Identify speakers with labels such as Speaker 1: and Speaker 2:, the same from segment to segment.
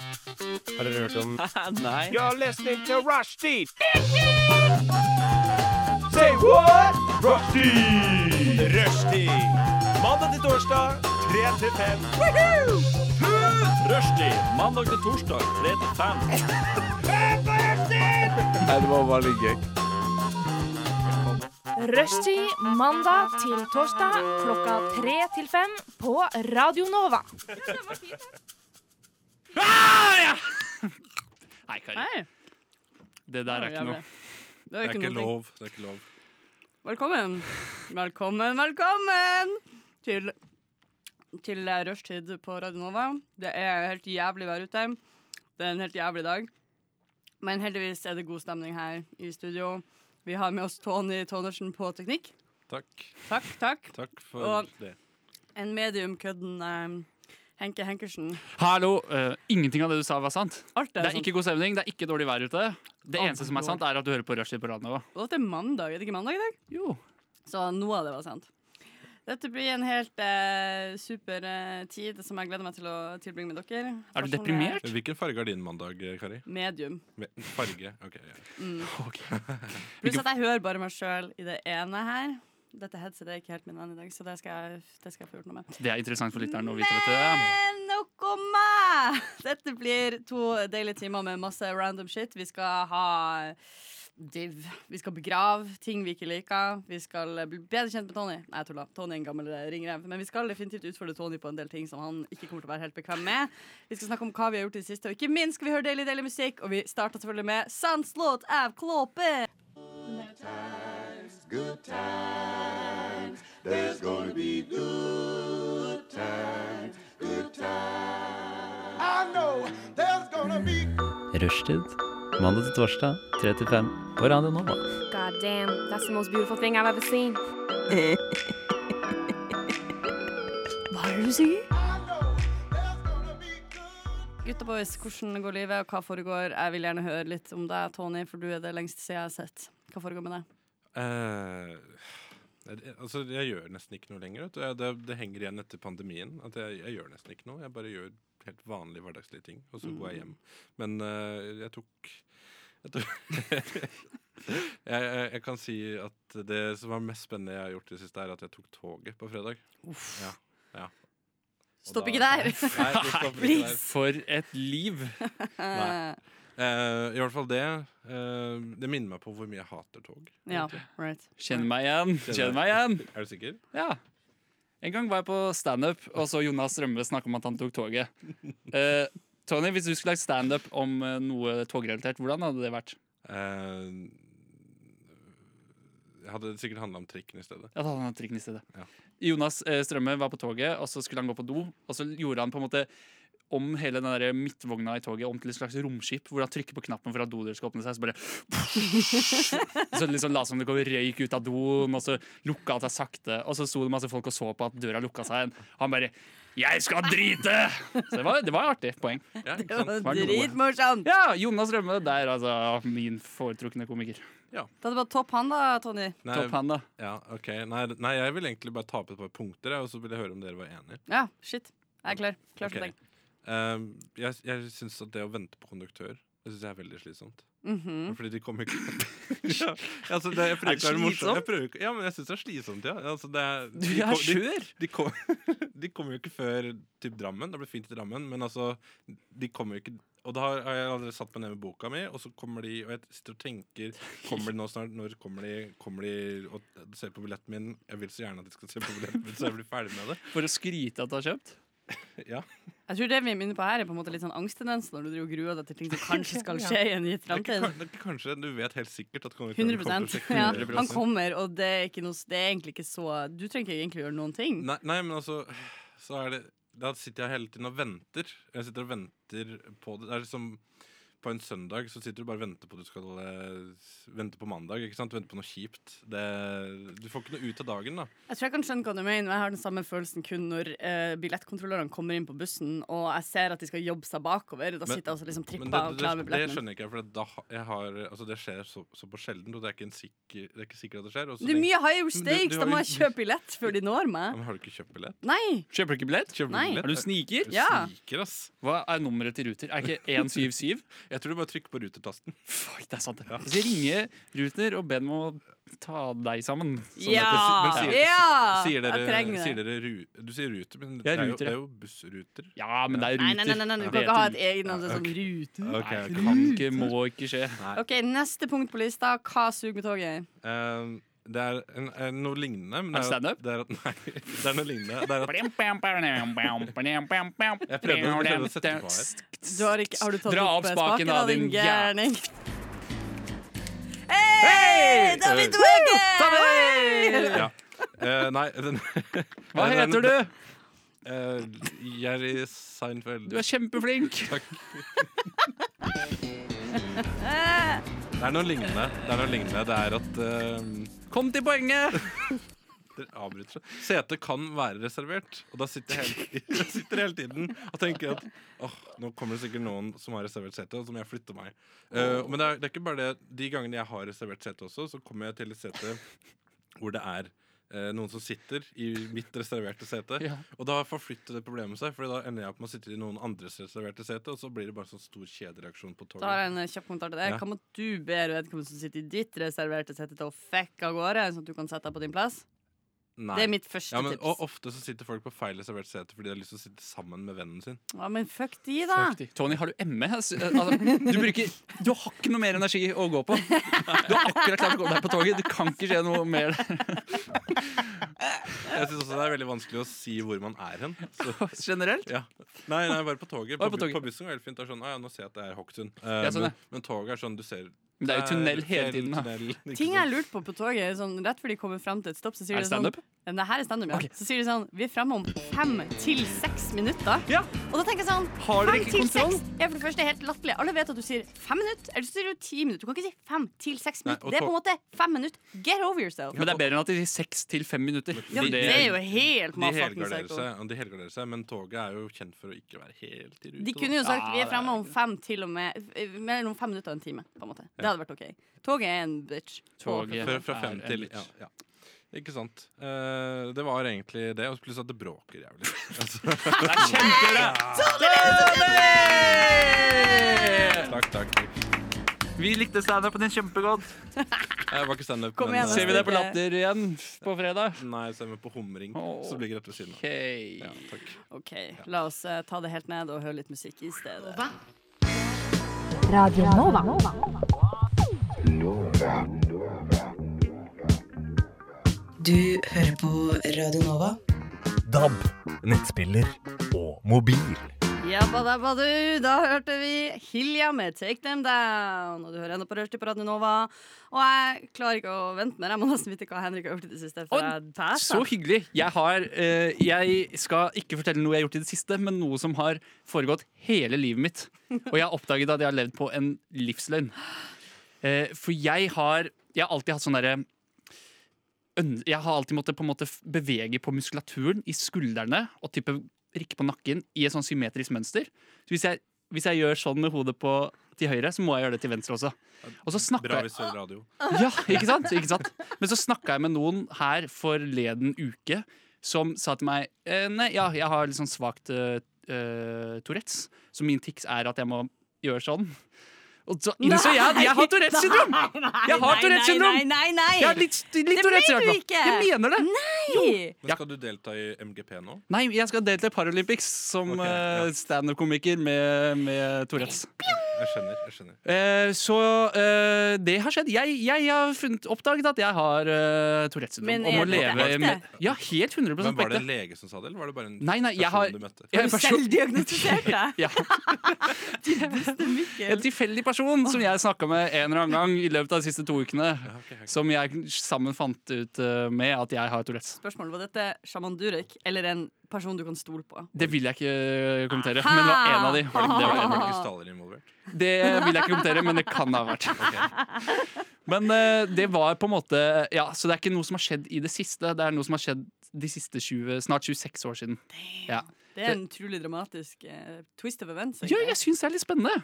Speaker 1: Har dere hørt om
Speaker 2: Nei.
Speaker 1: You're listening to Rushdie! Say what? Rushdie! Rushdie! Mandag til torsdag, 3 til 5. Rushdie! Mandag til torsdag, 3 til 5.
Speaker 2: Nei, det var bare litt gøy.
Speaker 3: Rushtid mandag til torsdag klokka tre til fem på Radio Nova.
Speaker 4: Nei, Kari.
Speaker 5: Nei,
Speaker 4: Det der er ikke noe.
Speaker 5: det er
Speaker 2: Det er
Speaker 5: ikke,
Speaker 2: ikke
Speaker 5: noe.
Speaker 2: lov. Det er ikke lov.
Speaker 5: Velkommen. Velkommen, velkommen til, til eh, rushtid på Radio Nova. Det er helt jævlig vær ute. Det er en helt jævlig dag. Men heldigvis er det god stemning her i studio. Vi har med oss Tony Tonersen på teknikk.
Speaker 2: Takk.
Speaker 5: Takk, takk.
Speaker 2: Takk for
Speaker 5: Og-
Speaker 2: det.
Speaker 5: En medium-kødden eh, Henke Henkersen.
Speaker 4: Hallo. eh, ingenting av det du sa, var sant.
Speaker 5: Alt
Speaker 4: Det
Speaker 5: er, sånn-
Speaker 4: er ikke god stemning, det er ikke dårlig vær ute. Det
Speaker 5: Å,
Speaker 4: eneste som er
Speaker 5: Gud.
Speaker 4: sant, er at du hører på Rushdie på radioen.
Speaker 5: Og dette er mandag. Er det ikke mandag i dag?
Speaker 4: Jo.
Speaker 5: Så noe av det var sant. Dette blir en helt eh, super eh, tid som jeg gleder meg til å tilbringe med dere.
Speaker 4: Er du
Speaker 5: Personlig-
Speaker 4: deprimert?
Speaker 2: Hvilken farge har din mandag, eh, Kari?
Speaker 5: Medium. Mm.
Speaker 2: Med- Farge? Ok, ja.
Speaker 4: Ok.
Speaker 5: Pluss at jeg hører bare meg sjøl i det ene her. Dette headsetet er ikke helt min venn i dag, så det skal jeg, det skal jeg få gjort noe med.
Speaker 4: Det er interessant for lytteren å vite, vet du.
Speaker 5: Men nok om meg! Dette blir to deilige timer med masse random shit. Vi skal ha div. Vi skal begrave ting vi ikke liker. Vi skal bli bedre kjent med Tony. Nei, jeg tuller. Tony er en gammel eh, ringrev. Men vi skal definitivt utfordre Tony på en del ting som han ikke kommer til å være helt bekvem med. Vi skal snakke om hva vi har gjort i det siste, og ikke minst skal vi høre deilig, deilig musikk. Og vi starter selvfølgelig med Sandslåt av Klåpe.
Speaker 6: Rushtid. Mandag til torsdag, 3 til 5 på Radio Nova.
Speaker 3: God damn, that's the most beautiful thing I've ever seen.
Speaker 5: Gutta boys, hvordan går livet, og hva foregår? Jeg vil gjerne høre litt om deg, Tony, for du er det lengste siden jeg har sett. Hva foregår med deg?
Speaker 2: Eh, det- altså, jeg gjør nesten ikke noe lenger. Vet du. Jeg- Det, det henger igjen etter pandemien. At jeg, jeg gjør nesten ikke noe. Jeg bare gjør helt vanlige hverdagslige ting, og så går jeg hjem. Men eh, jeg tok Jeg, tok jeg, jeg, jeg kan si at det som var mest spennende jeg har gjort i det siste, er at jeg tok toget på fredag. Ja. ja. Og
Speaker 5: Stopp
Speaker 2: da-
Speaker 5: ikke der!
Speaker 2: Nei, det stopper ikke der.
Speaker 5: Please.
Speaker 4: For et liv.
Speaker 2: Nei. Eh, I hvert fall det. eh, det minner meg på hvor mye jeg hater tog.
Speaker 5: Ja, right.
Speaker 4: Kjenn meg igjen. Kjenn meg igjen.
Speaker 2: Er du sikker?
Speaker 4: Ja. En gang var jeg på standup, og så Jonas Strømme snakke om at han tok toget. Eh, Tony, hvis du skulle lagt standup om eh, noe togrelatert, hvordan hadde det vært?
Speaker 2: Eh, jeg hadde det sikkert handla om trikken i stedet.
Speaker 4: Ja, da hadde han hatt trikken i stedet.
Speaker 2: Ja.
Speaker 4: Jonas eh, Strømme var på toget, og så skulle han gå på do. Og så gjorde han på en måte om hele den der midtvogna i toget om til et slags romskip, hvor han trykker på knappen for at dodøren skal åpne seg. Så bare Så liksom la det som det kom røyk ut av doen, og så lukka han seg sakte. Og så sto det masse folk og så på at døra lukka seg igjen. Og han bare 'Jeg skal drite!' Så det var, det var artig poeng.
Speaker 2: Ja, ikke
Speaker 5: Det
Speaker 2: sant?
Speaker 5: var
Speaker 4: Vær så god.
Speaker 5: dritmorsomt!
Speaker 4: Ja, Jonas Rømme der, altså. Min foretrukne komiker.
Speaker 5: Da hadde bare topp han da, Tony.
Speaker 2: Nei,
Speaker 4: Topp han, da.
Speaker 2: ja, ok. nei, nei, jeg vil egentlig bare ta opp et par punkter, jeg, og så vil jeg høre om dere var enige.
Speaker 5: Ja, shit. Jeg er klar. Klar som
Speaker 2: Ok.
Speaker 5: tenk.
Speaker 2: Ehm, jeg jeg syns at det å vente på konduktør Det synes jeg er veldig slitsomt.
Speaker 5: Mhm.
Speaker 2: Fordi de kommer ikke ja, altså det, jeg prøver
Speaker 4: Er det
Speaker 2: ikke å være morsom.
Speaker 4: slitsomt?
Speaker 2: Jeg prøver ikke, ja, men jeg syns det er slitsomt, ja. Altså det er,
Speaker 4: Du
Speaker 2: de
Speaker 4: er
Speaker 2: ko- de-
Speaker 4: skjør!
Speaker 2: De, kom, de kommer jo ikke før typ Drammen. Det blir fint i Drammen, men altså De kommer jo ikke Og da har har jeg allerede satt meg ned med boka mi, og så kommer de Og jeg sitter og tenker Kommer de nå snart? Når kommer de? Kommer de og ser på billetten min? Jeg vil så gjerne at de skal se på billetten min, så jeg blir ferdig med det.
Speaker 4: For å skryte at du har kjøpt.
Speaker 5: Jeg tror det vi er inne på her, er på en måte litt sånn angsttendens når du driver og gruer deg til ting som kanskje skal skje i en gitt
Speaker 2: Det er ikke,
Speaker 5: framtid.
Speaker 2: kan- det er ikke kanskje Du vet helt sikkert at konduktøren
Speaker 5: 100
Speaker 2: kommer til å sjekke
Speaker 5: ja.
Speaker 2: 100%.
Speaker 5: Han kommer, og det er, ikke noe, det er egentlig ikke så Du trenger ikke egentlig gjøre noen ting.
Speaker 2: Nei, nei, men altså Så er det Da sitter jeg hele tiden og venter Jeg sitter og venter på det Det er liksom på en søndag så sitter du bare og venter på at du skal eh, vente på mandag. ikke sant? Vente på noe kjipt. Det, du får ikke noe ut av dagen, da.
Speaker 5: Jeg tror jeg kan skjønne hva du mener, men jeg har den samme følelsen kun når eh, billettkontrollørene kommer inn på bussen, og jeg ser at de skal jobbe seg bakover. Da
Speaker 2: Men-
Speaker 5: sitter jeg også liksom trippa
Speaker 2: Men det,
Speaker 5: og
Speaker 2: det,
Speaker 5: klarer
Speaker 2: det
Speaker 5: med billetten.
Speaker 2: skjønner jeg ikke, for da, ha- jeg har, altså det skjer så, så på sjelden, og det er ikke, en sikker, det er ikke sikkert at det skjer. og så
Speaker 5: Det er
Speaker 2: tenker-
Speaker 5: mye higher
Speaker 2: du-
Speaker 5: stakes,
Speaker 2: du
Speaker 5: da
Speaker 2: har
Speaker 5: må
Speaker 2: jo-
Speaker 5: jeg kjøpe billett før de når
Speaker 2: Ja,
Speaker 5: meg.
Speaker 2: men har du ikke kjøpt billett?
Speaker 5: Nei!
Speaker 4: Kjøper du ikke billett?
Speaker 2: Kjøper du
Speaker 5: Nei.
Speaker 2: billett?
Speaker 4: Er du sniker?
Speaker 2: Du
Speaker 5: Ja.
Speaker 2: Sniker, ass.
Speaker 4: Hva er nummeret til Ruter? Er ikke 177?
Speaker 2: Jeg tror du bare trykker på rutertasten.
Speaker 4: Fuck, det er sant. Jeg skal ringe Ruter og be dem å ta deg sammen.
Speaker 5: ja!
Speaker 2: men sier-
Speaker 5: ja!
Speaker 2: sier dere,
Speaker 5: jeg trenger
Speaker 2: sier
Speaker 5: det.
Speaker 2: dere ru, du sier ruter, men det
Speaker 4: Jeg
Speaker 2: er, jo, det
Speaker 4: ruter, jeg.
Speaker 2: er jo bussruter.
Speaker 4: Ja, men det
Speaker 5: Nei,
Speaker 4: er Ruter.
Speaker 5: nei, nei, nei, du
Speaker 4: Det
Speaker 5: kan ikke ha et
Speaker 4: heter-
Speaker 5: eget navn
Speaker 2: Ja,
Speaker 5: som er sånn
Speaker 2: ok.
Speaker 5: rute.
Speaker 2: Ok,
Speaker 4: Nei,
Speaker 2: ok.
Speaker 4: kan ikke, må ikke skje.
Speaker 5: OK, neste punkt på lista. Hva suger med toget?
Speaker 2: Eh, det er en, er noe lignende. Men
Speaker 4: Er det
Speaker 2: at-
Speaker 4: standup?
Speaker 2: Det er at, nei, det er noe lignende. Det er at,
Speaker 4: Jeg prøvde
Speaker 2: å- jeg prøvde å sette på
Speaker 5: Du har, ikke, har du tatt
Speaker 4: Dra
Speaker 5: opp
Speaker 4: opp
Speaker 5: eh,
Speaker 4: spaken da, din
Speaker 5: gærning? Hei! David Wege!
Speaker 2: ja. Eh, nei, den,
Speaker 4: Hva
Speaker 2: Nei, nei,
Speaker 4: heter du?
Speaker 2: eh, Jerry Seinfeld.
Speaker 4: Du er kjempeflink.
Speaker 2: Takk. Det er noe lignende. Det er noe lignende. Det er at eh,
Speaker 4: Kom til poenget.
Speaker 2: Dere avbryter seg. Setet kan være reservert, og da sitter jeg hele, jeg sitter hele tiden og tenker at åh, nå kommer det sikkert noen som har reservert sete, og så må jeg flytte meg. Eh, men det er, det er ikke bare det. De gangene jeg har reservert sete også, så kommer jeg til et sete hvor det er eh, noen som sitter i mitt reserverte sete,
Speaker 4: Ja.
Speaker 2: og da forflytter det problemet seg, for da ender jeg opp med å sitte i noen andres reserverte sete, og så blir det bare sånn stor kjedereaksjon på
Speaker 5: Da har
Speaker 2: toget.
Speaker 5: jeg en eh, kjapp kommentar til det.
Speaker 2: Ja.
Speaker 5: Hva må du be vedkommende som sitter i ditt reserverte sete til å fekke av gårde, sånn at du kan sette deg på din plass?
Speaker 2: Nei.
Speaker 5: Det er mitt første
Speaker 2: ja, men,
Speaker 5: tips.
Speaker 2: og ofte så sitter folk på feil reservert sete fordi de har lyst til å sitte sammen med vennen sin.
Speaker 5: Ja, men fuck de, da.
Speaker 4: Tony, har du ME? Altså, du, bruker, du har ikke noe mer energi å gå på. Du har akkurat klart å gå deg på toget. Det kan ikke skje noe mer.
Speaker 2: Jeg synes også det er veldig vanskelig å si hvor man er hen. Så,
Speaker 4: Generelt.
Speaker 2: ja. Nei, nei, bare på toget.
Speaker 4: Bare
Speaker 2: På,
Speaker 4: på toget.
Speaker 2: bu- på bussen går det helt fint. Det er sånn, «Å ja, nå ser jeg at det er Hokksund. Eh,
Speaker 4: Ja, sånn, ja.
Speaker 2: men, men toget er sånn, du ser
Speaker 4: Men det er jo tunnel
Speaker 2: Der,
Speaker 4: hele
Speaker 2: fjell,
Speaker 4: tiden. Da.
Speaker 2: Eh, tunnel, ikke
Speaker 5: Ting
Speaker 2: sant?
Speaker 5: jeg lurte på på toget, sånn, rett før de kommer fram til et stopp, så sier de
Speaker 4: Er det
Speaker 5: sånn
Speaker 4: standup?
Speaker 5: Ja, Det her er standup, ja.
Speaker 4: Ok.
Speaker 5: Så sier de sånn Vi er framme om fem til seks minutter.
Speaker 4: Ja.
Speaker 5: Og da tenker jeg sånn
Speaker 4: Har dere
Speaker 5: Fem
Speaker 4: ikke
Speaker 5: til
Speaker 4: kontroll?
Speaker 5: seks er for det første helt latterlig. Alle vet at du sier fem minutter, eller så sier du ti minutter. Du kan ikke si fem til seks
Speaker 2: Nei,
Speaker 5: minutter.
Speaker 2: og
Speaker 5: det er på en
Speaker 2: tog-
Speaker 5: måte fem minutter. Get over yourself.
Speaker 4: Men det er bedre enn at de sier seks til fem minutter.
Speaker 5: Ja,
Speaker 4: For
Speaker 5: men det er jo helt
Speaker 2: De
Speaker 5: motherfucking
Speaker 2: helgarderer
Speaker 5: psycho.
Speaker 2: seg, de helgarderer seg, men toget er jo kjent for å ikke være helt i rute.
Speaker 5: De
Speaker 2: da.
Speaker 5: kunne jo sagt
Speaker 4: Ja,
Speaker 5: vi
Speaker 4: det
Speaker 5: er
Speaker 4: er-
Speaker 5: framme om fem til og med eh, Mellom fem minutter og en time. på en måte Det hadde vært OK. Toget er en bitch.
Speaker 4: Toget.
Speaker 2: fra, fra
Speaker 4: er
Speaker 2: fem
Speaker 4: en
Speaker 2: til
Speaker 4: bitch.
Speaker 2: ja, ja. Ikke sant. Eh, det var egentlig det, og pluss at det bråker jævlig. Altså,
Speaker 4: Det er kjempebra!
Speaker 2: takk, takk. Eh,
Speaker 4: Vi likte standupen din kjempegodt.
Speaker 2: Jeg var ikke standup.
Speaker 5: Kom
Speaker 2: men,
Speaker 5: igjen,
Speaker 2: eh,
Speaker 4: Ser vi deg på Latter igjen på fredag?
Speaker 2: Nei, ser vi på humring, som ligger rett ved siden av.
Speaker 4: Okay.
Speaker 2: Ja, takk.
Speaker 5: OK, la oss eh, ta det helt ned og høre litt musikk i stedet.
Speaker 7: Radio Nova.
Speaker 8: Du hører på Radio Nova.
Speaker 1: DAB, nettspiller og mobil.
Speaker 5: Jabba dabba du, da hørte vi Hilja med Take Them Down. Og du hører ennå på Rushdie på Radio Nova. Og jeg klarer ikke å vente mer. Jeg må nesten vite hva Henrik har gjort i det siste.
Speaker 4: Og
Speaker 5: For jeg
Speaker 4: Så
Speaker 5: passer.
Speaker 4: hyggelig. Jeg, har, eh, jeg skal ikke fortelle noe jeg har gjort i det siste, men noe som har foregått hele livet mitt. Og jeg har oppdaget at jeg har levd på en livsløgn. Eh, for jeg har, jeg har alltid hatt sånn derre øn- Jeg har alltid måttet på en måte f- bevege på muskulaturen i skuldrene og type rikke på nakken i et sånn symmetrisk mønster. Så hvis jeg, hvis jeg gjør sånn med hodet på til høyre, så må jeg gjøre det til venstre også. Og så snakker
Speaker 2: Bra
Speaker 4: jeg
Speaker 2: visuell radio.
Speaker 4: ja, ikke sant? Ikke sant? Men så snakka jeg med noen her forleden uke som sa til meg eh, Nei, ja, jeg har litt sånn svakt eh, eh, Tourettes, så min tics er at jeg må gjøre sånn. Og så innså jeg at jeg har Tourettes syndrom! Jeg har Tourettes syndrom!
Speaker 5: Nei, nei, nei!
Speaker 4: Jeg har litt, litt
Speaker 5: Det
Speaker 4: Tourettes, i
Speaker 5: mener
Speaker 4: hvert
Speaker 5: du
Speaker 4: fall.
Speaker 5: ikke!
Speaker 4: Jeg mener det!
Speaker 5: nei.
Speaker 2: Men skal du delta i MGP nå?
Speaker 4: Nei, jeg skal delta i Paralympics som
Speaker 2: Ok,
Speaker 4: eh,
Speaker 2: ja.
Speaker 4: standup-komiker med, med Tourettes.
Speaker 2: Jeg skjønner. jeg skjønner
Speaker 4: Eh, så eh, det har skjedd. Jeg, jeg har funnet, oppdaget at jeg har eh, Tourettes syndrom.
Speaker 5: Men
Speaker 4: og må
Speaker 5: er det
Speaker 4: leve
Speaker 5: ekte?
Speaker 4: med Ja, helt 100
Speaker 2: Men
Speaker 4: på
Speaker 2: Var det en
Speaker 4: ekte.
Speaker 2: lege som sa det, eller var det bare en
Speaker 4: Nei, nei, jeg
Speaker 2: person
Speaker 4: har
Speaker 2: du møtte?
Speaker 4: jeg
Speaker 5: Du
Speaker 4: er en person-
Speaker 5: selvdiagnostiserte deg.
Speaker 4: ja,
Speaker 5: Beste
Speaker 4: En
Speaker 5: Mikkel.
Speaker 4: tilfeldig person som jeg snakka med en eller annen gang i løpet av de siste to ukene.
Speaker 2: Ja, ok, ok.
Speaker 4: Som jeg sammen fant ut eh, med at jeg har Tourettes.
Speaker 5: Spørsmålet var dette sjaman Durek eller en person du kan stole på?
Speaker 4: Det vil jeg ikke kommentere, men det var en av de.
Speaker 2: Var det, var det, var det ikke Stalin involvert?
Speaker 4: Det vil jeg ikke kommentere, men det kan ha vært. Men eh, det var på en måte Ja, så det er ikke noe som har skjedd i det siste. Det er noe som har skjedd de siste 20, snart 26 år siden. Ja.
Speaker 5: Det er en utrolig dramatisk eh, twist of events. Mm.
Speaker 4: Ja, jeg Mm. syns det er litt spennende.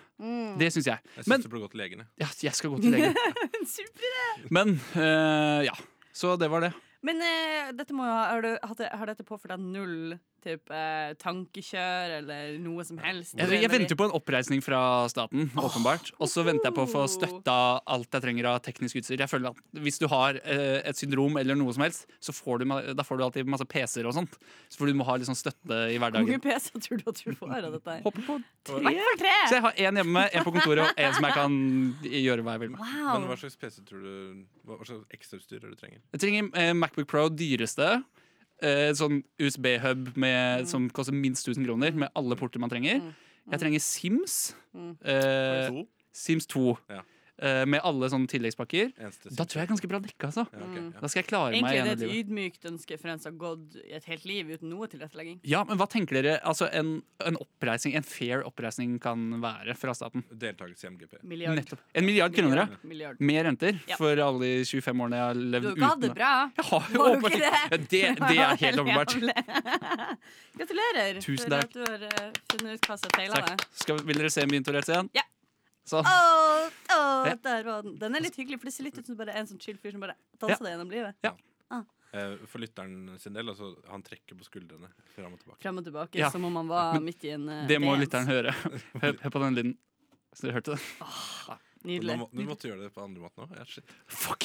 Speaker 4: Det syns jeg.
Speaker 2: Jeg
Speaker 4: Men
Speaker 2: syns du burde gå til legen. jeg.
Speaker 4: ja, jeg skal gå til legen.
Speaker 5: Super.
Speaker 4: Men eh, ja. Så det var det.
Speaker 5: Men eh, dette må jo ha, har, du, hatt det- har dette påført deg null typ, eh, tankekjør eller noe som helst?
Speaker 4: Jeg, jeg venter jo på en oppreisning fra staten, åpenbart. Og så venter jeg på å få støtta alt jeg trenger av teknisk utstyr. Jeg føler at Hvis du har eh, et syndrom eller noe som helst, så får du, ma- da får du alltid masse PC-er og sånt. Så for du må ha litt sånn støtte i
Speaker 5: Hvor mange
Speaker 4: hverdagen.
Speaker 5: PC-er tror du at du får av dette? her?
Speaker 4: Hopper på tre.
Speaker 5: Hvert fall tre!
Speaker 4: Så jeg har én hjemme, én på kontoret og én som jeg kan gjøre hva jeg vil med.
Speaker 2: Men
Speaker 5: Wow.
Speaker 2: hva slags PC tror du Hva hva slags ekstrautstyr er det du trenger?
Speaker 4: Jeg trenger eh, Macbook Pro, dyreste. Eh, sånn USB-hub med- som koster minst 1000 kroner, med alle porter man trenger.
Speaker 5: Mm.
Speaker 4: Jeg trenger Sims. Eh,
Speaker 2: To?
Speaker 4: Sims 2.
Speaker 2: Ja.
Speaker 4: Eh, med alle sånne tilleggspakker.
Speaker 2: Eneste
Speaker 4: Da tror jeg jeg er ganske bra dekka, altså.
Speaker 2: ja, ok, ja.
Speaker 4: Da skal jeg klare meg
Speaker 5: Egentlig er
Speaker 4: gjennom
Speaker 5: det et
Speaker 4: livet.
Speaker 5: ydmykt ønske for en som har gått et helt liv uten noe tilrettelegging.
Speaker 4: Ja, men hva tenker dere altså en, en oppreisning, en fair oppreisning kan være fra staten?
Speaker 2: Deltakelse i MGP.
Speaker 5: Milliard.
Speaker 4: Nettopp. En milliard kroner, ja.
Speaker 5: Milliard.
Speaker 4: Med renter.
Speaker 5: Ja.
Speaker 4: For alle de 25 årene jeg har
Speaker 5: Du
Speaker 4: levd
Speaker 5: har ikke hatt det
Speaker 4: uten.
Speaker 5: bra.
Speaker 4: Jeg har
Speaker 5: Var
Speaker 4: jo
Speaker 5: du
Speaker 4: åpenbart
Speaker 5: ikke
Speaker 4: ikke det. Det, er helt åpenbart.
Speaker 5: Gratulerer
Speaker 4: Tusen
Speaker 5: for
Speaker 4: takk.
Speaker 5: at du har eh, funnet ut hva som feila
Speaker 4: Takk.
Speaker 5: deg.
Speaker 4: Skal, vil dere se min Tourettes igjen?
Speaker 5: Ja.
Speaker 4: Sånn.
Speaker 5: Åh, åh,
Speaker 4: Ja.
Speaker 5: der var den. den er litt hyggelig, for det ser litt ut som bare en sånn chill fyr som bare
Speaker 4: Ja.
Speaker 5: danser deg gjennom livet.
Speaker 2: Eh, For lytteren sin del, altså, han trekker på skuldrene fram og tilbake.
Speaker 5: Frem og tilbake,
Speaker 4: Ja.
Speaker 5: som om han var
Speaker 4: Men
Speaker 5: midt i en eh,
Speaker 4: Det må
Speaker 5: dance.
Speaker 4: lytteren høre. Hør, hør på den lyden. Så dere hørte det?
Speaker 2: Men
Speaker 5: Nydelig.
Speaker 2: Nå, må- du måtte gjøre det på andre måten òg.
Speaker 4: Fuck!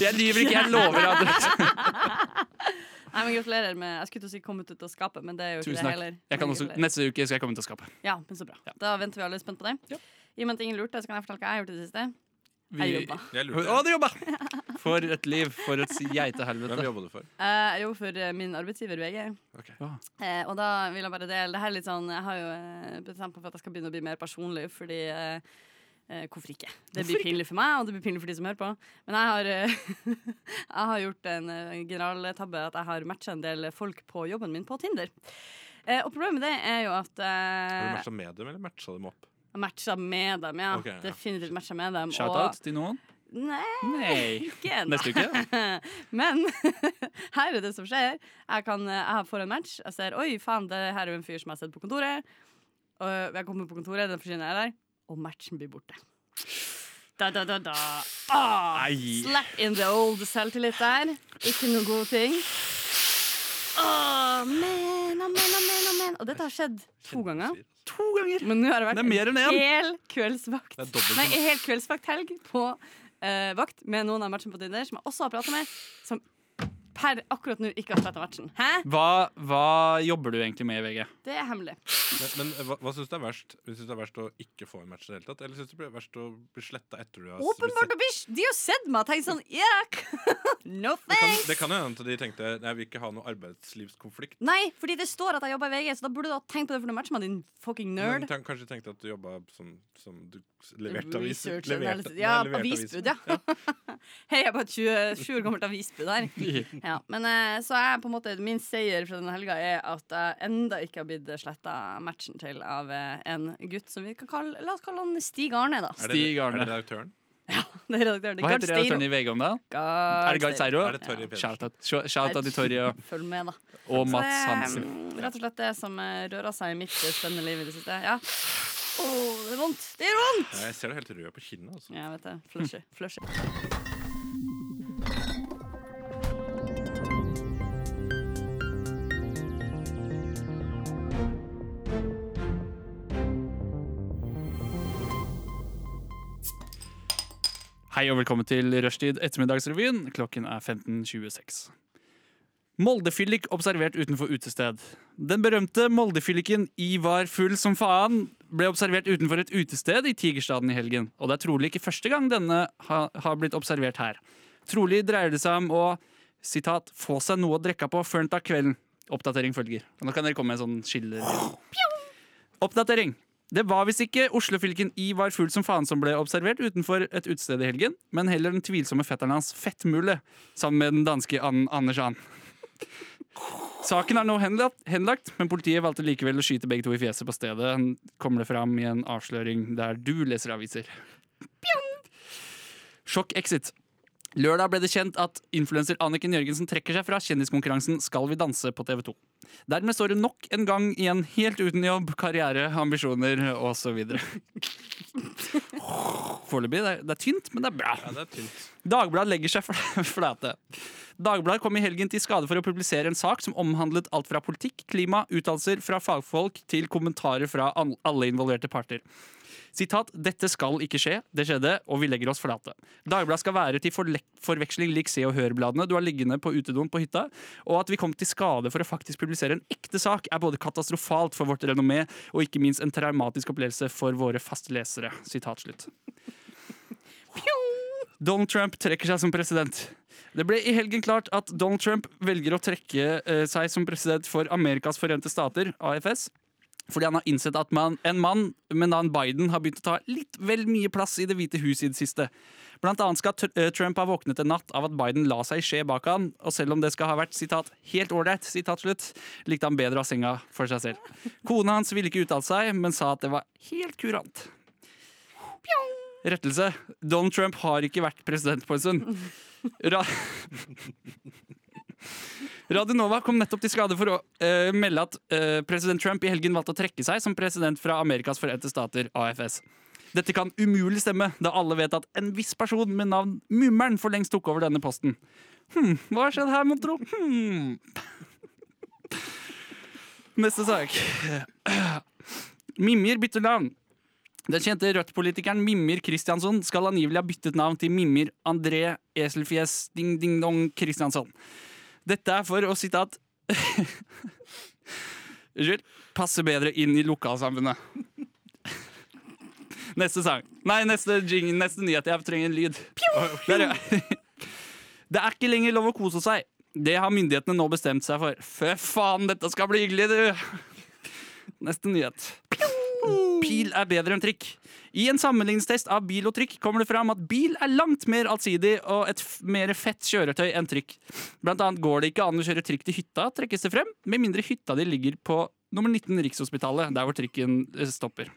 Speaker 4: Jeg lyver ikke, jeg lover. At
Speaker 5: Nei, men Gratulerer med Jeg skulle til å si 'kommet ut av skapet', men det er jo ikke det
Speaker 4: Tusen takk.
Speaker 5: heller.
Speaker 4: Jeg kan
Speaker 5: Men
Speaker 4: også,
Speaker 5: gratulerer.
Speaker 4: neste uke skal jeg komme til å skape.
Speaker 5: Ja, men så bra.
Speaker 4: Ja.
Speaker 5: Da venter vi alle spent på det.
Speaker 4: Ja.
Speaker 5: I og med at ingen lurte, så kan jeg fortelle hva jeg har gjort i det siste. Jeg
Speaker 4: Vi-
Speaker 5: jobba.
Speaker 2: Jeg
Speaker 4: Å,
Speaker 2: lurte.
Speaker 4: du jobba! For et liv, for et
Speaker 2: Hvem
Speaker 4: geitehelvete.
Speaker 2: jobba du for?
Speaker 5: Eh, Jeg jobber for eh, min arbeidsgiver VG.
Speaker 2: Ok.
Speaker 4: Ja.
Speaker 5: Eh, og da vil jeg bare dele Det her er litt sånn Jeg har jo eh, bestemt meg for at jeg skal begynne å bli mer personlig, fordi eh, eh, Hvorfor ikke? Det blir pinlig for meg, og det blir pinlig for de som hører på. Men jeg har, eh, jeg har gjort en eh, generaltabbe at jeg har matcha en del folk på jobben min på Tinder. Eh, og problemet med det er jo at
Speaker 2: Har du
Speaker 5: eh,
Speaker 2: matcha med dem, eller matcha dem opp?
Speaker 5: jeg matcha med dem, ja.
Speaker 2: Ok, ja.
Speaker 5: Definitivt matcha med dem.
Speaker 4: Shout-out til noen?
Speaker 5: Og, nei,
Speaker 4: Nei.
Speaker 5: ikke ennå.
Speaker 4: Neste uke?
Speaker 5: Men her er det som skjer. Jeg, kan, jeg får en match. Jeg ser oi, faen, det her er jo en fyr som jeg har sett på kontoret. Og jeg kommer på kontoret, den forsvinner jeg der, og matchen blir borte. Da, da, da, da. Ah,
Speaker 4: Nei.
Speaker 5: slap in the old selvtillit der. Ikke noe god ting. Åh, men, amen, amen, amen. Og dette har skjedd to ganger.
Speaker 4: To ganger!
Speaker 5: Men nå har det
Speaker 4: Det
Speaker 5: vært
Speaker 4: er mer enn
Speaker 5: en
Speaker 4: én.
Speaker 5: hel kveldsvakt.
Speaker 2: Det er dobbelt
Speaker 5: Nei,
Speaker 2: så
Speaker 5: en hel kveldsvakthelg på eh, vakt med noen av matchen på Tinder som jeg også har prata med, som per akkurat nå ikke har sletta matchen. Hæ?
Speaker 4: Hva, hva jobber du egentlig med i VG?
Speaker 5: Det er hemmelig.
Speaker 2: Men, men eh, hva, hva syns du er verst? Syns du det er verst å ikke få en match i det hele tatt? Eller syns du det er verst å bli sletta etter du har blitt sett?
Speaker 5: Åpenbart og bish! De har sett meg og tenkt sånn Yuck! no
Speaker 2: Det kan,
Speaker 5: thanks!
Speaker 2: det kan jo hende at de tenkte Nei, jeg vil ikke ha noe arbeidslivskonflikt.
Speaker 5: Nei, fordi det står at jeg jobber i VG, så da burde du ha tenkt på det for du matcher meg, din fucking
Speaker 2: Men
Speaker 5: nerd.
Speaker 2: tenk, kanskje de tenkte at du jobba som, som du s- leverte aviser.
Speaker 5: Research
Speaker 2: Leverte,
Speaker 5: analysis. Ja,
Speaker 2: nei, leverte
Speaker 5: avisbud, ja. Hei, jeg er bare 27 år gammelt avisbud her. Ja, men eh, så er jeg på en måte Min seier fra denne helga er at jeg enda ikke har blitt sletta matchen til av eh, en gutt som vi kan kalle La oss kalle han Stig Arne, da.
Speaker 2: Er det,
Speaker 4: Stig
Speaker 2: er
Speaker 4: Arne.
Speaker 2: det redaktøren?
Speaker 5: Det er redaktøren. Det
Speaker 4: Hva
Speaker 5: er
Speaker 4: heter redaktøren i VG om dagen? Er det Gard Seiro?
Speaker 2: Er det Torje Pedersen?
Speaker 4: Shout-out shout til Torje og-
Speaker 5: Følg med, da.
Speaker 4: og
Speaker 5: Så
Speaker 4: Mats
Speaker 5: det er
Speaker 4: Hansen.
Speaker 5: mm, rett og slett det som eh, rører seg i mitt eh, spennende liv i det siste. Ja. Å, det er vondt! Det gjør vondt!
Speaker 2: Ja, jeg ser deg helt rød på kinnet. Altså.
Speaker 5: Ja, jeg vet det. Flushy. Flushy.
Speaker 4: Hei og velkommen til Rushtid ettermiddagsrevyen. Klokken er 15.26. Moldefyllik observert utenfor utested. Den berømte moldefylliken Ivar Full som faen ble observert utenfor et utested i Tigerstaden i helgen. Og det er trolig ikke første gang denne ha, har blitt observert her. Trolig dreier det seg om å sitat, 'få seg noe å drikke på før en tar kvelden'. Oppdatering følger. Og Nå kan dere komme med en sånn skiller. Oppdatering. Det var visst ikke Oslo-fylken I var full som faen som ble observert utenfor et utested i helgen, men heller den tvilsomme fetteren hans Fettmule, sammen med den danske An Anders And. Saken er nå henlagt, henlagt, men politiet valgte likevel å skyte begge to i fjeset på stedet. Kommer det fram i en avsløring der du leser aviser. Pjong! Sjokk-exit. Lørdag ble det kjent at influenser Anniken Jørgensen trekker seg fra kjendiskonkurransen Skal vi danse på TV 2. Dermed står hun nok en gang igjen helt uten jobb, karriere, ambisjoner osv. Foreløpig. Det, er- det er tynt, men det er bra.
Speaker 2: Ja, det er tynt.
Speaker 4: Dagbladet legger seg fl- flate. Dagbladet kom i helgen til skade for å publisere en sak som omhandlet alt fra politikk, klima, uttalelser fra fagfolk til kommentarer fra an- alle involverte parter. Sitat 'Dette skal ikke skje. Det skjedde, og vi legger oss flate'. Dagbladet skal være til forlek- forveksling lik Se og Hør-bladene du har liggende på utedoen på hytta, og at vi kom til skade for å faktisk publisere en ekte sak, er både katastrofalt for vårt renommé og ikke minst en traumatisk opplevelse for våre faste lesere. Sitat slutt. Donald Trump trekker seg som president. Det ble i helgen klart at Donald Trump velger å trekke eh, seg som president for Amerikas forente stater, AFS. Fordi han har innsett at man, en mann med navn Biden har begynt å ta litt vel mye plass i Det hvite huset i det siste. Blant annet skal tr eh, Trump ha våknet en natt av at Biden la seg i skje bak han, og selv om det skal ha vært sitat, 'helt ålreit', sitat slutt, likte han bedre å ha senga for seg selv. Kona hans ville ikke uttale seg, men sa at det var helt kurant. Rettelse. Donald Trump har ikke vært president på en stund. Ra Radio Nova kom nettopp til skade for å eh, melde at eh, president Trump i helgen valgte å trekke seg som president fra Amerikas forente stater, AFS. Dette kan umulig stemme, da alle vet at en viss person med navn Mummeren for lengst tok over denne posten. Hm, hva har skjedd her, mon tro? Hm. Neste sak. Mimjer bytter navn. Den kjente Rødt-politikeren Mimir Kristiansson skal angivelig ha byttet navn til Mimir André Eselfjes Ding Ding Dong Kristiansson. Dette er for å sitat Unnskyld. Passe bedre inn i lokalsamfunnet. Neste sang. Nei, neste, jing, neste nyhet. Jeg trenger en lyd. Der, ja. Det er ikke lenger lov å kose seg. Det har myndighetene nå bestemt seg for. Fy faen, dette skal bli hyggelig, du! Neste nyhet. Pil er bedre enn trikk. I en sammenligningstest av bil og trikk kommer det fram at bil er langt mer allsidig og et f mer fett kjøretøy enn trikk. Blant annet går det ikke an å kjøre trikk til hytta, trekkes det frem, med mindre hytta di ligger på nummer 19 Rikshospitalet, der hvor trikken eh, stopper.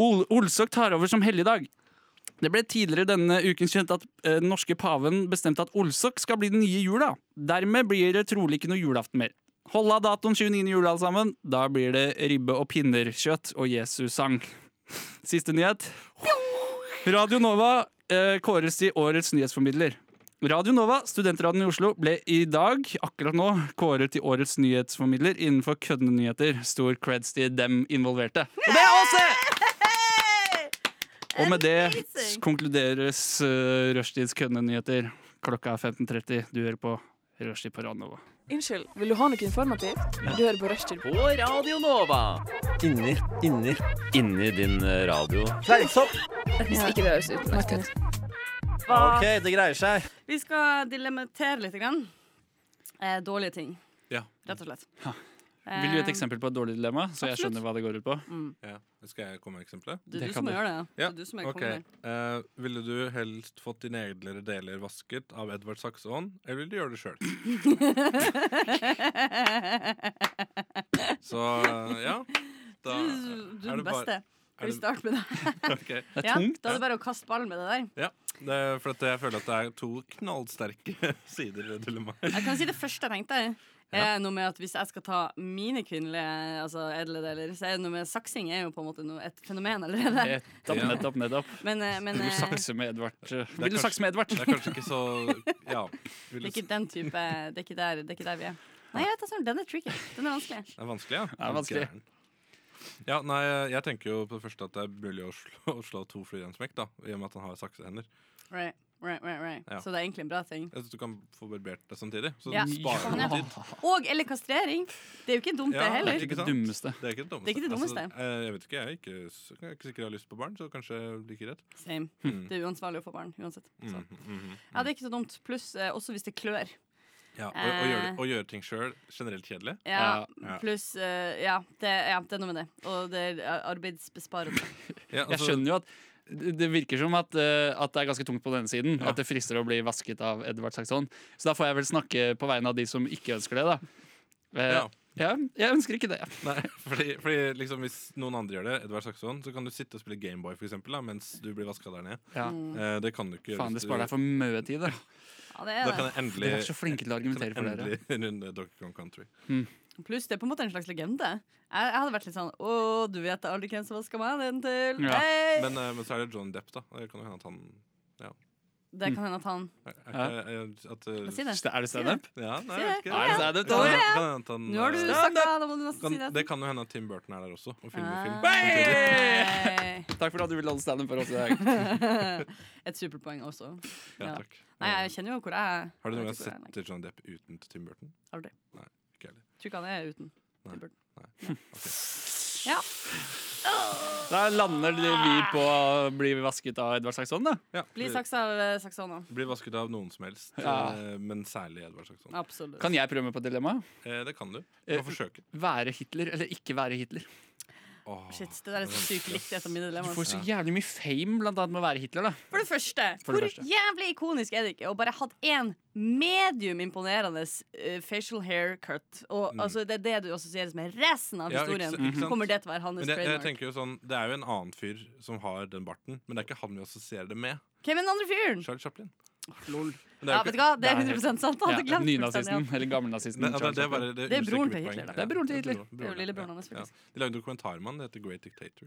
Speaker 4: Ol Olsok tar over som helligdag. Det ble tidligere denne uken kjent at eh, den norske paven bestemte at Olsok skal bli den nye jula. Dermed blir det trolig ikke noe julaften mer. Hold av datoen 29. jul, alle sammen. Da blir det ribbe og pinnerkjøtt og Jesus-sang. Siste nyhet. Radio Nova eh, kåres til årets nyhetsformidler. Radio Nova, studentradioen i Oslo, ble i dag, akkurat nå, kåret til årets nyhetsformidler innenfor køddende nyheter. Stor creds til dem involverte. Og det er Åse! Og med det s-
Speaker 5: Amazing.
Speaker 4: konkluderes uh, Rushtids køddende nyheter. Klokka er 15.30. Du hører på Rushtid på Radio Nova.
Speaker 7: Unnskyld, vil du ha noe informativt? Du hører på Rushtid.
Speaker 6: På Radio Nova.
Speaker 9: Inni, inni.
Speaker 6: Inni din eh, radio.
Speaker 9: Fleinsopp!
Speaker 7: Hvis ikke det høres utenlandsk ut.
Speaker 9: OK, det greier seg.
Speaker 5: Vi skal dilemmatere litt. Grann. Eh, dårlige ting,
Speaker 2: Ja.
Speaker 5: rett og slett. Eh,
Speaker 4: Vil du gi et eksempel på et dårlig dilemma, så jeg
Speaker 5: Absolutt.
Speaker 4: skjønner hva det går ut på?
Speaker 2: ja. Skal jeg komme med eksempler?
Speaker 5: mm. Det
Speaker 4: Det
Speaker 5: er du
Speaker 4: kan
Speaker 5: som
Speaker 4: du.
Speaker 5: gjør det. Det
Speaker 2: Ja,
Speaker 5: er du som er
Speaker 2: ok.
Speaker 5: kongen her.
Speaker 2: Eh, ville du helst fått dine egne deler vasket av Edvard Saxon, eller vil du gjøre det sjøl? Så ja da
Speaker 5: Du, du
Speaker 2: er
Speaker 5: er den
Speaker 2: det bare-
Speaker 5: beste.
Speaker 2: er
Speaker 5: Vil
Speaker 2: det-
Speaker 5: du starte med det?
Speaker 2: ok.
Speaker 4: Det er
Speaker 5: Ja,
Speaker 4: tungt.
Speaker 5: da er det bare å kaste ballen med det der.
Speaker 2: Det er for at jeg føler at det er to knallsterke sider ved dilemmaet.
Speaker 5: Jeg kan si det første jeg tenkte. Er noe med at Hvis jeg skal ta mine kvinnelige altså edle deler, så er det noe med saksing er jo på en måte noe, et fenomen allerede.
Speaker 4: Nettopp,
Speaker 2: Ja.
Speaker 4: nettopp, nettopp.
Speaker 5: Men, eh, men
Speaker 4: Vil du
Speaker 5: eh,
Speaker 4: sakse med Edvard? Vil du
Speaker 2: kanskje-
Speaker 4: sakse med Edvard?
Speaker 2: Det er kanskje ikke så Ja. Vil
Speaker 5: det
Speaker 2: du,
Speaker 5: er
Speaker 2: s-
Speaker 5: ikke den type Det er ikke der, det er ikke der vi er. Nei, jeg vet ikke, den er tricky. Den er vanskelig.
Speaker 2: Det er vanskelig, ja.
Speaker 4: er vanskelig.
Speaker 2: Gæren. Ja, nei, Jeg tenker jo på det første at det er mulig å slå, å slå to fluer i en smekk, da, i og med at han har saksehender.
Speaker 5: Right, right, right, right.
Speaker 2: Ja.
Speaker 5: Så det er egentlig en bra ting.
Speaker 2: Jeg synes Du kan få barbert deg samtidig. Så
Speaker 5: Ja,
Speaker 2: du sparer
Speaker 5: sånn, ja.
Speaker 2: noe tid.
Speaker 5: Og eller kastrering. Det er jo ikke dumt, det
Speaker 2: Ja,
Speaker 4: Det er
Speaker 5: heller.
Speaker 4: ikke
Speaker 2: Ikke
Speaker 4: det
Speaker 2: sant?
Speaker 4: dummeste.
Speaker 2: Det er ikke det dummeste.
Speaker 5: Det er ikke det dummeste.
Speaker 2: Altså, eh, jeg vet ikke, jeg er ikke, s- jeg er ikke sikker jeg har lyst på barn, så kanskje like greit.
Speaker 5: Same.
Speaker 2: Mm.
Speaker 5: Det er uansvarlig å få barn uansett. Så.
Speaker 2: Mm, mm, mm.
Speaker 5: Ja, det er ikke så dumt. Pluss eh, også hvis det klør.
Speaker 2: Ja, og, og, gjøre,
Speaker 5: Eh.
Speaker 2: og gjøre ting sjøl generelt kjedelig.
Speaker 5: Ja,
Speaker 2: Ja.
Speaker 5: Pluss eh, ja, det, ja, det er noe med det. Og det er arbeidsbesparende.
Speaker 2: Ja,
Speaker 4: Jeg
Speaker 2: altså,
Speaker 4: skjønner jo at det det virker som at, eh, at det er ganske tungt på denne siden. At det frister å bli vasket av Edvard Saxon. Så da får jeg vel snakke på vegne av de som ikke ønsker det, da. Eh,
Speaker 2: Ja.
Speaker 4: ja, jeg ønsker ikke det.
Speaker 2: Nei, fordi, fordi liksom Hvis noen andre gjør det, Edvard Saxon, så kan du sitte og spille Gameboy for eksempel, da, mens du blir vaska der nede.
Speaker 4: Ja.
Speaker 5: Mm.
Speaker 2: Eh, det kan du ikke.
Speaker 4: Faen,
Speaker 2: hvis
Speaker 4: det sparer deg for mye tid. Da.
Speaker 5: Ja, det
Speaker 2: Da
Speaker 5: er
Speaker 2: kan
Speaker 5: det.
Speaker 2: jeg endelig
Speaker 4: Dere er så flinke til å
Speaker 2: kan
Speaker 4: argumentere
Speaker 2: jeg
Speaker 4: for dere.
Speaker 2: endelig runde Donkey Kong Country.
Speaker 5: Pluss det er på en måte en slags legende. Jeg, jeg hadde vært litt sånn Å, du vet aldri hvem som vasker meg den til.
Speaker 4: Ja.
Speaker 5: Hey!
Speaker 2: Men, eh, men så er det John Depp, da. Det kan jo hende at han
Speaker 5: det kan hende at han
Speaker 2: er, er, ikke- at, eh,
Speaker 5: Men Si det.
Speaker 4: Er det standup?
Speaker 2: Ja, nei,
Speaker 5: Si
Speaker 2: jeg vet
Speaker 5: det.
Speaker 2: ikke.
Speaker 4: Er det standup?
Speaker 2: Kan
Speaker 4: Tore?
Speaker 2: hende- kan hende at han,
Speaker 5: Nå har du
Speaker 2: eh,
Speaker 5: snakka, da må du nesten
Speaker 2: kan,
Speaker 5: si det.
Speaker 2: det kan jo hende at Tim Burton er der også og filmer film.
Speaker 5: Ah.
Speaker 2: samtidig.
Speaker 5: Nei.
Speaker 4: Takk for at du ville holde standup for oss i dag.
Speaker 5: Et superpoeng også.
Speaker 2: Ja,
Speaker 5: Ja.
Speaker 2: takk.
Speaker 5: Nei,
Speaker 2: Eh,
Speaker 5: jeg kjenner jo hvor jeg er.
Speaker 2: Har du noen gang
Speaker 5: Jeg vet ikke hvor jeg
Speaker 2: sett John Depp uten Tim Burton?
Speaker 5: Aldri.
Speaker 2: Nei, ikke heller.
Speaker 5: er. Tror ikke han er uten.
Speaker 2: Nei.
Speaker 5: Tim Burton.
Speaker 4: Da lander vi på å bli vasket av Edvard Saxon, da.
Speaker 2: Ja,
Speaker 5: Bli
Speaker 2: blir-
Speaker 5: saksa av eh, saksene.
Speaker 2: Blir vasket av noen som helst,
Speaker 4: Ja.
Speaker 2: eh, men særlig Edvard Saxon.
Speaker 5: Absolutt.
Speaker 4: Kan jeg prøve meg på et dilemma?
Speaker 2: Eh, det kan du. Du
Speaker 4: Eh,
Speaker 2: kan forsøke.
Speaker 4: Være Hitler eller ikke være Hitler?
Speaker 2: Åh,
Speaker 5: Shit, det der er så sykt likt et av mine
Speaker 4: Du
Speaker 5: dilemmaer.
Speaker 4: får så jævlig mye fame blant annet med å være Hitler, da.
Speaker 5: For det første,
Speaker 4: For det
Speaker 5: hvor
Speaker 4: første.
Speaker 5: jævlig ikonisk er det ikke å bare hatt én medium imponerende eh, facial hair cut? Og
Speaker 2: Mm.
Speaker 5: altså, det er det du assosieres med resten av
Speaker 2: Ja, ikke
Speaker 5: historien.
Speaker 2: sa- ikke sant?
Speaker 5: Kommer det til å være hans
Speaker 2: Men jeg, jeg
Speaker 5: trademark?
Speaker 2: tenker jo sånn, Det er jo en annen fyr som har den barten, men det er ikke han vi assosierer det med.
Speaker 5: Hvem er den andre fyren?
Speaker 2: Charlie Chaplin.
Speaker 4: Lol.
Speaker 2: Men det er
Speaker 5: Ja,
Speaker 2: jo ikke-
Speaker 5: vet du hva, Det er
Speaker 4: det er helt-
Speaker 5: 100 sant. Han
Speaker 4: Ja,
Speaker 5: hadde glemt
Speaker 4: Nynazisten,
Speaker 5: fullstendig.
Speaker 4: eller gammelnazisten.
Speaker 2: Nei, altså,
Speaker 4: Charles
Speaker 2: det, er
Speaker 4: Chaplin.
Speaker 2: bare, det,
Speaker 5: Det er
Speaker 2: understreker
Speaker 5: broren
Speaker 2: mitt
Speaker 5: til
Speaker 2: poeng.
Speaker 5: Hitler, da.
Speaker 4: Det er broren til Hitler.
Speaker 2: broren-
Speaker 5: Det er jo lillebroren
Speaker 2: ja,
Speaker 5: hans,
Speaker 2: ja.
Speaker 5: faktisk.
Speaker 2: De lagde dokumentarmann, det heter Great Dictator.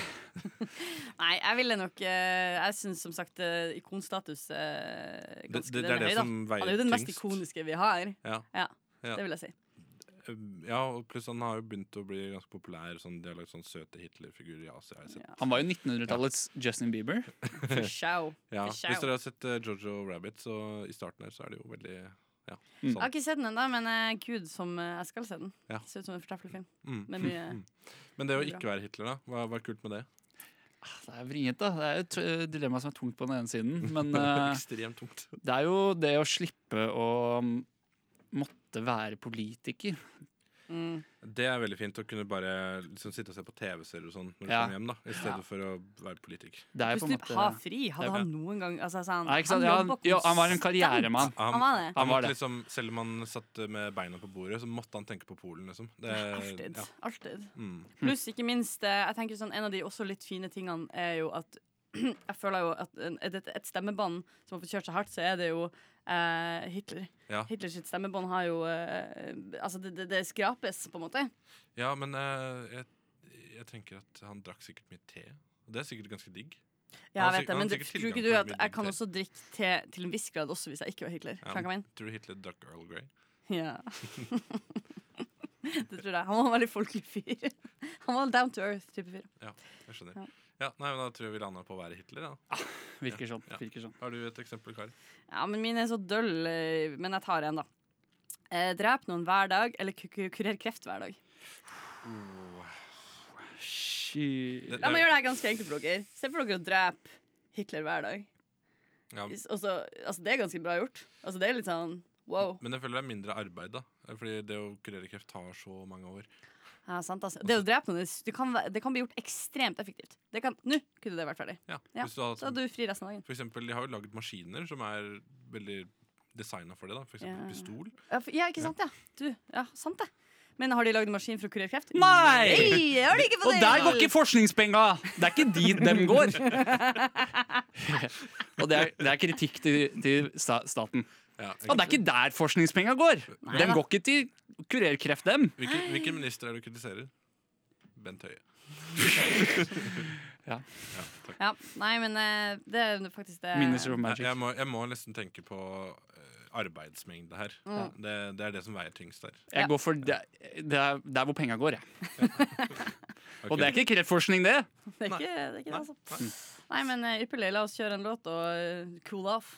Speaker 5: Nei, jeg ville nok eh, Jeg syns som sagt eh, ikonstatus eh,
Speaker 2: Det,
Speaker 5: ganske
Speaker 2: det, det
Speaker 5: den
Speaker 2: er det
Speaker 5: høy, da.
Speaker 2: som veier
Speaker 5: Han er jo den mest
Speaker 2: tyngst.
Speaker 5: ikoniske vi har.
Speaker 2: Ja. Ja.
Speaker 5: Det vil jeg si.
Speaker 2: Eh, ja, og pluss han har jo begynt å bli ganske populær. Sånn, de har lagd sånn søte Hitler-figurer i Asia. Jeg har sett.
Speaker 4: Han var jo 1900-tallets Justin Bieber.
Speaker 5: For show.
Speaker 2: Ja.
Speaker 5: For
Speaker 2: Hvis
Speaker 5: show.
Speaker 2: dere har sett eh, Jojo Rabbit, så i starten her så er det jo veldig ja, sånn.
Speaker 4: Mm.
Speaker 5: Jeg har ikke sett den ennå, men eh, gud, som eh, jeg skal se den.
Speaker 2: Ja.
Speaker 5: Ser ut som en fortreffelig film.
Speaker 2: Mm.
Speaker 5: Med mye
Speaker 2: Men det å
Speaker 5: Bra.
Speaker 2: ikke være Hitler, da? Hva, hva er kult med det?
Speaker 4: Det er vrient, da. Det er jo et eh, dilemma som er tungt på den ene siden. Men eh,
Speaker 2: Ekstremt tungt.
Speaker 4: det er jo det å slippe å mm, måtte være politiker.
Speaker 5: mm.
Speaker 2: Det er veldig fint å kunne bare liksom, sitte og se på TV-serier og sånn når du
Speaker 4: Ja.
Speaker 2: kommer hjem, da i stedet
Speaker 5: Ja.
Speaker 2: for å være politiker.
Speaker 4: Det er jo
Speaker 5: Hvis
Speaker 4: på en
Speaker 5: du
Speaker 4: måte
Speaker 5: har fri,
Speaker 4: det
Speaker 5: hadde
Speaker 4: er
Speaker 5: han noen gang altså, sa han,
Speaker 4: Nei, ikke sant? Ja, han,
Speaker 5: jobber
Speaker 4: ja, han var en
Speaker 5: konstant.
Speaker 4: karrieremann.
Speaker 2: Han,
Speaker 5: Han var det.
Speaker 4: Han var
Speaker 2: måtte
Speaker 4: det.
Speaker 2: Liksom, selv om han satt med beina på bordet, så måtte han tenke på Polen, liksom. Det,
Speaker 5: Alltid.
Speaker 2: ja.
Speaker 5: Alltid.
Speaker 2: Mm.
Speaker 4: Hm.
Speaker 5: Pluss, ikke minst, eh, jeg tenker sånn, en av de også litt fine tingene er jo at jeg føler jo at en- et, et- et stemmebånd som har fått kjørt seg hardt, så er det jo eh, Hitler.
Speaker 2: Ja.
Speaker 5: Hitlers stemmebånd har jo eh, Altså, det, det, det skrapes, på en måte.
Speaker 2: ja, men eh, jeg, jeg tenker at han drakk sikkert mye te. Og Det er sikkert ganske digg. Han har sikk-
Speaker 5: Ja, jeg vet det,
Speaker 2: han har
Speaker 5: men det,
Speaker 2: sikkert
Speaker 5: tror ikke
Speaker 2: tilgang på
Speaker 5: du at
Speaker 2: mye
Speaker 5: jeg kan
Speaker 2: te.
Speaker 5: også drikke te til en viss grad også hvis jeg ikke var Hitler?
Speaker 2: Ja.
Speaker 5: Skjønner du hva jeg mener?
Speaker 2: Tror du Hitler drakk Earl Grey?
Speaker 5: Ja. det tror jeg. Han var en veldig folkelig fyr. Han var en down to earth-type fyr.
Speaker 2: Jeg skjønner.
Speaker 5: Ja.
Speaker 2: Ja. nei, men Da tror jeg vi lander på å være Hitler. Da.
Speaker 4: Virker sånn.
Speaker 2: Ja.
Speaker 4: Virker sånn.
Speaker 2: Har du et eksempel, Kari?
Speaker 5: Ja, men mine er så døll, eh, men jeg tar en, da. Eh, drep noen hver dag, eller ku- ku- kurer kreft hver dag.
Speaker 4: Sky-
Speaker 5: La meg gjøre det her ganske enkelt for dere. Se for dere å drepe Hitler hver dag.
Speaker 2: Ja,
Speaker 5: Is- og så- altså, det er ganske bra gjort. Altså, det er litt sånn wow.
Speaker 2: men jeg føler det er mindre arbeid, da. Fordi det å kurere kreft tar så mange år.
Speaker 5: Ja, sant, altså. Det å drepe noen det- det kan, væ- det kan bli gjort ekstremt effektivt. Det kan, nå kunne det vært ferdig.
Speaker 2: Ja.
Speaker 5: Ja,
Speaker 2: Hvis du hadde
Speaker 5: Så hadde
Speaker 2: hatt,
Speaker 5: du fri resten av dagen.
Speaker 2: for eksempel, de har jo lagd maskiner som er veldig designa for det. da For eksempel
Speaker 5: Ja.
Speaker 2: pistol.
Speaker 5: Ja, for- ja ikke sant, ja. Du, ja, sant det. Men har de lagd en maskin for å kurere kreft?
Speaker 4: Nei!
Speaker 5: Nei, det har de ikke på
Speaker 4: Og der går ikke forskningspenga! Det er ikke dit dem går. Og det er, det er kritikk til, til sta- staten.
Speaker 2: Ja,
Speaker 4: Og det er ikke der forskningspenga går! Dem
Speaker 5: da.
Speaker 4: går ikke til å kurere kreft, dem.
Speaker 2: Hvilken, hvilken minister er det du kritiserer? Bent Høie.
Speaker 4: Ja.
Speaker 2: Ja, takk.
Speaker 5: Ja, nei, men eh, det er faktisk det
Speaker 4: Minister of
Speaker 2: Jeg,
Speaker 4: Magic.
Speaker 2: jeg, må, jeg må nesten tenke på eh, arbeidsmengde her. Det, det er det som veier tyngst der.
Speaker 5: Ja.
Speaker 4: Jeg går for det, det er der hvor penga går, jeg. Og
Speaker 2: Ok.
Speaker 4: det er ikke kreftforskning, det.
Speaker 5: Det er ikke det, er ikke det
Speaker 2: Nei,
Speaker 5: altså. Nei, men eh, ypperlig. La oss kjøre en låt og eh, cool off.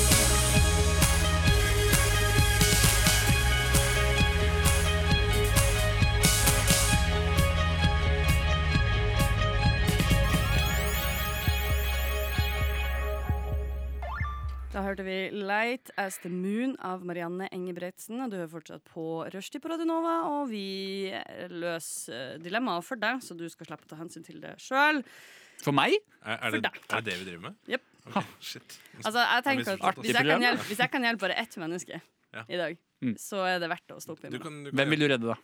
Speaker 5: Da hørte vi 'Light As The Moon' av Marianne Engebretsen. Og du hører fortsatt på Rushtid på Radionova, og vi eh, løser dilemmaer for deg, så du skal slippe å ta hensyn til det sjøl.
Speaker 4: For meg?
Speaker 2: Er, er, det,
Speaker 5: For deg.
Speaker 2: er det det vi driver med?
Speaker 5: Jep.
Speaker 2: Ok, shit.
Speaker 5: Altså, jeg tenker at
Speaker 2: Artig
Speaker 5: hvis jeg kan
Speaker 4: program.
Speaker 5: hjelpe, hvis jeg kan hjelpe bare ett menneske
Speaker 2: Ja.
Speaker 5: i dag,
Speaker 4: Mm.
Speaker 5: så er det verdt å stoppe
Speaker 2: Du
Speaker 5: imot.
Speaker 2: kan, du kan
Speaker 4: Hvem vil du redde, da?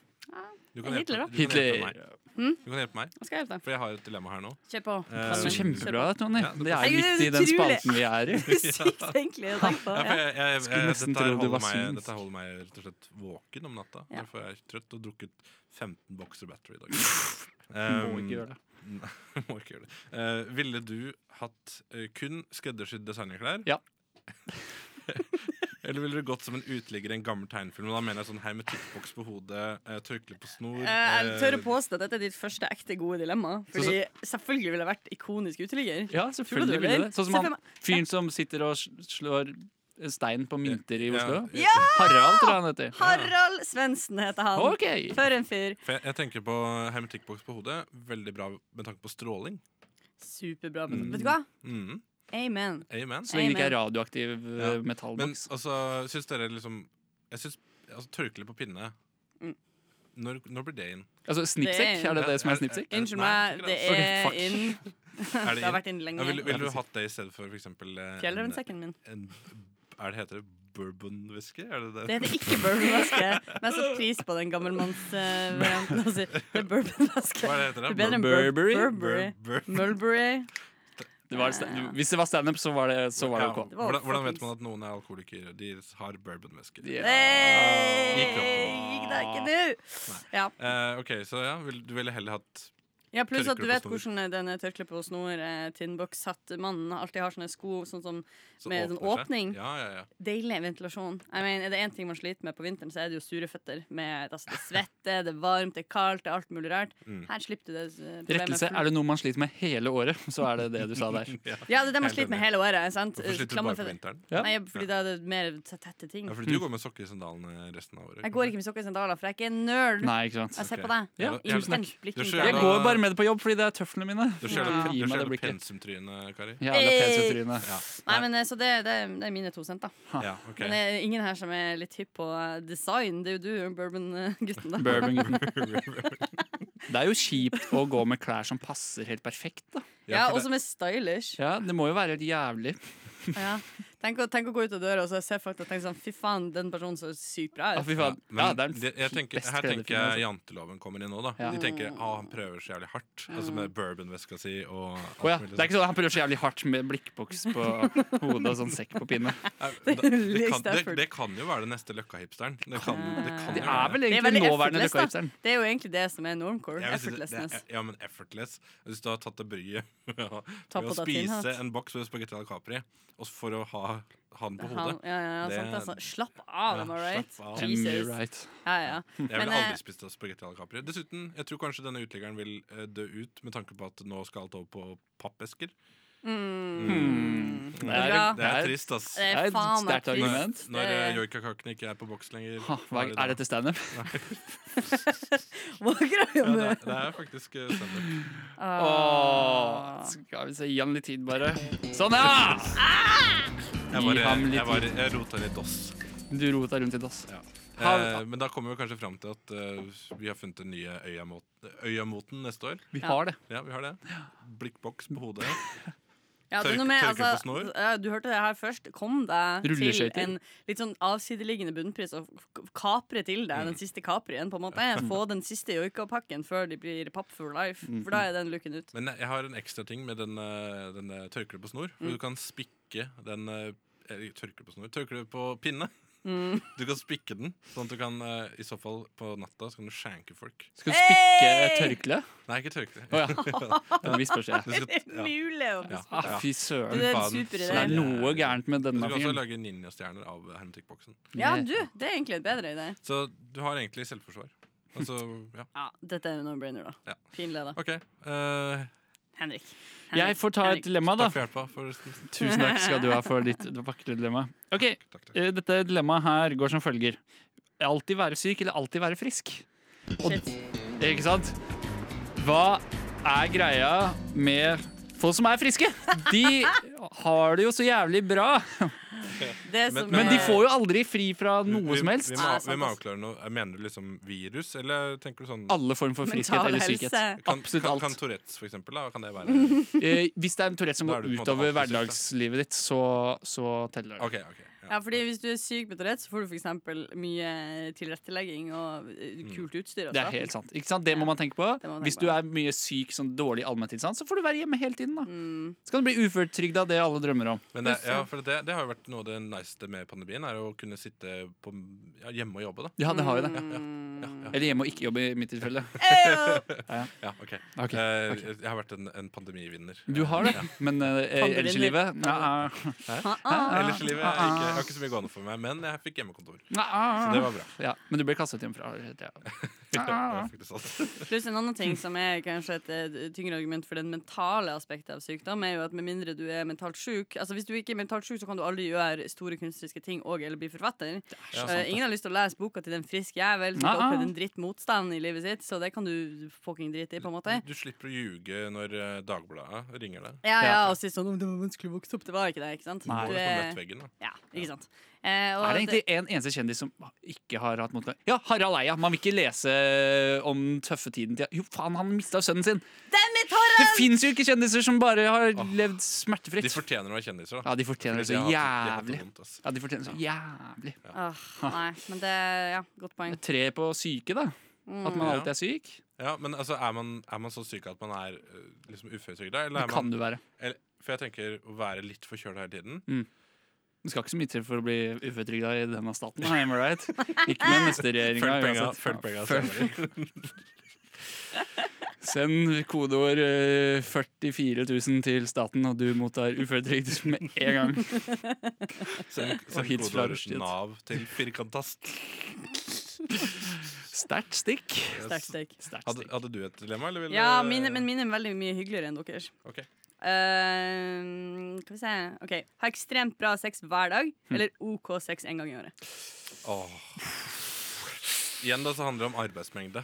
Speaker 2: Du kan hjelpe,
Speaker 5: Hitler, da.
Speaker 2: du kan hjelpe meg.
Speaker 5: Hmm?
Speaker 2: Du kan hjelpe meg,
Speaker 5: Hva skal jeg hjelpe deg?
Speaker 2: for jeg har et dilemma her nå.
Speaker 5: Kjør på.
Speaker 2: Eh,
Speaker 4: Så kjempebra, Tony.
Speaker 2: Ja,
Speaker 4: Det er jo
Speaker 5: Jeg
Speaker 4: midt i
Speaker 5: synes det er
Speaker 4: den
Speaker 5: utrolig.
Speaker 4: spalten vi er i.
Speaker 5: Sykt egentlig å tenke på.
Speaker 2: Ja, for
Speaker 5: Ja.
Speaker 2: jeg, jeg, jeg,
Speaker 4: Skulle nesten
Speaker 2: dette, her
Speaker 4: tro det
Speaker 2: holder
Speaker 4: var
Speaker 2: meg,
Speaker 4: synsk.
Speaker 2: dette holder meg rett og slett våken om natta.
Speaker 5: Ja.
Speaker 2: Derfor er jeg trøtt og drukket 15 bokser battery i dag. Um,
Speaker 4: Må ikke gjøre det.
Speaker 2: må ikke gjøre det. Eh, ville du hatt eh, kun skreddersydde designerklær?
Speaker 4: Ja.
Speaker 2: Eller ville du gått som en uteligger i en gammel tegnefilm? Og da mener jeg sånn hermetikkboks på hodet, eh, tørkle på snor
Speaker 5: Eh, Jeg tør
Speaker 2: eh,
Speaker 5: å påstå at dette er ditt første ekte gode dilemma. Fordi selvfølgelig ville jeg vært ikonisk uteligger.
Speaker 4: Ja,
Speaker 5: Tror du
Speaker 4: selvfølgelig
Speaker 5: det,
Speaker 4: ville
Speaker 5: eller?
Speaker 4: det. Sånn
Speaker 5: Se for
Speaker 4: som han fyren som sitter og sl- slår stein på mynter i Oslo.
Speaker 2: Ja,
Speaker 5: Ja!
Speaker 4: Harald, tror jeg han heter.
Speaker 5: Harald Svendsen heter han.
Speaker 4: OK!
Speaker 5: For en fyr.
Speaker 2: For jeg, jeg tenker på hermetikkboks på hodet. Veldig bra med tanke på stråling.
Speaker 5: Superbra. men-
Speaker 2: Mm.
Speaker 5: Vet du hva?
Speaker 2: Mhm.
Speaker 5: Amen.
Speaker 2: Amen.
Speaker 4: Så lenge det ikke er radioaktiv eh,
Speaker 2: Ja. Men
Speaker 4: metallboks.
Speaker 2: altså, syns dere liksom Jeg syns altså, tørkle på pinne
Speaker 5: Mm.
Speaker 2: når, når blir det inn?
Speaker 4: Altså Snipsek, er det det som er snipsek?
Speaker 5: Unnskyld
Speaker 2: Nei,
Speaker 5: meg,
Speaker 2: ikke
Speaker 5: det
Speaker 2: det.
Speaker 5: er
Speaker 4: Ok, fuck.
Speaker 5: inn.
Speaker 2: Er det
Speaker 5: Det har
Speaker 2: inn?
Speaker 5: vært eh, inn
Speaker 2: Ja, ville, ville
Speaker 5: lenge.
Speaker 2: du hatt det i stedet for f.eks. en,
Speaker 5: Kjellerensekken min.
Speaker 2: en Er det heter det bourbon-whisky? Er det det?
Speaker 5: Det heter ikke bourbonvæske, men jeg setter pris på den gammelmannsvarianten. Uh, det er bourbonvæske.
Speaker 2: Hva er det heter
Speaker 5: Det
Speaker 2: det?
Speaker 5: er bedre enn bur-
Speaker 4: Burberry?
Speaker 5: Burberry.
Speaker 2: Bur- bur-
Speaker 5: Mulberry.
Speaker 4: Det var stand- Hvis det var standup, så var det, så var det
Speaker 2: Ja,
Speaker 4: OK.
Speaker 5: Det var
Speaker 2: hvordan, hvordan vet
Speaker 5: fuckings-
Speaker 2: man at noen er alkoholikere? De har bourbon-whisky.
Speaker 4: Ja.
Speaker 5: Hey, gikk det ikke nå? Ja.
Speaker 2: Eh, OK, så ja, vil, du ville heller hatt
Speaker 5: Ja, pluss at
Speaker 2: Tørkle
Speaker 5: du
Speaker 2: på
Speaker 5: vet
Speaker 2: snor.
Speaker 5: hvordan denne tørkle på snor, eh, tinnbokshatt-mannen alltid har sånne sko sånn som
Speaker 2: så
Speaker 5: Med
Speaker 2: åpner
Speaker 5: sånn
Speaker 2: seg.
Speaker 5: åpning?
Speaker 2: Ja, ja, ja.
Speaker 5: deilig ventilasjon. Jeg mener, er det én ting man sliter med på vinteren, så er det jo sure føtter. Med, altså, det svetter, det er varmt, det er kaldt, det er alt mulig rart.
Speaker 2: Mm.
Speaker 5: Her slipper du det eh, problemet.
Speaker 4: Rettelse, er det noe man sliter med hele året, så er det det du sa der.
Speaker 5: Ja, det er det man
Speaker 2: Helt
Speaker 5: sliter med
Speaker 2: enig.
Speaker 5: hele året. Sant?
Speaker 2: Hvorfor sliter du
Speaker 5: Klamme
Speaker 2: bare på
Speaker 5: føtter.
Speaker 2: vinteren?
Speaker 4: Ja.
Speaker 5: Nei, fordi da er det mer t- tette ting.
Speaker 2: Ja, fordi du går med sokker i sandalene resten av året.
Speaker 5: Jeg går ikke med sokker i sandaler, for jeg er ikke en nerd.
Speaker 4: Nei, ikke sant.
Speaker 5: Jeg ser
Speaker 2: Ok.
Speaker 5: på deg.
Speaker 4: Ja,
Speaker 2: jævla-
Speaker 5: Intenst blikk.
Speaker 2: Du er så
Speaker 4: Jeg
Speaker 2: jævla-
Speaker 4: går bare med det på jobb fordi det er tøflene mine.
Speaker 2: Du ser det-
Speaker 4: Gi
Speaker 2: du
Speaker 4: meg
Speaker 2: ser
Speaker 4: det
Speaker 2: det
Speaker 4: blikket.
Speaker 2: pensumtrynet, Kari.
Speaker 4: Jævla
Speaker 5: Hey!
Speaker 4: pensutryne.
Speaker 2: Ja.
Speaker 5: Nei, men eh, så det, det, er- det er mine to cent, da.
Speaker 2: Ja, ok.
Speaker 5: Men eh, det er ingen her som er litt hypp på eh, design. Det er jo du, bourbon-gutten, da.
Speaker 4: Bourbon-gutten. Det er jo kjipt å gå med klær som passer helt perfekt, da.
Speaker 5: Ja,
Speaker 2: for
Speaker 5: og
Speaker 2: det-
Speaker 5: som er stylish.
Speaker 4: Ja, Det må jo være helt jævlig.
Speaker 5: Ja. Tenk, å, tenk å gå ut av døra og så ser folk og tenker sånn Fy faen, den personen så sykt bra
Speaker 4: Ja,
Speaker 5: ut.
Speaker 4: fy faen.
Speaker 2: men
Speaker 4: Ja, det er
Speaker 2: det- jeg
Speaker 4: den
Speaker 2: tenker,
Speaker 4: best
Speaker 2: her
Speaker 4: kledde
Speaker 2: tenker
Speaker 4: filmen,
Speaker 2: jeg
Speaker 4: altså.
Speaker 2: janteloven kommer inn nå. da
Speaker 4: Ja.
Speaker 2: De tenker ah, han prøver så jævlig hardt. Altså Med bourbonveska si og alt
Speaker 4: Å ja.
Speaker 2: mulig
Speaker 4: Det er ikke sånn at Han prøver så jævlig hardt med blikkboks på hodet og sånn sekk på pinne.
Speaker 2: sånn. Eh, da- Det, kan- det,
Speaker 5: Stafford.
Speaker 2: det kan jo være den neste Løkka-hipsteren. Det kan, det kan
Speaker 4: Det
Speaker 2: jo
Speaker 4: er
Speaker 2: være det.
Speaker 4: vel
Speaker 5: Det er
Speaker 4: egentlig
Speaker 5: veldig
Speaker 4: nåværende
Speaker 5: effortless, da.
Speaker 4: løkkahipsteren.
Speaker 5: Det er jo egentlig det som er normcore.
Speaker 2: Jeg vil si det-
Speaker 5: Effortlessness.
Speaker 2: Det, er- ja, men effortless. Hvis du har tatt deg bryet med å-
Speaker 5: Ta
Speaker 2: med
Speaker 5: på
Speaker 2: å
Speaker 5: deg din
Speaker 2: spise
Speaker 5: hatt.
Speaker 2: en boks med spagetti al capri og s- for å ha han på
Speaker 5: Han,
Speaker 2: hodet
Speaker 5: ja, ja, ja,
Speaker 2: Det-
Speaker 5: sant, altså. Slapp av, am I
Speaker 2: Ja,
Speaker 5: right?
Speaker 2: slapp av.
Speaker 5: Jesus.
Speaker 4: Am I right?
Speaker 5: Ja, ja.
Speaker 2: Jeg
Speaker 5: Men,
Speaker 2: ville
Speaker 5: eh,
Speaker 2: aldri spist spagetti al capri. Dessuten, jeg tror kanskje denne uteliggeren vil eh, dø ut med tanke på at nå skal alt over på pappesker.
Speaker 5: Mm.
Speaker 4: Det
Speaker 5: er-
Speaker 4: er, Eh,
Speaker 2: Det er trist, ass.
Speaker 5: Det
Speaker 4: Det er
Speaker 5: er
Speaker 4: et
Speaker 5: faen meg
Speaker 4: sterkt
Speaker 5: trist.
Speaker 4: argument.
Speaker 2: Når
Speaker 5: Det-
Speaker 2: eh, joikakakene ikke er på boks lenger.
Speaker 4: Ha, hva,
Speaker 2: hva
Speaker 4: er
Speaker 2: det da?
Speaker 4: dette standup?
Speaker 5: Hva er greia
Speaker 2: Ja, det,
Speaker 5: med
Speaker 2: er, det er faktisk eh, standup.
Speaker 4: Ah. Åh, Skal vi se, gi han litt tid, bare. Sånn, ja!
Speaker 2: Jeg,
Speaker 4: Gi
Speaker 2: bare,
Speaker 4: ham litt
Speaker 2: jeg, bare, jeg rota litt oss.
Speaker 4: Du rota rundt i dass.
Speaker 2: Eh, men da kommer vi kanskje fram til at eh, vi har funnet den nye øyamot- øyamoten neste år.
Speaker 4: Vi har det.
Speaker 2: Ja, vi har det. Blikkboks på hodet.
Speaker 5: Ja, det er
Speaker 2: Tørk-
Speaker 5: noe med,
Speaker 2: tørker
Speaker 5: altså,
Speaker 2: på snor?
Speaker 5: ja, du hørte det her først. Kom deg til
Speaker 4: Rulleskøyter.
Speaker 5: en litt sånn avsideliggende bunnpris og k- kapre til deg
Speaker 4: Mm.
Speaker 5: den siste kaprien. på en måte Få den siste joikapakken før de blir papp for life.
Speaker 4: Mm.
Speaker 5: For da er den looken ut.
Speaker 2: Men jeg har en ekstra ting med den, eh, den eh, tørkle på snor.
Speaker 5: Mm.
Speaker 2: For du kan spikke den eh, eller Tørkle på snor? Tørkle på pinne.
Speaker 5: Mm.
Speaker 2: Du kan spikke den, sånn at du kan eh, i så fall på natta så kan du skjenke folk.
Speaker 4: Skal du spikke et tørkle?
Speaker 2: Nei, ikke tørkle.
Speaker 4: Å ja. Det visper seg.
Speaker 2: Du skal,
Speaker 5: Det er
Speaker 2: ja.
Speaker 5: mulig å
Speaker 2: Ja.
Speaker 4: Ah,
Speaker 2: Ja.
Speaker 4: fy
Speaker 5: Du
Speaker 4: søren.
Speaker 5: det er en
Speaker 2: Faen,
Speaker 5: super idé.
Speaker 2: så
Speaker 4: Det er noe gærent med
Speaker 2: Du
Speaker 4: denne
Speaker 2: kan også
Speaker 4: fyren.
Speaker 2: lage ninjastjerner av hermetikkboksen.
Speaker 5: Ja, du, det er egentlig en bedre idé.
Speaker 2: Så du har egentlig selvforsvar. Altså, ja.
Speaker 5: Ja, dette er en no-brainer, da.
Speaker 2: Ja.
Speaker 5: Fin leder.
Speaker 2: OK. eh,
Speaker 5: Henrik.
Speaker 4: Jeg får ta et dilemma, da.
Speaker 2: takk for hjelpa, forresten.
Speaker 4: Tusen takk skal du ha for ditt vakre dilemma. Ok,
Speaker 2: Takk, takk.
Speaker 4: eh, Dette dilemmaet her går som følger. Alltid være syk eller alltid være frisk?
Speaker 5: Shit.
Speaker 4: Ikke sant? Hva er greia med folk som er friske? De har det jo så jævlig bra,
Speaker 5: Det
Speaker 2: Men-
Speaker 5: som
Speaker 4: men de
Speaker 5: er-
Speaker 4: får jo aldri fri fra
Speaker 2: Vi-
Speaker 4: noe
Speaker 2: vi-
Speaker 4: som helst.
Speaker 2: Vi
Speaker 5: Ja,
Speaker 2: må,
Speaker 5: sant,
Speaker 2: vi må
Speaker 5: ass.
Speaker 2: avklare noe. Mener du liksom virus, eller tenker du sånn
Speaker 4: Alle form for friskhet
Speaker 5: Mental
Speaker 4: eller sykhet.
Speaker 5: helse.
Speaker 2: kan,
Speaker 4: Absolutt
Speaker 2: kan,
Speaker 4: alt.
Speaker 2: Kan Tourettes, for eksempel, da? Kan det være
Speaker 4: Eh, hvis det er en Tourette som
Speaker 2: Da er
Speaker 4: går
Speaker 2: du på en måte
Speaker 4: utover
Speaker 2: alltid syk, da.
Speaker 4: hverdagslivet ditt, så, så teller det.
Speaker 2: OK. ok
Speaker 5: Ja, fordi Hvis du er syk med Tourettes, så får du f.eks. mye tilrettelegging og eh,
Speaker 4: Mm.
Speaker 5: kult utstyr. og
Speaker 4: Det
Speaker 5: sånn.
Speaker 4: er helt sant. Ikke sant? Det må man tenke på.
Speaker 5: Det må man
Speaker 4: Hvis
Speaker 5: tenke
Speaker 4: du
Speaker 5: på.
Speaker 4: er mye syk, sånn dårlig allmenntilstand, så får du være hjemme hele tiden. da
Speaker 5: Mm.
Speaker 4: Så kan du bli uføretrygda, det alle drømmer om.
Speaker 2: Men det, ja, for det, det har jo vært noe av det niceste med pandemien, er å kunne sitte på, ja, hjemme og jobbe, da.
Speaker 4: Ja, det har jo det.
Speaker 2: Ja,
Speaker 5: Mm.
Speaker 2: ja,
Speaker 4: Eller hjemme og ikke jobbe, i mitt tilfelle.
Speaker 2: ja, ok.
Speaker 4: Ok,
Speaker 2: Eh, Jeg har vært en, en pandemivinner.
Speaker 4: Du har det, men eh,
Speaker 5: Pandemien.
Speaker 4: ellers i livet Næ, æ,
Speaker 5: Ah,
Speaker 2: Ellers i livet er ikke, jeg har ikke så mye gående for meg, men jeg fikk hjemmekontor.
Speaker 4: næ,
Speaker 2: Så det var bra.
Speaker 4: Ja, men du ble kastet hjemmefra. Ja.
Speaker 2: Det
Speaker 4: Ah.
Speaker 2: var faktisk sant.
Speaker 5: Pluss en annen ting som er kanskje et eh, tyngre argument for den mentale aspektet av sykdom, er jo at med mindre du er mentalt syk Altså Hvis du ikke er mentalt syk, så kan du aldri gjøre store kunstneriske ting og eller bli forfatter.
Speaker 2: Ja,
Speaker 5: Eh, ingen har lyst til å lese boka til den friske jævel som har
Speaker 4: Nei.
Speaker 5: opplevd en dritt motstand i livet sitt, så det kan du fucking drite i, på en måte.
Speaker 2: Du slipper å ljuge når eh, Dagbladet ringer deg.
Speaker 5: Ja, ja,
Speaker 4: Ja.
Speaker 5: og si sånn «Å, 'Det var vanskelig å vokse opp'. Det var ikke det, ikke sant?
Speaker 4: Nei.
Speaker 2: Du
Speaker 5: Du
Speaker 2: er sånn møtt
Speaker 5: er,
Speaker 2: veggen, da.
Speaker 5: ja, ikke sant? Eh, og
Speaker 4: Er det
Speaker 5: det-
Speaker 4: egentlig en eneste kjendis som ikke har hatt motgang? Ja, Harald Eia. Man vil ikke lese eh, om den tøffe tiden til Jo, faen, han mista sønnen sin! Det fins jo ikke kjendiser som bare har
Speaker 2: De
Speaker 4: levd smertefritt.
Speaker 2: fortjener å være kjendiser, da.
Speaker 4: Ja, de fortjener
Speaker 2: Fordi
Speaker 4: det så
Speaker 2: de har hatt- de
Speaker 4: jævlig.
Speaker 2: har hatt det vondt, altså. ass.
Speaker 4: Ja, de fortjener det så jævlig.
Speaker 5: Åh, nei, men det Ja, godt poeng.
Speaker 4: Tre på syke, da. At man
Speaker 2: Ja.
Speaker 4: alltid er syk.
Speaker 2: Ja, men altså, er man, er man så syk at man er eh, liksom uføretrygda? Eller
Speaker 4: Det
Speaker 2: er
Speaker 4: kan
Speaker 2: man
Speaker 4: du være.
Speaker 2: eller, For jeg tenker å være litt forkjøla hele tiden.
Speaker 4: Det skal ikke så mye til for å bli uføretrygda i denne staten. Am I right? Ikke med neste regjeringa.
Speaker 2: Følg penga,
Speaker 4: uansett.
Speaker 2: følg penga senere.
Speaker 4: Send kodeord eh, 44 000 til staten, og du mottar uføretrygd med en gang.
Speaker 2: Send, send
Speaker 4: hits fra
Speaker 2: kodeord
Speaker 4: rushtid.
Speaker 2: NAV til firkantast.
Speaker 4: Sterkt stikk.
Speaker 5: Sterk steak.
Speaker 4: Sterkt
Speaker 2: Hadde,
Speaker 4: stikk.
Speaker 2: hadde du et dilemma, eller ville
Speaker 5: Ja, mine, men mine er veldig mye hyggeligere enn deres.
Speaker 2: Ok.
Speaker 5: Eh, skal vi se OK. Ha ekstremt bra sex hver dag,
Speaker 2: Hm.
Speaker 5: eller OK sex en gang i året.
Speaker 2: Åh. Igjen da, så handler det om arbeidsmengde.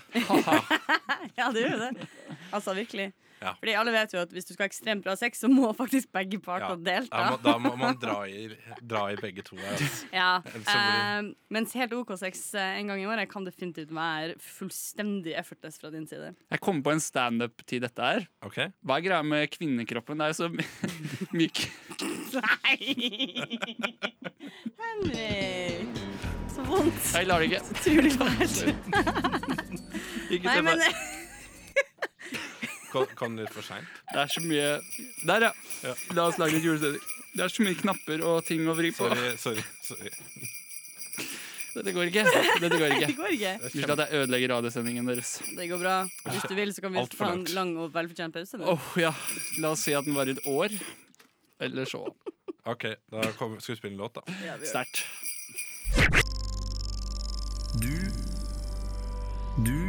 Speaker 5: Ja, det gjør jo det. Altså, virkelig.
Speaker 2: Ja.
Speaker 5: Fordi alle vet jo at hvis du skal ha ekstremt bra sex, så må faktisk begge parter
Speaker 2: Ja.
Speaker 5: delta.
Speaker 2: Da må, da må man dra i, dra i begge to. her, altså. ass.
Speaker 5: Ja.
Speaker 2: Ellers så
Speaker 5: Eh, mens helt OK sex eh, en gang i året kan definitivt være fullstendig effortless fra din side.
Speaker 4: Jeg kom på en standup til dette her.
Speaker 2: Ok?
Speaker 4: Hva er greia med kvinnekroppen? Det er jo så my- myk.
Speaker 5: Nei! Henrik! Så vondt.
Speaker 4: Jeg lar det ikke.
Speaker 5: Utrolig fælt.
Speaker 4: ikke
Speaker 5: Nei,
Speaker 4: se på
Speaker 5: men
Speaker 4: det.
Speaker 2: Kom, kom litt for seint.
Speaker 4: det er så mye Der, ja. La oss lage litt julestemning. Det er så mye knapper og ting å vri på.
Speaker 2: Sorry. sorry, sorry.
Speaker 4: Dette går ikke. Dette går
Speaker 5: det
Speaker 4: ikke.
Speaker 5: går ikke.
Speaker 4: Unnskyld at jeg ødelegger radiosendingen deres.
Speaker 5: Det går bra. Hvis du vil, så kan vi
Speaker 2: Alt for
Speaker 5: ta en
Speaker 2: langt.
Speaker 5: lang og velfortjent pause. nå.
Speaker 4: Åh, ja. La oss si at den varer et år. Eller så.
Speaker 2: Ok, da kommer, skal vi spille en låt, da.
Speaker 5: Ja, vi gjør det.
Speaker 4: Sterkt.
Speaker 10: Du Du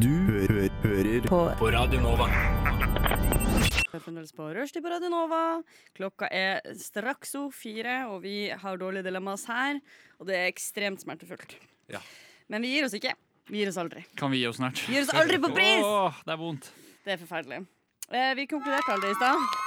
Speaker 10: Du hø hø hører på. på Radio Nova.
Speaker 5: Vi er fremdeles på Rushdie på Radio Nova. Klokka er straks o fire, og vi har dårlige dilemmas her. Og det er ekstremt smertefullt.
Speaker 2: Ja.
Speaker 5: Men vi gir oss ikke. Vi gir oss aldri.
Speaker 4: Kan vi gi oss snart?
Speaker 5: Vi gir oss aldri på pris!
Speaker 4: Åh, det er vondt.
Speaker 5: Det er forferdelig. Eh, vi konkluderte aldri i stad.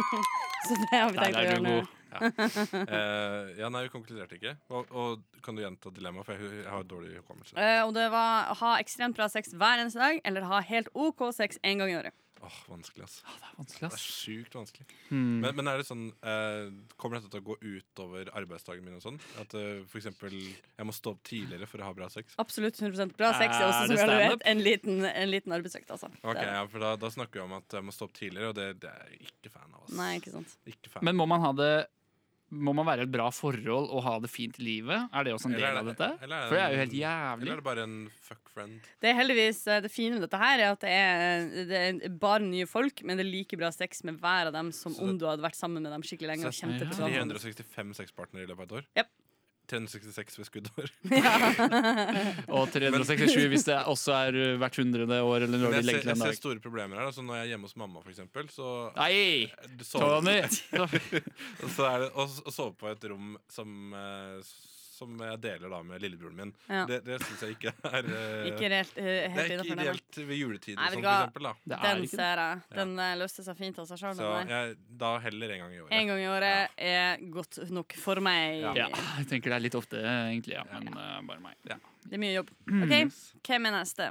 Speaker 5: Så det har vi
Speaker 4: Der
Speaker 5: tenkt å
Speaker 4: er
Speaker 5: gjøre
Speaker 4: du
Speaker 5: nå.
Speaker 4: god.
Speaker 2: Eh, ja, nei, vi konkluderte ikke. Og, og kan du gjenta dilemmaet, for jeg, jeg har dårlig hukommelse.
Speaker 5: Eh, og det var ha ekstremt bra sex hver eneste dag, eller ha helt OK sex én gang i året.
Speaker 2: Åh, vanskelig, ass.
Speaker 4: Åh, det er vanskelig,
Speaker 2: Det er
Speaker 4: ass.
Speaker 2: sjukt vanskelig.
Speaker 5: Mm.
Speaker 4: Hmm.
Speaker 2: Men, men er det sånn eh, Kommer dette til å gå utover arbeidsdagen min og sånn? At eh, for eksempel jeg må stå opp tidligere for å ha bra sex?
Speaker 5: Absolutt 100 bra sex er også, som
Speaker 4: Er Eh, det
Speaker 5: vi alle
Speaker 4: standup?
Speaker 5: vet, en liten, en liten arbeidsøkt. Altså. Det
Speaker 2: Ok,
Speaker 5: er det.
Speaker 2: ja, for da, da snakker vi om at jeg må stå opp tidligere, og det, det er jeg ikke fan av. Ass.
Speaker 5: Nei, ikke sant.
Speaker 2: Ikke fan.
Speaker 4: Men må man ha det Må man være i et bra forhold og ha det fint i livet? Er det også en del
Speaker 2: Eller er
Speaker 4: av
Speaker 2: det-
Speaker 4: dette?
Speaker 2: eller er det
Speaker 4: For det er jo
Speaker 2: en-
Speaker 4: helt jævlig.
Speaker 2: Eller er det bare en fuck friend?
Speaker 5: Det er heldigvis eh, det fine med dette her er at det er, det er bare nye folk, men det er like bra sex med hver av dem
Speaker 2: Så
Speaker 5: som
Speaker 2: det-
Speaker 5: om du hadde vært sammen med dem skikkelig lenge. og
Speaker 2: Så
Speaker 5: kjent
Speaker 4: det-
Speaker 5: etter
Speaker 4: Ja.
Speaker 5: hverandre.
Speaker 2: 365 sexpartnere i løpet av et år?
Speaker 5: Jep.
Speaker 2: 366 ved skuddår.
Speaker 4: Og 367 hvis det er- også er uh, hvert hundrede år eller
Speaker 2: Men
Speaker 4: når de
Speaker 2: jeg, ser,
Speaker 4: legger til
Speaker 2: jeg
Speaker 4: en
Speaker 2: ser
Speaker 4: dag.
Speaker 2: store problemer her. Altså når jeg er hjemme hos mamma, for eksempel, så
Speaker 4: Nei!
Speaker 2: Du sover-
Speaker 4: Tony!
Speaker 2: Og så er det å s- å sove på et rom som, eh, som jeg deler da med lillebroren min.
Speaker 5: Ja.
Speaker 2: Det, det syns jeg ikke er eh,
Speaker 5: Ikke
Speaker 2: Det
Speaker 5: helt, eh, helt
Speaker 2: er ikke
Speaker 5: innenfor det, men-
Speaker 2: ideelt ved juletiden,
Speaker 5: Nei, vet
Speaker 2: sånn,
Speaker 5: du
Speaker 2: for
Speaker 5: hva?
Speaker 2: eksempel. Da.
Speaker 5: Den ser jeg.
Speaker 2: Ja.
Speaker 5: Den eh, løste seg fint av seg sjøl.
Speaker 2: Så jeg, da heller en gang i året.
Speaker 5: En gang i året er godt nok for meg.
Speaker 4: Ja, jeg tenker det er litt ofte, egentlig. Ja, men uh, bare meg. Mm.
Speaker 5: Det er mye jobb. OK, hvem er neste?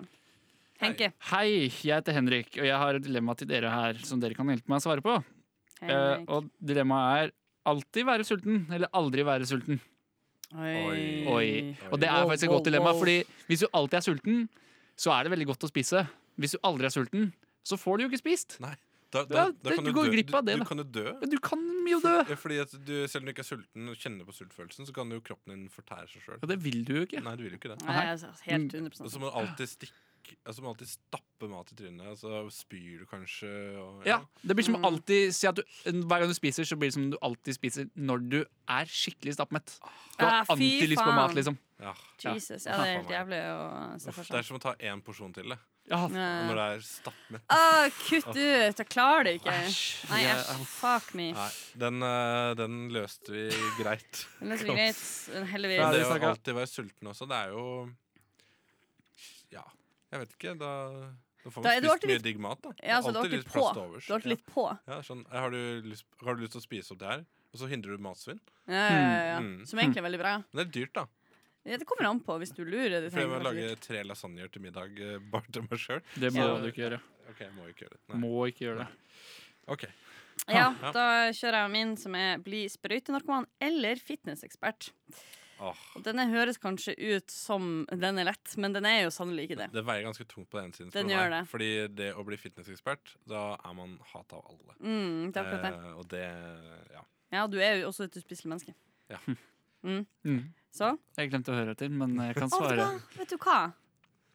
Speaker 5: Henke.
Speaker 4: Hei, jeg heter Henrik, og jeg har et dilemma til dere her som dere kan hjelpe meg å svare på. Eh,
Speaker 5: Henrik.
Speaker 4: og dilemmaet er alltid være sulten, eller aldri være sulten.
Speaker 5: Oi.
Speaker 4: Oi. Og det er
Speaker 5: Wow,
Speaker 4: faktisk et
Speaker 5: wow,
Speaker 4: godt dilemma,
Speaker 5: wow.
Speaker 4: fordi hvis du alltid er sulten, så er det veldig godt å spise. Hvis du aldri er sulten, så får du jo ikke spist.
Speaker 2: Nei. Da, da,
Speaker 4: Ja,
Speaker 2: da
Speaker 4: det-
Speaker 2: kan
Speaker 4: du
Speaker 2: du,
Speaker 4: går
Speaker 2: dø.
Speaker 4: glipp av det,
Speaker 2: du,
Speaker 4: da.
Speaker 2: du kan jo dø.
Speaker 4: Men du kan jo dø!
Speaker 2: Ja, Fordi at du, Selv om du ikke er sulten og kjenner på sultfølelsen, så kan jo kroppen din fortære seg sjøl.
Speaker 4: Ja, det vil du jo ikke.
Speaker 2: Nei, du vil jo ikke det.
Speaker 5: Nei, altså, helt
Speaker 2: Og
Speaker 5: 100
Speaker 2: så må du alltid stikke Altså må du alltid stappe mat i trynet, og så spyr du kanskje og,
Speaker 4: Ja, det blir
Speaker 5: Mm.
Speaker 4: som alltid si at du, Hver gang du spiser, så blir det som du alltid spiser når du er skikkelig stappmett. Du har
Speaker 5: Ah, fy
Speaker 4: antilyst på
Speaker 5: faen.
Speaker 4: mat, liksom.
Speaker 2: Ja.
Speaker 5: Jesus. Ja, det er helt jævlig å se
Speaker 2: Uff,
Speaker 5: for
Speaker 2: det
Speaker 5: sånn.
Speaker 2: er
Speaker 5: seg. Eh,
Speaker 2: som å ta én porsjon til det.
Speaker 4: Ja,
Speaker 5: Nei.
Speaker 2: Når det er stappmett.
Speaker 5: Å, Ah, kutt ut! Jeg klarer det ikke. Nei,
Speaker 2: Jeg-
Speaker 5: æsj. Fuck me.
Speaker 2: Nei, den, eh, den løste vi greit.
Speaker 5: Det løser vi greit. Men
Speaker 2: Men det
Speaker 5: Heldigvis.
Speaker 2: å alltid være sulten også, det er jo Ja, jeg vet ikke. Da, da får
Speaker 5: Da er
Speaker 2: man
Speaker 5: du
Speaker 2: spist
Speaker 5: alltid
Speaker 2: mye
Speaker 5: litt-
Speaker 2: digg mat, da.
Speaker 5: Ja, altså,
Speaker 2: Det
Speaker 5: du
Speaker 2: er alltid
Speaker 5: har alltid
Speaker 2: litt
Speaker 5: på.
Speaker 2: plass
Speaker 5: Du
Speaker 2: til
Speaker 5: har
Speaker 2: overs.
Speaker 5: alltid litt på.
Speaker 2: Ja, sånn, har, du lyst, har du lyst til å spise opp det her? Og så hindrer du matsvinn?
Speaker 5: Ja, ja, ja, ja.
Speaker 2: Mm.
Speaker 5: Som egentlig er veldig bra.
Speaker 2: Men det er dyrt, da.
Speaker 5: Ja, Det kommer an på hvis du lurer. Det
Speaker 2: For jeg må
Speaker 5: trenger kanskje
Speaker 2: lage
Speaker 5: litt.
Speaker 2: tre lasagner til middag eh, bare til meg sjøl.
Speaker 4: Det må
Speaker 2: Ja.
Speaker 4: du ikke gjøre.
Speaker 2: OK, jeg må ikke gjøre det. Nei.
Speaker 4: Må ikke gjøre det.
Speaker 2: OK.
Speaker 5: Ja,
Speaker 2: Ja.
Speaker 5: da kjører jeg min som er bli sprøytenarkoman eller fitnessekspert.
Speaker 2: Åh,
Speaker 5: Og denne høres kanskje ut som den er lett, men den er jo sannelig ikke det.
Speaker 2: det veier ganske tungt på den ene siden.
Speaker 5: Den
Speaker 2: spør du
Speaker 5: gjør
Speaker 2: meg.
Speaker 5: det.
Speaker 2: Fordi det å bli fitnessekspert, da er man hat av alle.
Speaker 5: Mm, det er akkurat det.
Speaker 2: Eh, og det Ja.
Speaker 5: Ja, du er jo også et uspiselig menneske.
Speaker 2: Ja.
Speaker 5: Mm.
Speaker 4: Mm.
Speaker 5: Så
Speaker 4: Jeg glemte å høre etter, men jeg kan
Speaker 5: Å, vet du
Speaker 4: svare.
Speaker 5: hva? Vet du hva?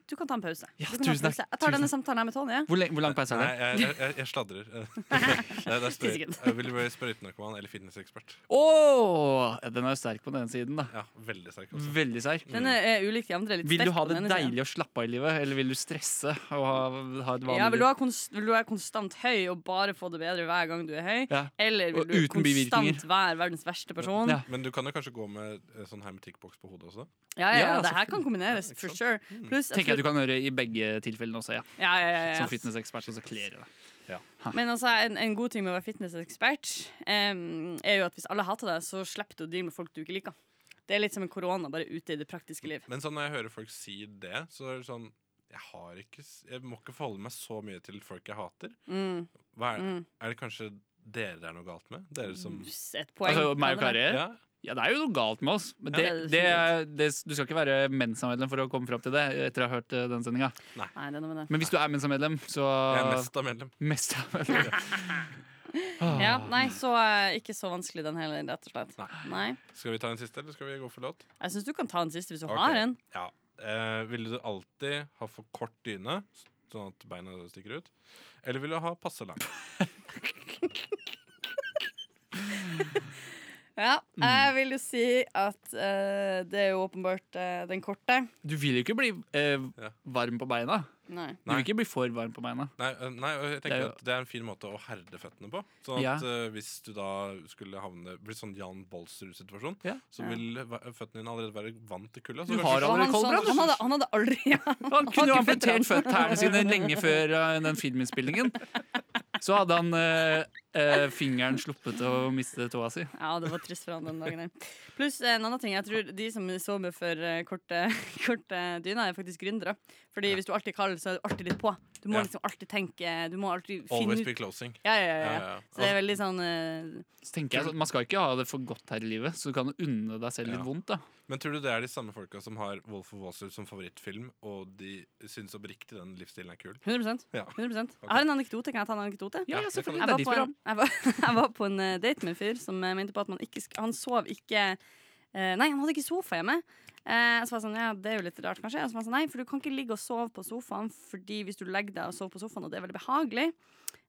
Speaker 5: Du kan ta en pause.
Speaker 4: Ja,
Speaker 5: Du kan ta en
Speaker 4: tusen takk.
Speaker 5: pause. Jeg tar denne
Speaker 4: Tusen
Speaker 5: samtalen her med Tony. Ja.
Speaker 4: Hvor, lenge, hvor lang peis er det?
Speaker 2: Nei, jeg, jeg, jeg, jeg sladrer. Nei, det er sprøyt-
Speaker 5: Fisken.
Speaker 2: jeg vil du bli sprøytenarkoman eller fitnessekspert?
Speaker 4: Åh, ja, den er jo sterk på den ene siden, da.
Speaker 2: Ja, veldig sterk altså. Mm. også.
Speaker 4: Veldig sterk.
Speaker 5: Den er eh, ulik de andre. Litt
Speaker 4: Mm. Vil du
Speaker 5: sterk
Speaker 4: ha
Speaker 5: på
Speaker 4: det
Speaker 5: den ene siden.
Speaker 4: deilig og slappe av i livet, eller vil du stresse og ha, ha et vanlig
Speaker 5: Ja, vil du,
Speaker 4: liv?
Speaker 5: ha konst, vil du være konstant høy og bare få det bedre hver gang du er høy?
Speaker 4: Ja.
Speaker 5: Eller vil
Speaker 4: Og
Speaker 5: du
Speaker 4: uten bivirkninger.
Speaker 5: konstant være verdens verste person?
Speaker 4: Ja.
Speaker 2: Men du kan jo kanskje gå med eh, sånn hermetikkboks på hodet også?
Speaker 5: Ja, ja,
Speaker 4: Ja,
Speaker 5: ja, det
Speaker 4: så-
Speaker 5: her kan kombineres,
Speaker 2: Ja, ikke
Speaker 5: for
Speaker 2: sant?
Speaker 5: sure. Pluss jeg tror-
Speaker 4: Tenker jeg du kan høre i begge tilfellene også, ja.
Speaker 5: ja, ja, ja,
Speaker 4: Som
Speaker 5: ja.
Speaker 4: fitnessekspert så kler det deg.
Speaker 5: Men altså, en, en god ting med å være fitnessekspert em, er jo at hvis alle hater deg, så slipper du å deale med folk du ikke liker. Det er litt som en korona, bare ute i det praktiske liv.
Speaker 2: Men sånn når jeg hører folk si det, så er det sånn Jeg har ikke s- Jeg må ikke forholde meg så mye til folk jeg hater.
Speaker 5: Mm,
Speaker 2: Hva er,
Speaker 5: mm.
Speaker 2: er det kanskje dere det er noe galt med? Dere som
Speaker 5: Et poeng.
Speaker 4: Altså, meg og
Speaker 5: kan det
Speaker 4: Kari?
Speaker 5: være.
Speaker 2: Ja,
Speaker 4: Ja, det er jo noe galt med oss. Men
Speaker 5: Ja,
Speaker 4: det,
Speaker 5: det er
Speaker 4: det, er- det, du skal ikke være Mensa-medlem for å komme fram til det. Etter å ha hørt eh, den sendinga.
Speaker 5: Nei, det er noe med det.
Speaker 4: Men hvis du er Mensa-medlem, så
Speaker 2: jeg er mest av medlem.
Speaker 4: Mensa-medlem. Ah.
Speaker 5: Ja, nei, så eh, ikke så vanskelig den heller, rett og slett. Nei.
Speaker 2: Skal vi ta en siste, eller skal vi gå for låt?
Speaker 5: Jeg syns du kan ta den siste hvis du
Speaker 2: Ok.
Speaker 5: har en.
Speaker 2: Ja. Eh, ville du alltid ha for kort dyne, s- sånn at beina stikker ut? Eller ville du ha passe lang?
Speaker 5: Ja, jeg vil jo si at eh, det er jo åpenbart eh, den korte.
Speaker 4: Du vil jo ikke bli eh,
Speaker 2: Ja.
Speaker 4: varm på beina.
Speaker 5: Nei.
Speaker 4: Du
Speaker 2: Nei.
Speaker 4: vil ikke bli for varm på beina.
Speaker 2: Nei, øh, nei, og jeg
Speaker 4: Det er
Speaker 2: tenker
Speaker 4: jo-
Speaker 2: at det er en fin måte å herde føttene på. Sånn
Speaker 4: Ja.
Speaker 2: at øh, Hvis du da skulle havne bli sånn Jan Bolsrud-situasjon,
Speaker 4: Ja.
Speaker 2: så vil va- føttene dine allerede være vant til kulda. så
Speaker 4: Du
Speaker 2: kanskje-
Speaker 4: har
Speaker 5: Og
Speaker 4: allerede
Speaker 5: han, sånn,
Speaker 4: koldbrann.
Speaker 5: han, hadde, han hadde aldri
Speaker 4: Han kunne jo
Speaker 5: har ikke
Speaker 4: amputert føttene sine lenge før eh, den filminnspillingen. Så hadde han eh, eh, fingeren sluppet å miste tåa si.
Speaker 5: Ja, det var trist for han den dagen der. Pluss eh, en annen ting. Jeg tror de som sover for eh, korte, korte dyner, er faktisk gründere. Fordi hvis du alltid er kald, så er du alltid litt på. Du må
Speaker 2: Ja.
Speaker 5: liksom alltid tenke Du må alltid finne
Speaker 2: Always
Speaker 5: ut
Speaker 2: be closing.
Speaker 5: ja, ja, ja,
Speaker 2: Ja, Altså-
Speaker 5: ja.
Speaker 2: ja.
Speaker 5: Så det er veldig sånn eh,
Speaker 4: Så tenker jeg sånn, Man skal ikke ha det for godt her i livet, så du kan unne deg selv litt
Speaker 2: Ja.
Speaker 4: vondt. da
Speaker 2: Men tror du det er de samme folka som har Wolf of Wall Street som favorittfilm, og de syns oppriktig den livsstilen er kul?
Speaker 5: 100
Speaker 2: Ja.
Speaker 5: 100 Jeg har en anekdote. Kan jeg ta en anekdote?
Speaker 4: Ja,
Speaker 2: Ja,
Speaker 4: ja
Speaker 2: det kan
Speaker 4: selvfølgelig.
Speaker 5: Jeg
Speaker 4: Det
Speaker 5: var,
Speaker 4: er ditt
Speaker 5: på en,
Speaker 4: program.
Speaker 5: jeg, var, jeg var på en eh, date med en fyr som eh, mente på at man ikke sk han sov ikke eh, Nei, han hadde ikke sofa hjemme. Eh, så var jeg sånn, ja, det er jo litt rart, kanskje. Og så var jeg sånn, nei, for du kan ikke ligge og sove på sofaen, fordi hvis du legger deg og sover på sofaen, og det er veldig behagelig,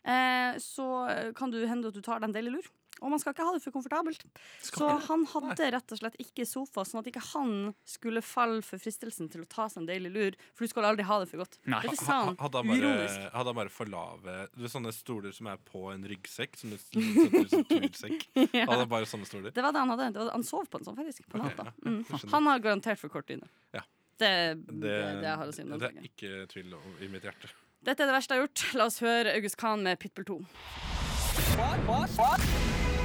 Speaker 5: eh, så eh, kan du hende at du tar deg en deilig lur. og man skal ikke ha det for komfortabelt. Så han hadde rett og slett ikke sofa, sånn at ikke han skulle falle for fristelsen til å ta seg en deilig lur. For du skal aldri ha det for godt.
Speaker 2: Ha- ha-
Speaker 5: Dette sa han
Speaker 2: hadde han bare,
Speaker 5: uronisk.
Speaker 2: Hadde han bare for lave Du vet sånne stoler som er på en ryggsekk? Som du setter ut som tursekk?
Speaker 5: Ja.
Speaker 2: Hadde han bare sånne stoler?
Speaker 5: Det var det han hadde. Det var, han sov på den sånn, faktisk. På
Speaker 2: Ok,
Speaker 5: natta.
Speaker 2: ja,
Speaker 5: Mm.
Speaker 2: jeg skjønner.
Speaker 5: Han har garantert for kort dyne.
Speaker 2: Ja.
Speaker 5: Det, det, det jeg har å si om den
Speaker 2: det
Speaker 5: saken.
Speaker 2: er ikke tvil om i mitt hjerte.
Speaker 5: Dette er det verste jeg har gjort. La oss høre August Khan med Pitbull 2.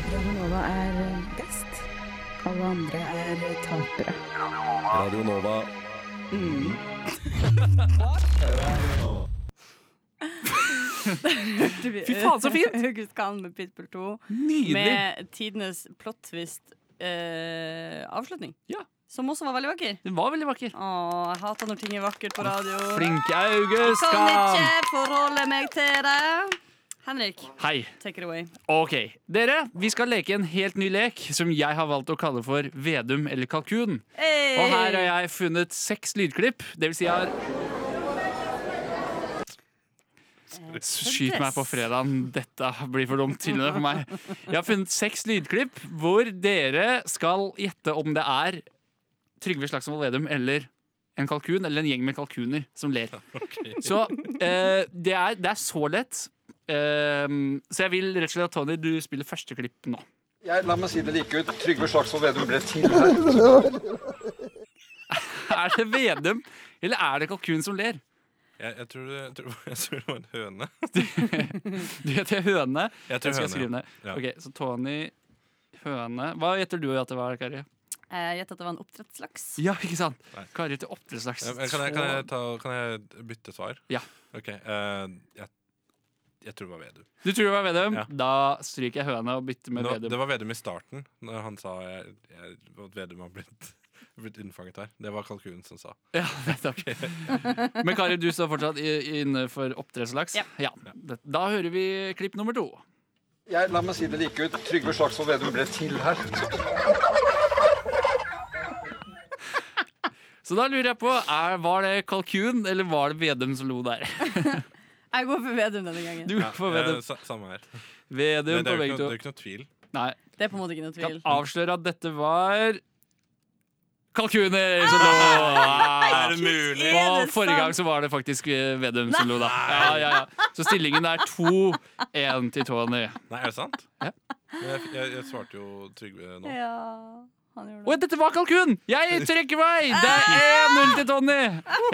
Speaker 11: Radionova er best. Alle andre er tapere.
Speaker 10: Radio Nova.
Speaker 5: Fy
Speaker 4: faen, så fint!
Speaker 5: August Khan med Pitbull 2.
Speaker 4: Nydelig!
Speaker 5: Med tidenes plot-twist eh, avslutning. Som også var veldig vakker.
Speaker 4: Den var veldig vakker.
Speaker 5: Åh, jeg hater når ting er vakkert på radio.
Speaker 4: Flink August!
Speaker 5: Kan
Speaker 4: Khan!
Speaker 5: ikke forholde meg til det. Henrik,
Speaker 4: Hei.
Speaker 5: take it away.
Speaker 4: Ok, dere, vi skal leke en helt ny lek som jeg har valgt å kalle for Vedum eller kalkun.
Speaker 5: Hey!
Speaker 4: Og her har jeg funnet seks lydklipp. Det vil si jeg har Skyt meg på fredagen. Dette blir for dumt. Til og med for meg. Jeg har funnet seks lydklipp hvor dere skal gjette om det er Trygve Slagsvold Vedum eller en kalkun eller en gjeng med kalkuner som ler. Så eh, det, er, det er så lett. Eh, så jeg vil rett og slett at Tony, du spiller første klipp nå.
Speaker 12: Jeg, la meg si det like ut. Trygve Slagsvold Vedum ble til her.
Speaker 4: Er det Vedum eller er det kalkun som ler?
Speaker 2: Jeg, jeg, tror, det- jeg, tror, jeg tror det var en høne.
Speaker 4: Du heter høne.
Speaker 2: Jeg tror
Speaker 4: skal
Speaker 2: høne,
Speaker 4: skrive ned.
Speaker 2: ja.
Speaker 4: Ok, Så Tony høne. Hva gjetter du at det var, Kari?
Speaker 5: Eh, Jeg gjetter at det var en oppdrettslaks.
Speaker 4: Ja, ikke sant? Kari til oppdrettslaks.
Speaker 2: Ja, men Kan jeg, kan, jeg ta, kan jeg bytte svar?
Speaker 4: Ja.
Speaker 2: Ok, eh, jeg, jeg tror det var Vedum.
Speaker 4: Du tror det var Vedum? Da stryker jeg høne og bytter med
Speaker 2: Nå,
Speaker 4: Vedum.
Speaker 2: det var Vedum i starten, når han sa jeg, jeg, at Vedum har blitt, blitt innfanget her. Det var kalkunen som sa.
Speaker 4: Ja, nettopp. Men Kari, du står fortsatt i- inne for oppdrettslaks?
Speaker 12: Ja.
Speaker 4: Det- Da hører vi klipp nummer to.
Speaker 12: Jeg, la meg si det like ut. Trygve Slagsvold Vedum ble til her.
Speaker 4: Så da lurer jeg på, er, var det kalkun, eller var det Vedum som lo der?
Speaker 5: Jeg går for Vedum denne gangen.
Speaker 4: Du går for Vedum.
Speaker 2: eh, sa- samme her.
Speaker 4: Vedum
Speaker 2: Men det er
Speaker 4: på
Speaker 2: jo
Speaker 4: begge
Speaker 2: ikke, noe-
Speaker 4: to.
Speaker 2: det er ikke noe tvil.
Speaker 4: Nei.
Speaker 5: Det er på en måte ikke noe
Speaker 4: Kan
Speaker 5: tvil.
Speaker 4: avsløre at dette var Kalkuner som lo!
Speaker 2: Ah!
Speaker 4: Er det mulig? Og forrige gang så var det faktisk eh, Vedum som lo, da. Ja, ja, ja. Så stillingen er 2-1 til Tony.
Speaker 2: Nei, er det sant? Men Jeg, jeg, jeg svarte jo Trygve nå.
Speaker 5: Ja, han gjorde det.
Speaker 4: Å, dette var kalkun! Jeg trekker meg! Det er 1-0 til Tony!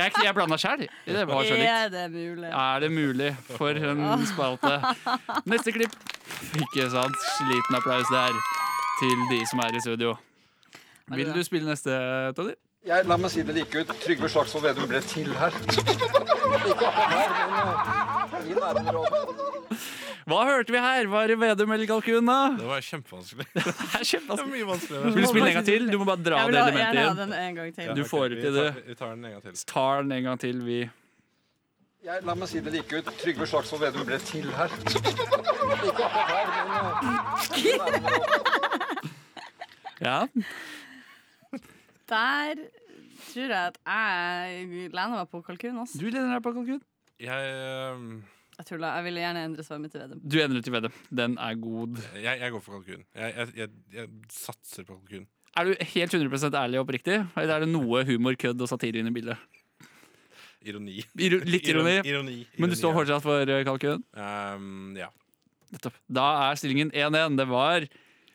Speaker 4: Jeg, jeg blanda sjæl. Det var så likt.
Speaker 5: Er det mulig?
Speaker 4: Er det mulig for en spalte? Neste klipp. Ikke sant? Sliten applaus der til de som er i studio. Vil du spille neste, Tony?
Speaker 12: Jeg, la meg si det like ut. Trygve Slagsvold Vedum ble til her.
Speaker 4: Hva hørte vi her? Var det Vedum eller kalkun, da?
Speaker 2: Det var kjempevanskelig.
Speaker 4: Det er
Speaker 2: mye vanskeligere.
Speaker 4: Vil du spille en gang til? Du må bare dra
Speaker 5: Jeg vil
Speaker 4: det
Speaker 5: ha- gjerne ha
Speaker 4: elementet
Speaker 5: den
Speaker 4: inn.
Speaker 5: en gang til.
Speaker 4: Du får det til, du.
Speaker 2: Vi tar den en gang til.
Speaker 4: Tar den en gang til, vi.
Speaker 12: Jeg, la meg si det like ut. Trygve Slagsvold Vedum ble til her.
Speaker 4: Ja.
Speaker 5: Der tror jeg at jeg lener meg på kalkun. Ass.
Speaker 4: Du lener deg på kalkun?
Speaker 2: Jeg, eh,
Speaker 5: Jeg tuller. Jeg ville gjerne endre svaret mitt til Vedum.
Speaker 4: Du endrer til Vedum. Den er god.
Speaker 2: jeg, jeg går for kalkun. Jeg, jeg, jeg, jeg satser på kalkun.
Speaker 4: Er du helt 100 ærlig og oppriktig, eller er det noe humor, kødd og satire inne i bildet?
Speaker 2: Ironi.
Speaker 4: Iro litt ironi.
Speaker 2: Ironi, ironi,
Speaker 4: Men du
Speaker 2: ironi,
Speaker 4: står
Speaker 2: ja.
Speaker 4: fortsatt for eh, kalkun?
Speaker 2: Um, ja.
Speaker 4: Nettopp. Da er stillingen 1-1. Det var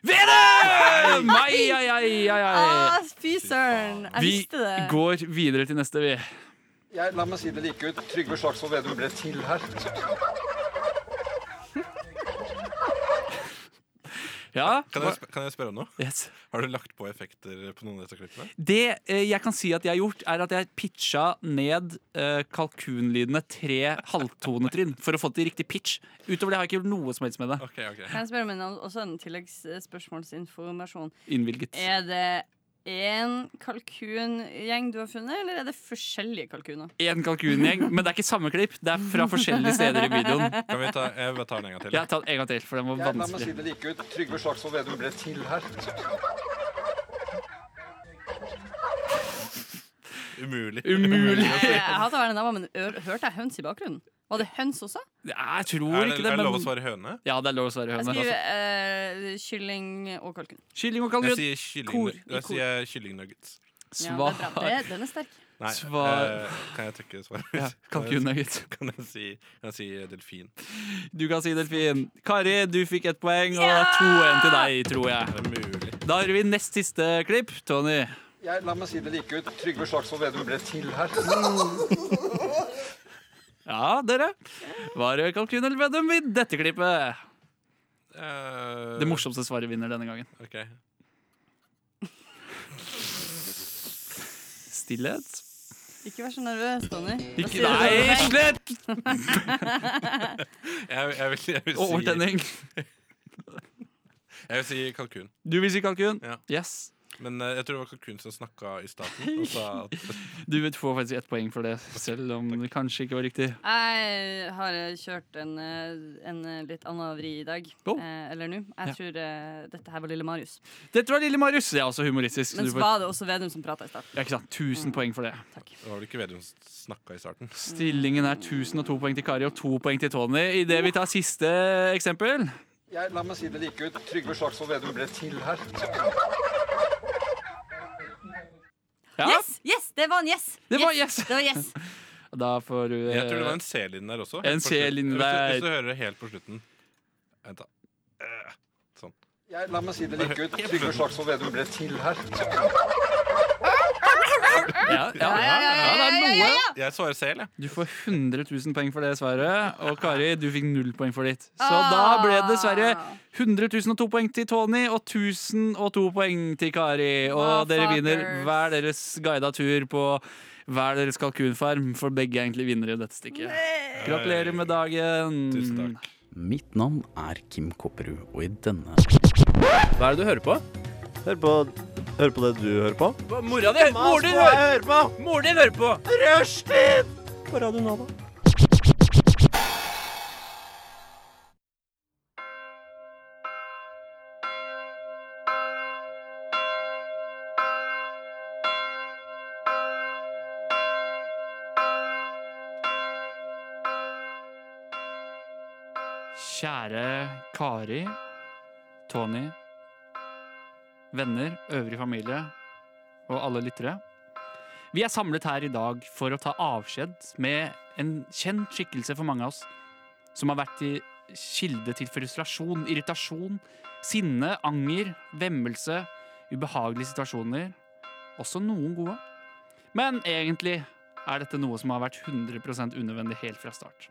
Speaker 4: Vedum! Ai, ai, ai, ai, ai.
Speaker 5: Ah, fy søren! Jeg
Speaker 4: Vi
Speaker 5: visste det.
Speaker 4: går videre til neste, vi.
Speaker 12: Jeg, la meg si det like ut. Trygve Slagsvold Vedum ble til her.
Speaker 2: Kan, jeg, sp- kan jeg spørre om noe?
Speaker 4: Yes.
Speaker 2: Har du lagt på effekter på noen av disse klippene?
Speaker 4: Det eh, jeg kan si at jeg har gjort, er at jeg pitcha ned eh, kalkunlydene tre halvtonetrinn for å få til riktig pitch. Utover det har jeg ikke gjort noe som helst med det.
Speaker 5: Kan jeg spørre om en, også en tilleggsspørsmålsinformasjon?
Speaker 4: Innvilget.
Speaker 5: Er det én kalkungjeng du har funnet, eller er det forskjellige kalkuner?
Speaker 4: Én kalkungjeng, men det er ikke samme klipp. Det er fra forskjellige steder i videoen.
Speaker 2: Kan vi ta, jeg bare tar den en gang til.
Speaker 4: Ja, ta den en gang til, for den var
Speaker 12: Jeg, la meg si
Speaker 4: vanskelig.
Speaker 12: det like ut. Trygve Slagsvold Vedum ble til her.
Speaker 2: Umulig.
Speaker 4: Umulig.
Speaker 5: Jeg, jeg hater å være en dame, men ø- hørte jeg høns i bakgrunnen? Var det høns også?
Speaker 4: Jeg tror
Speaker 2: Er det-
Speaker 4: ikke det.
Speaker 2: er det lov
Speaker 4: men-
Speaker 2: å svare høne?
Speaker 4: Ja, det er lov å svare
Speaker 5: Jeg
Speaker 4: høne.
Speaker 5: skriver eh, kylling og kalkun.
Speaker 4: Kylling og
Speaker 2: Jeg
Speaker 4: kalkun.
Speaker 2: sier, kylling,
Speaker 4: Kor.
Speaker 2: jeg sier kyllingnuggets.
Speaker 5: Ja, det er bra. Det, den er sterk.
Speaker 2: Nei,
Speaker 4: Svar-
Speaker 2: eh, kan jeg trykke svaret?
Speaker 4: Ja, kalkunnuggets.
Speaker 2: Kan jeg si, kan jeg si delfin?
Speaker 4: Du kan si delfin. Kari, du fikk ett poeng, og det er 2-1 til deg, tror jeg. Da har vi nest siste klipp. Tony.
Speaker 12: Jeg, la meg si det like ut. Trygve Slagsvold Vedum ble til her.
Speaker 4: Ja, dere. Var det kalkun eller vedum i dette klippet? Det morsomste svaret vinner denne gangen.
Speaker 2: Eh, Ok.
Speaker 4: Stillhet.
Speaker 5: Ikke vær så nervøs, Tony. Da
Speaker 4: Ikke-
Speaker 5: sier sånn, du
Speaker 4: Nei,
Speaker 5: det.
Speaker 2: Jeg, jeg, vil, jeg vil si
Speaker 4: Overtenning.
Speaker 2: Jeg vil si kalkun.
Speaker 4: Du vil si kalkun?
Speaker 2: Ja.
Speaker 4: Yes.
Speaker 2: Men eh, jeg tror det var kalkun som snakka i starten og sa at
Speaker 4: Du får faktisk ett poeng for det, selv om det kanskje ikke var riktig.
Speaker 5: Jeg har eh, kjørt en, eh, en eh, litt annen vri i dag. Eh, eller nå. Jeg
Speaker 4: Ja.
Speaker 5: tror eh, dette her var lille Marius.
Speaker 4: Dette var Lille Marius. Det er også humoristisk. så
Speaker 5: Men
Speaker 4: du
Speaker 5: så
Speaker 4: får-
Speaker 5: var det også Vedum som prata i stad.
Speaker 4: Ja, ikke sant? 1000 poeng for det.
Speaker 2: Det var vel ikke Vedum som snakka i starten.
Speaker 4: Stillingen er 1002 poeng til Kari og 2 poeng til Tony. Idet vi tar siste eksempel
Speaker 12: Jeg, la meg si det like ut. Trygve Slagsvold Vedum ble til her.
Speaker 4: Ja.
Speaker 5: Yes! yes, Det var en yes!
Speaker 4: Det var yes.
Speaker 5: Det var yes.
Speaker 4: Da får du
Speaker 2: Jeg tror det var en C-linje der også. helt
Speaker 4: En
Speaker 2: på slutten.
Speaker 4: C-linje
Speaker 2: Hvis du- Hvis du
Speaker 4: der.
Speaker 2: hører det helt på slutten Vent, da. Eh, Sånn.
Speaker 12: Jeg, la meg si det like ut. Trygve Slagsvold Vedum ble til her.
Speaker 4: eh, Ja, ja, ja, det er noe.
Speaker 2: Jeg svarer C, eller?
Speaker 4: Du får 100 000 poeng for det, Sverre. Og Kari, du fikk null poeng for ditt.
Speaker 5: Ah.
Speaker 4: Så da ble det dessverre 100 002 poeng til Tony og 1002 poeng til Kari. Og dere vinner hver deres guida tur på hver deres kalkunfarm, for begge er egentlig vinnere i dette stikket.
Speaker 5: Eh.
Speaker 4: Gratulerer med dagen.
Speaker 2: Eh,
Speaker 4: Tusen takk.
Speaker 6: Mitt navn er Kim Kopperud, og i denne
Speaker 9: Hva er det du hører på? Hør på, hør på det du hører på.
Speaker 6: Mora di! Mor din hører på! Mor din hører på!
Speaker 9: Rushtid! På Radio Nova.
Speaker 4: Kjære Kari, Tony, venner, øvrig familie og alle lyttere. Vi er samlet her i dag for å ta avskjed med en kjent skikkelse for mange av oss, som har vært i kilde til frustrasjon, irritasjon, sinne, anger, vemmelse, ubehagelige situasjoner, også noen gode. Men egentlig er dette noe som har vært 100 unødvendig helt fra start.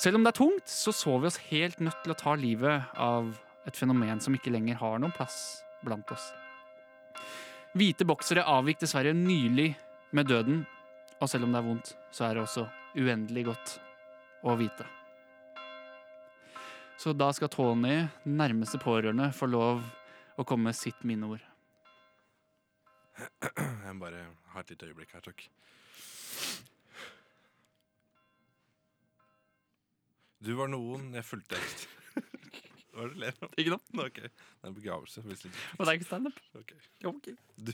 Speaker 4: Selv om det er tungt, så så vi oss helt nødt til å ta livet av et fenomen som ikke lenger har noen plass blant oss. Hvite boksere avvik dessverre nylig med døden, og selv om det er vondt, så er det også uendelig godt å vite. Så da skal Tony, nærmeste pårørende, få lov å komme med sitt minneord.
Speaker 2: Jeg må bare ha et lite øyeblikk her, takk. Du var noen jeg fulgte etter. Hva er det du ler av?
Speaker 4: Ikke noe.
Speaker 2: Nå, ok. Det er en begravelse. Hvis ikke.
Speaker 4: Og det er ikke standup.
Speaker 2: Ok.
Speaker 4: Okay.
Speaker 2: Du.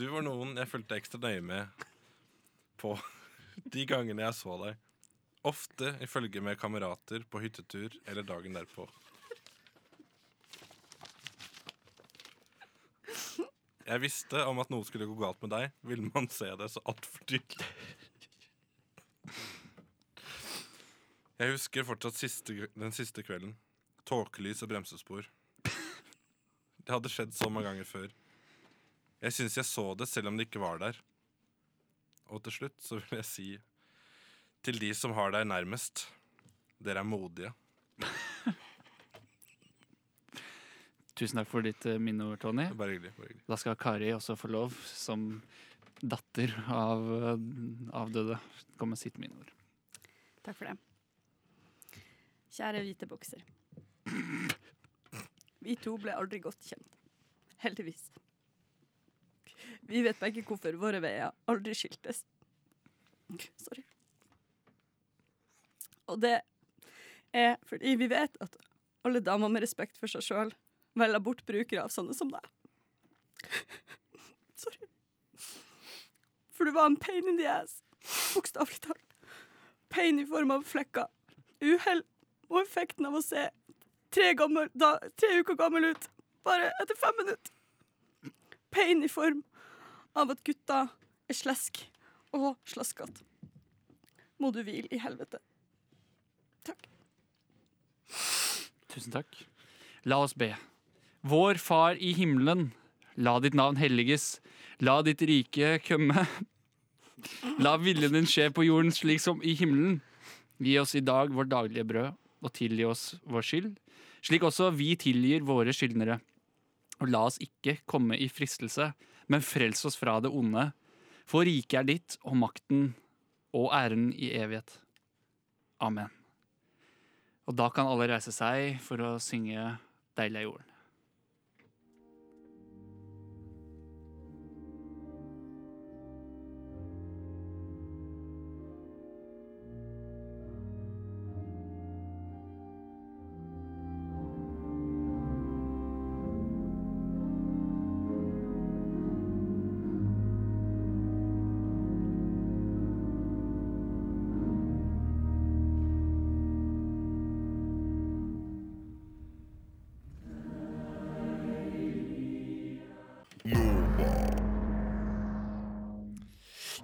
Speaker 2: du var noen jeg fulgte ekstra nøye med på de gangene jeg så deg. Ofte i følge med kamerater på hyttetur eller dagen derpå. Jeg visste om at noe skulle gå galt med deg, ville man se det så altfor tydelig. Jeg husker fortsatt siste, den siste kvelden. Tåkelys og bremsespor. Det hadde skjedd så mange ganger før. Jeg syns jeg så det, selv om det ikke var der. Og til slutt så vil jeg si til de som har deg nærmest Dere er modige.
Speaker 4: Tusen takk for ditt eh, minneord, Tony.
Speaker 2: Bare hyggelig. Bare hyggelig.
Speaker 4: Da skal Kari også få lov, som datter av eh, avdøde, komme med sitt minneord.
Speaker 5: Takk for det. Kjære hvite bokser. Vi to ble aldri godt kjent. Heldigvis. Vi vet begge hvorfor våre veier aldri skiltes. Sorry. Og det er fordi vi vet at alle damer med respekt for seg sjøl velger bort brukere av sånne som deg. Sorry. For du var en pain in the ass. Bokstavelig talt. Pain i form av flekker. Uhell og effekten av å se tre, gammel, da, tre uker gammel ut bare etter fem minutter. Pain i form av at gutta er slesk og slaskete. Må du hvile i helvete.
Speaker 4: Tusen takk. La oss be. Vår Far i himmelen. La ditt navn helliges. La ditt rike komme. La viljen din skje på jorden slik som i himmelen. Gi oss i dag vårt daglige brød, og tilgi oss vår skyld, slik også vi tilgir våre skyldnere. Og la oss ikke komme i fristelse, men frels oss fra det onde. For riket er ditt, og makten og æren i evighet. Amen. Og da kan alle reise seg for å synge Deilig er jorden.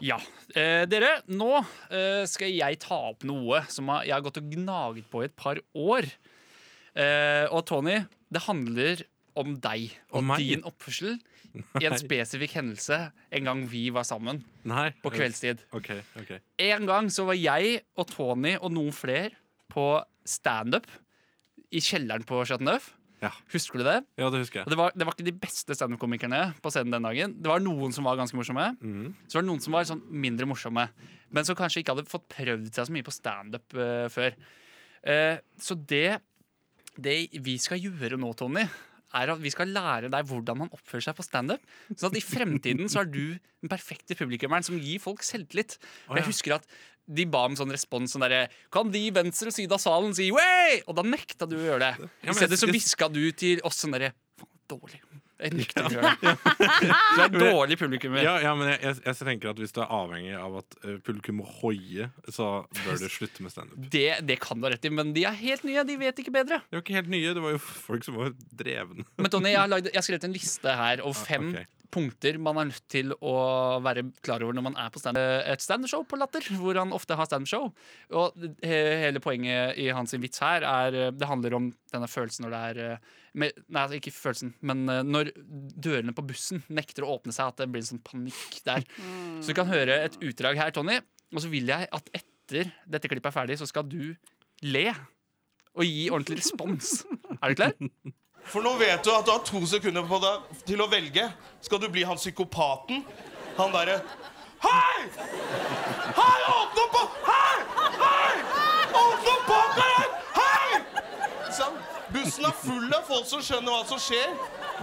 Speaker 4: Ja. Eh, dere, nå eh, skal jeg ta opp noe som har- jeg har gått og gnaget på i et par år. Eh, og Tony, det handler om deg og
Speaker 2: meg?
Speaker 4: din oppførsel i en
Speaker 2: Nei.
Speaker 4: spesifikk hendelse en gang vi var sammen
Speaker 2: Nei.
Speaker 4: på kveldstid.
Speaker 2: Ok, ok.
Speaker 4: En gang så var jeg og Tony og noen flere på standup i kjelleren på Chateau Neuf. Husker du det?
Speaker 2: Ja, det husker jeg.
Speaker 4: Og det, var, det var ikke de beste standup-komikerne på scenen den dagen. Det var noen som var ganske morsomme,
Speaker 2: Mhm.
Speaker 4: så var det noen som var sånn mindre morsomme. Men som kanskje ikke hadde fått prøvd seg så mye på standup uh, før. Eh, så det, det vi skal gjøre nå, Tony, er at vi skal lære deg hvordan man oppfører seg på standup. Sånn at i fremtiden så er du den perfekte publikummeren som gir folk selvtillit. For jeg husker at de ba om sånn respons sånn derre Kan de i venstre side av salen si way? Og da nekta du å gjøre det.
Speaker 2: Ja, men
Speaker 4: I stedet så
Speaker 2: jeg-
Speaker 4: hviska du til oss sånn derre Faen, dårlig. Jeg nekter å gjøre det. Du er dårlig publikummer.
Speaker 2: Ja, ja, men jeg, jeg, jeg tenker at hvis du er avhengig av at eh, publikum må hoie, så bør du slutte med standup.
Speaker 4: Det, det kan du ha rett i, men de er helt nye. De vet ikke bedre.
Speaker 2: Det var ikke helt nye, det var jo folk som var drevne.
Speaker 4: Men Tony, jeg har, lagd, jeg har skrevet en liste her over fem
Speaker 2: Ah, ok.
Speaker 4: punkter man er nødt til å være klar over når man er på stand eh, et standup-show på Latter, hvor han ofte har standup-show. Og he hele poenget i hans vits her er eh, Det handler om denne følelsen når det er eh, med, Nei, altså ikke følelsen, men eh, når dørene på bussen nekter å åpne seg, at det blir en sånn panikk der. Så du kan høre et utdrag her, Tony. Og så vil jeg at etter dette klippet er ferdig, så skal du le. Og gi ordentlig respons. Er du klar?
Speaker 13: For nå vet du at du har to sekunder på deg til å velge. Skal du bli han psykopaten? Han derre Hei! Hei, åpne opp! bak- Hei! Hei! Åpne opp baka her! Hei! Sånn. Bussen er full av folk som skjønner hva som skjer.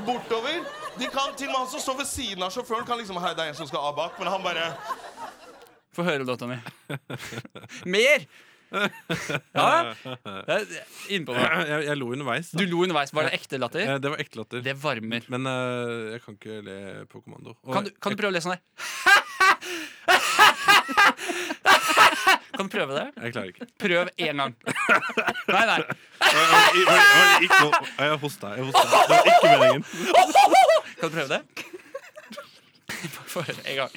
Speaker 13: Bortover. De kan, til og med han som står ved siden av sjåføren, kan liksom Hei, det er en som skal av bak. Men han bare
Speaker 4: Få høre da, Tony. Mer! Ja, innpå
Speaker 2: meg. Jeg, jeg lo underveis.
Speaker 4: Du lo underveis. Var det ekte latter?
Speaker 2: Eh, Det var ekte latter.
Speaker 4: Det varmer.
Speaker 2: Men eh, jeg kan ikke le på kommando. Og
Speaker 4: Kan du, kan du prøve å lese sånn her? Kan du prøve det?
Speaker 2: Jeg klarer ikke.
Speaker 4: Prøv én gang. Nei, nei.
Speaker 2: Jeg, jeg, jeg, jeg, ikke noe- jeg, jeg hosta. Jeg hosta. Det var ikke meningen.
Speaker 4: Kan du prøve det? Bare få høre en gang.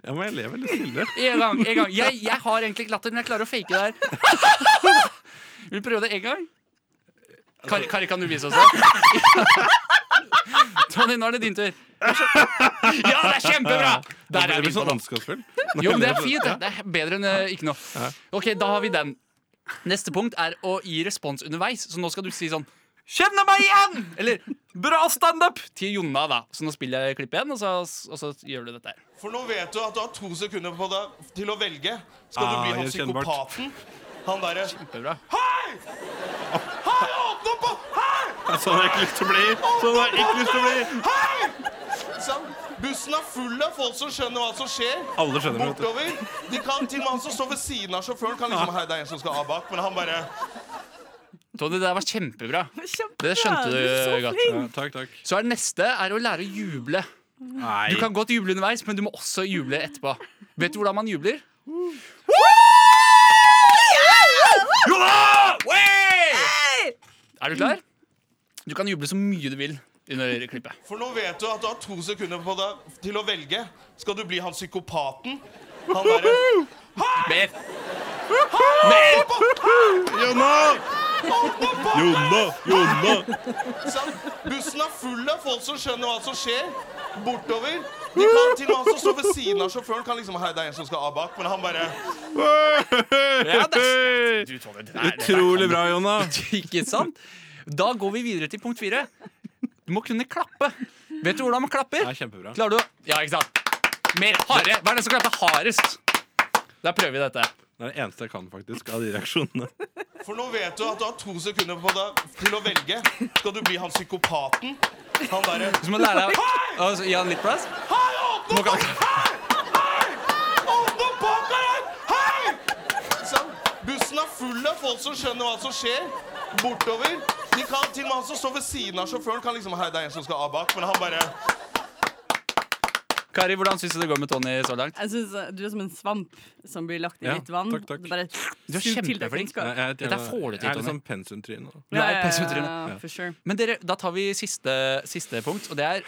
Speaker 2: Ja, men jeg ler veldig stille.
Speaker 4: En gang, en gang. Jeg, jeg har egentlig ikke latter, men jeg klarer å fake det her. Vil du prøve det en gang? Kari, Kari kan du vise oss det? Tony, nå er det din tur. Ja, det er kjempebra! Der
Speaker 2: jeg
Speaker 4: er vi
Speaker 2: blir
Speaker 4: på
Speaker 2: så
Speaker 4: den.
Speaker 2: ondskapsfull.
Speaker 4: Jo, men det er fint. det. Det er bedre enn eh, ikke noe. Ok, da har vi den. Neste punkt er å gi respons underveis. Så nå skal du si sånn Kjenner meg igjen! Eller bra standup! Til Jonna, da. Så nå spiller jeg klippet igjen, og så, og så gjør du dette her.
Speaker 13: For nå vet du at du har to sekunder på deg til å velge. Skal du
Speaker 4: Ah,
Speaker 13: bli han
Speaker 4: gjenkjennbart.
Speaker 13: psykopaten? Han derre
Speaker 4: Kjempebra.
Speaker 13: Hei! Hei, åpne opp! bak- Hei!
Speaker 2: Sånn har jeg ikke lyst til å bli. Sånn har jeg ikke lyst til å bli.
Speaker 13: Hei! Sånn. Bussen er full av folk som skjønner hva som skjer.
Speaker 2: Alle skjønner det, vet du.
Speaker 13: Bortover. De kan, til og med han som står ved siden av sjåføren, kan liksom Hei, det er en som skal av bak. Men han bare
Speaker 4: Tony, det der var kjempebra.
Speaker 5: Kjempebra.
Speaker 4: Det skjønte du
Speaker 5: er så
Speaker 4: godt.
Speaker 5: flink.
Speaker 2: takk, takk.
Speaker 4: Så er det neste er å lære å juble.
Speaker 2: Nei.
Speaker 4: Du kan godt juble underveis, men du må også juble etterpå. Vet du hvordan man jubler? Hurra! Wey! Er du klar? Du kan juble så mye du vil under klippet.
Speaker 13: For nå vet du at du har to sekunder på deg til å velge. Skal du bli han psykopaten? Han derre
Speaker 4: Mer!
Speaker 13: Jonna!
Speaker 14: Jonna! Jonna!
Speaker 13: Sånn, Bussen er full av folk som skjønner hva som skjer. Bortover. De kan til og med han som står ved siden av sjåføren, kan liksom Hei, det er en som skal av bak, men han bare
Speaker 4: Ja, det er- du, Tone, det er-
Speaker 2: Utrolig bra, Jonna.
Speaker 4: Ikke sant? Da går vi videre til punkt fire. Du må kunne klappe. Vet du hvordan man klapper?
Speaker 2: Ja, kjempebra.
Speaker 4: Klarer du å Ja, ikke sant? Mer harde. Hva er den som klapper hardest? Da prøver vi dette.
Speaker 2: Det er det eneste jeg kan faktisk av de reaksjonene.
Speaker 13: For nå vet du at du har to sekunder på deg til å velge. Skal du bli han psykopaten? Han derre
Speaker 4: Så må du lære deg å gi han litt plass. Nå kan
Speaker 13: Åpne pakka her! Hei! Sånn, Bussen er full av folk som skjønner hva som skjer. Bortover. De kan, til og med han som står ved siden av sjåføren, kan liksom Hei, det er en som skal av bak, men han bare
Speaker 4: Kari, hvordan syns du det går med Tony så langt?
Speaker 5: Jeg synes eh, Du er som en svamp som blir lagt i
Speaker 4: Ja,
Speaker 5: litt vann.
Speaker 4: takk,
Speaker 5: Du bare
Speaker 4: Du er
Speaker 5: suger til deg
Speaker 4: kjempeflink.
Speaker 5: kunnskap.
Speaker 2: Jeg- jeg-
Speaker 4: Dette er får du til,
Speaker 2: Jeg er litt
Speaker 4: Tony.
Speaker 2: sånn pensumtryne. da.
Speaker 4: Du er et pessimitryne.
Speaker 5: Ja, ja, for sure.
Speaker 4: Men dere, da tar vi siste, siste punkt, og det er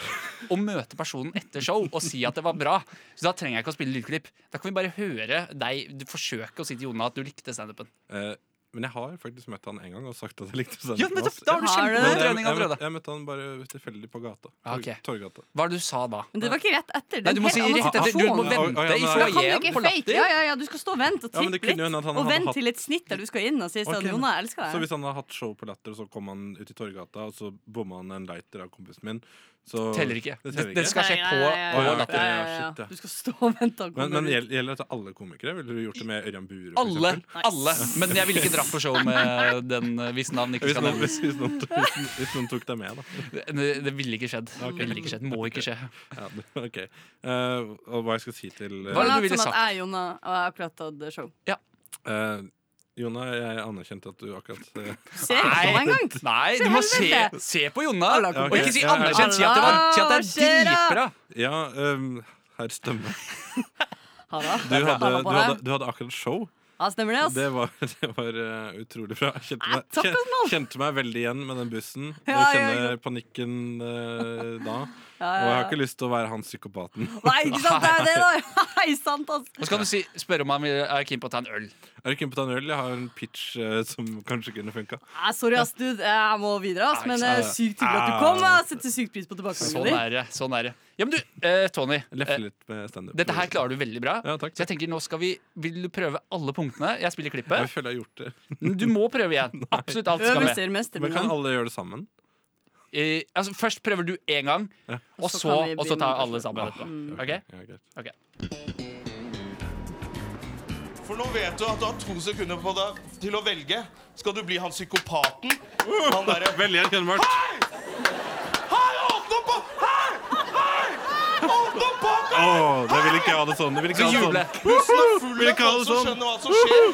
Speaker 4: å møte personen etter show og si at det var bra. Så da trenger jeg ikke å spille lydklipp. Da kan vi bare høre deg du forsøke å si til Jona at du likte standupen.
Speaker 2: Eh, men jeg har faktisk møtt han en gang og sagt at jeg likte
Speaker 4: Ja,
Speaker 2: standupen
Speaker 4: men da-
Speaker 2: hans.
Speaker 4: da har du Har du kjempegod det? trening
Speaker 2: Jeg- jeg-
Speaker 4: allerede.
Speaker 2: Jeg møtte han bare tilfeldig på gata.
Speaker 4: Ja, ok.
Speaker 2: Torgata.
Speaker 4: Hva er det du sa da?
Speaker 5: Men det var ikke rett etter.
Speaker 2: Nei, du må si rett etter. Du må vente i
Speaker 5: Da kan du
Speaker 2: foajeen
Speaker 5: ikke
Speaker 2: på
Speaker 5: fake.
Speaker 2: latter.
Speaker 5: Ja, ja, ja, du skal stå og vente og
Speaker 2: Ja, men det
Speaker 5: tippe
Speaker 2: kunne jo hende
Speaker 5: litt.
Speaker 2: at han
Speaker 5: Og
Speaker 2: hadde
Speaker 5: vente
Speaker 2: hatt-
Speaker 5: til et snitt der du skal inn og si sånn
Speaker 2: Ok, men-
Speaker 5: Jona, jeg elsker
Speaker 2: Så hvis
Speaker 5: deg.
Speaker 2: han har hatt show på Latter, og så kom han ut i Torgata, og så bomma han en lighter av kompisen min, så
Speaker 4: Teller ikke.
Speaker 2: Det teller
Speaker 4: Det- det skal skje Nei, nei, på- nei,
Speaker 2: Å, ja,
Speaker 4: nei,
Speaker 2: ok,
Speaker 4: nei,
Speaker 2: ja,
Speaker 4: nei,
Speaker 2: shit,
Speaker 4: nei.
Speaker 2: ja.
Speaker 5: Du skal stå og vente han
Speaker 2: Men,
Speaker 5: kommer
Speaker 2: men
Speaker 5: ut.
Speaker 2: gjel- gjelder dette alle komikere? Ville du gjort det med Ørjan Bure? for
Speaker 4: Alle!
Speaker 2: eksempel?
Speaker 4: alle Men jeg ville ikke dratt på show med den eh, hvis navn ikke
Speaker 2: Hvis
Speaker 4: skal
Speaker 2: noen,
Speaker 4: nevnes.
Speaker 2: hvis, hvis, noen, hvis, noen- hvis noen tok deg med, da.
Speaker 4: Det, det ville ikke skjedd.
Speaker 2: Ok.
Speaker 4: Ville ikke skjedd. Må ikke skje.
Speaker 2: Ja, det- ok. Eh, og hva jeg skal si til eh,
Speaker 5: Hva er det du Sånn at jeg, Jonna, og jeg har akkurat tatt show.
Speaker 2: Eh, Jonna, jeg anerkjente at du akkurat eh,
Speaker 5: Se ikke på meg engang!
Speaker 4: Nei,
Speaker 5: Se
Speaker 4: du må se,
Speaker 5: helvete.
Speaker 4: se på Jonna!
Speaker 2: Ja, ok.
Speaker 4: Og ikke si
Speaker 2: Ja, ja, ja.
Speaker 4: anerkjent. Si at det, var, si at det er dritbra.
Speaker 2: Ja, ehm, herr Stømme.
Speaker 5: Ha det.
Speaker 2: Du hadde,
Speaker 5: Ha det
Speaker 2: du,
Speaker 5: på
Speaker 2: hadde,
Speaker 5: deg.
Speaker 2: du hadde akkurat show.
Speaker 5: Ja, stemmer det, ass.
Speaker 2: Det var, det var eh, utrolig bra. Jeg kjente meg,
Speaker 5: takk,
Speaker 2: kjen- kjente meg veldig igjen med den bussen. Jeg
Speaker 5: Ja, ja,
Speaker 2: kjenner
Speaker 5: ja.
Speaker 2: panikken eh, da.
Speaker 5: Ja, ja,
Speaker 2: Og jeg har
Speaker 5: ja.
Speaker 2: ikke lyst til å være han psykopaten.
Speaker 5: Nei, ikke sant, det er det, da! Hei, sant, ass.
Speaker 4: Og så kan du si, spørre om han vil- er keen på å ta en øl.
Speaker 2: Er du keen på å ta en øl? Jeg har en pitch eh, som kanskje kunne funka.
Speaker 5: Nei, sorry, ass, du. Jeg må videre, ass. Men
Speaker 2: sant. Ah.
Speaker 5: eh, sykt hyggelig at du kom. Jeg setter sykt pris på
Speaker 4: Sånn
Speaker 5: tilbakemeldingen din.
Speaker 4: er det. sånn er det Ja, men du, eh, Tony. eh,
Speaker 2: Lefle litt med standup.
Speaker 4: Dette her klarer du veldig bra. Så jeg tenker, nå skal vi Vil du prøve alle punktene? Jeg spiller klippet.
Speaker 2: Jeg føler jeg har gjort det.
Speaker 4: Men Du må prøve igjen. Absolutt alt skal med.
Speaker 2: Men kan alle gjøre det sammen?
Speaker 4: Eh, altså, først prøver du én gang, og
Speaker 2: Så
Speaker 4: så,
Speaker 2: kan vi
Speaker 4: og så tar
Speaker 2: begynne.
Speaker 4: alle sammen etterpå.
Speaker 2: Mm.
Speaker 4: Ok?
Speaker 2: Ja, greit.
Speaker 4: Ok.
Speaker 13: For nå vet du at du har to sekunder på deg til å velge. Skal du bli han psykopaten? Han derre
Speaker 2: Veldig erkjennbart.
Speaker 13: Hei, åpne opp! Hei! Hei! Åpne opp pakka!
Speaker 2: Åh, jeg vil ikke ha det sånn. Jeg vil ikke ha det sånn.
Speaker 13: Bussen er full
Speaker 2: Vil
Speaker 13: av
Speaker 2: ikke ha
Speaker 13: folk
Speaker 2: det
Speaker 13: som
Speaker 2: sånn.
Speaker 13: skjønner hva som skjer.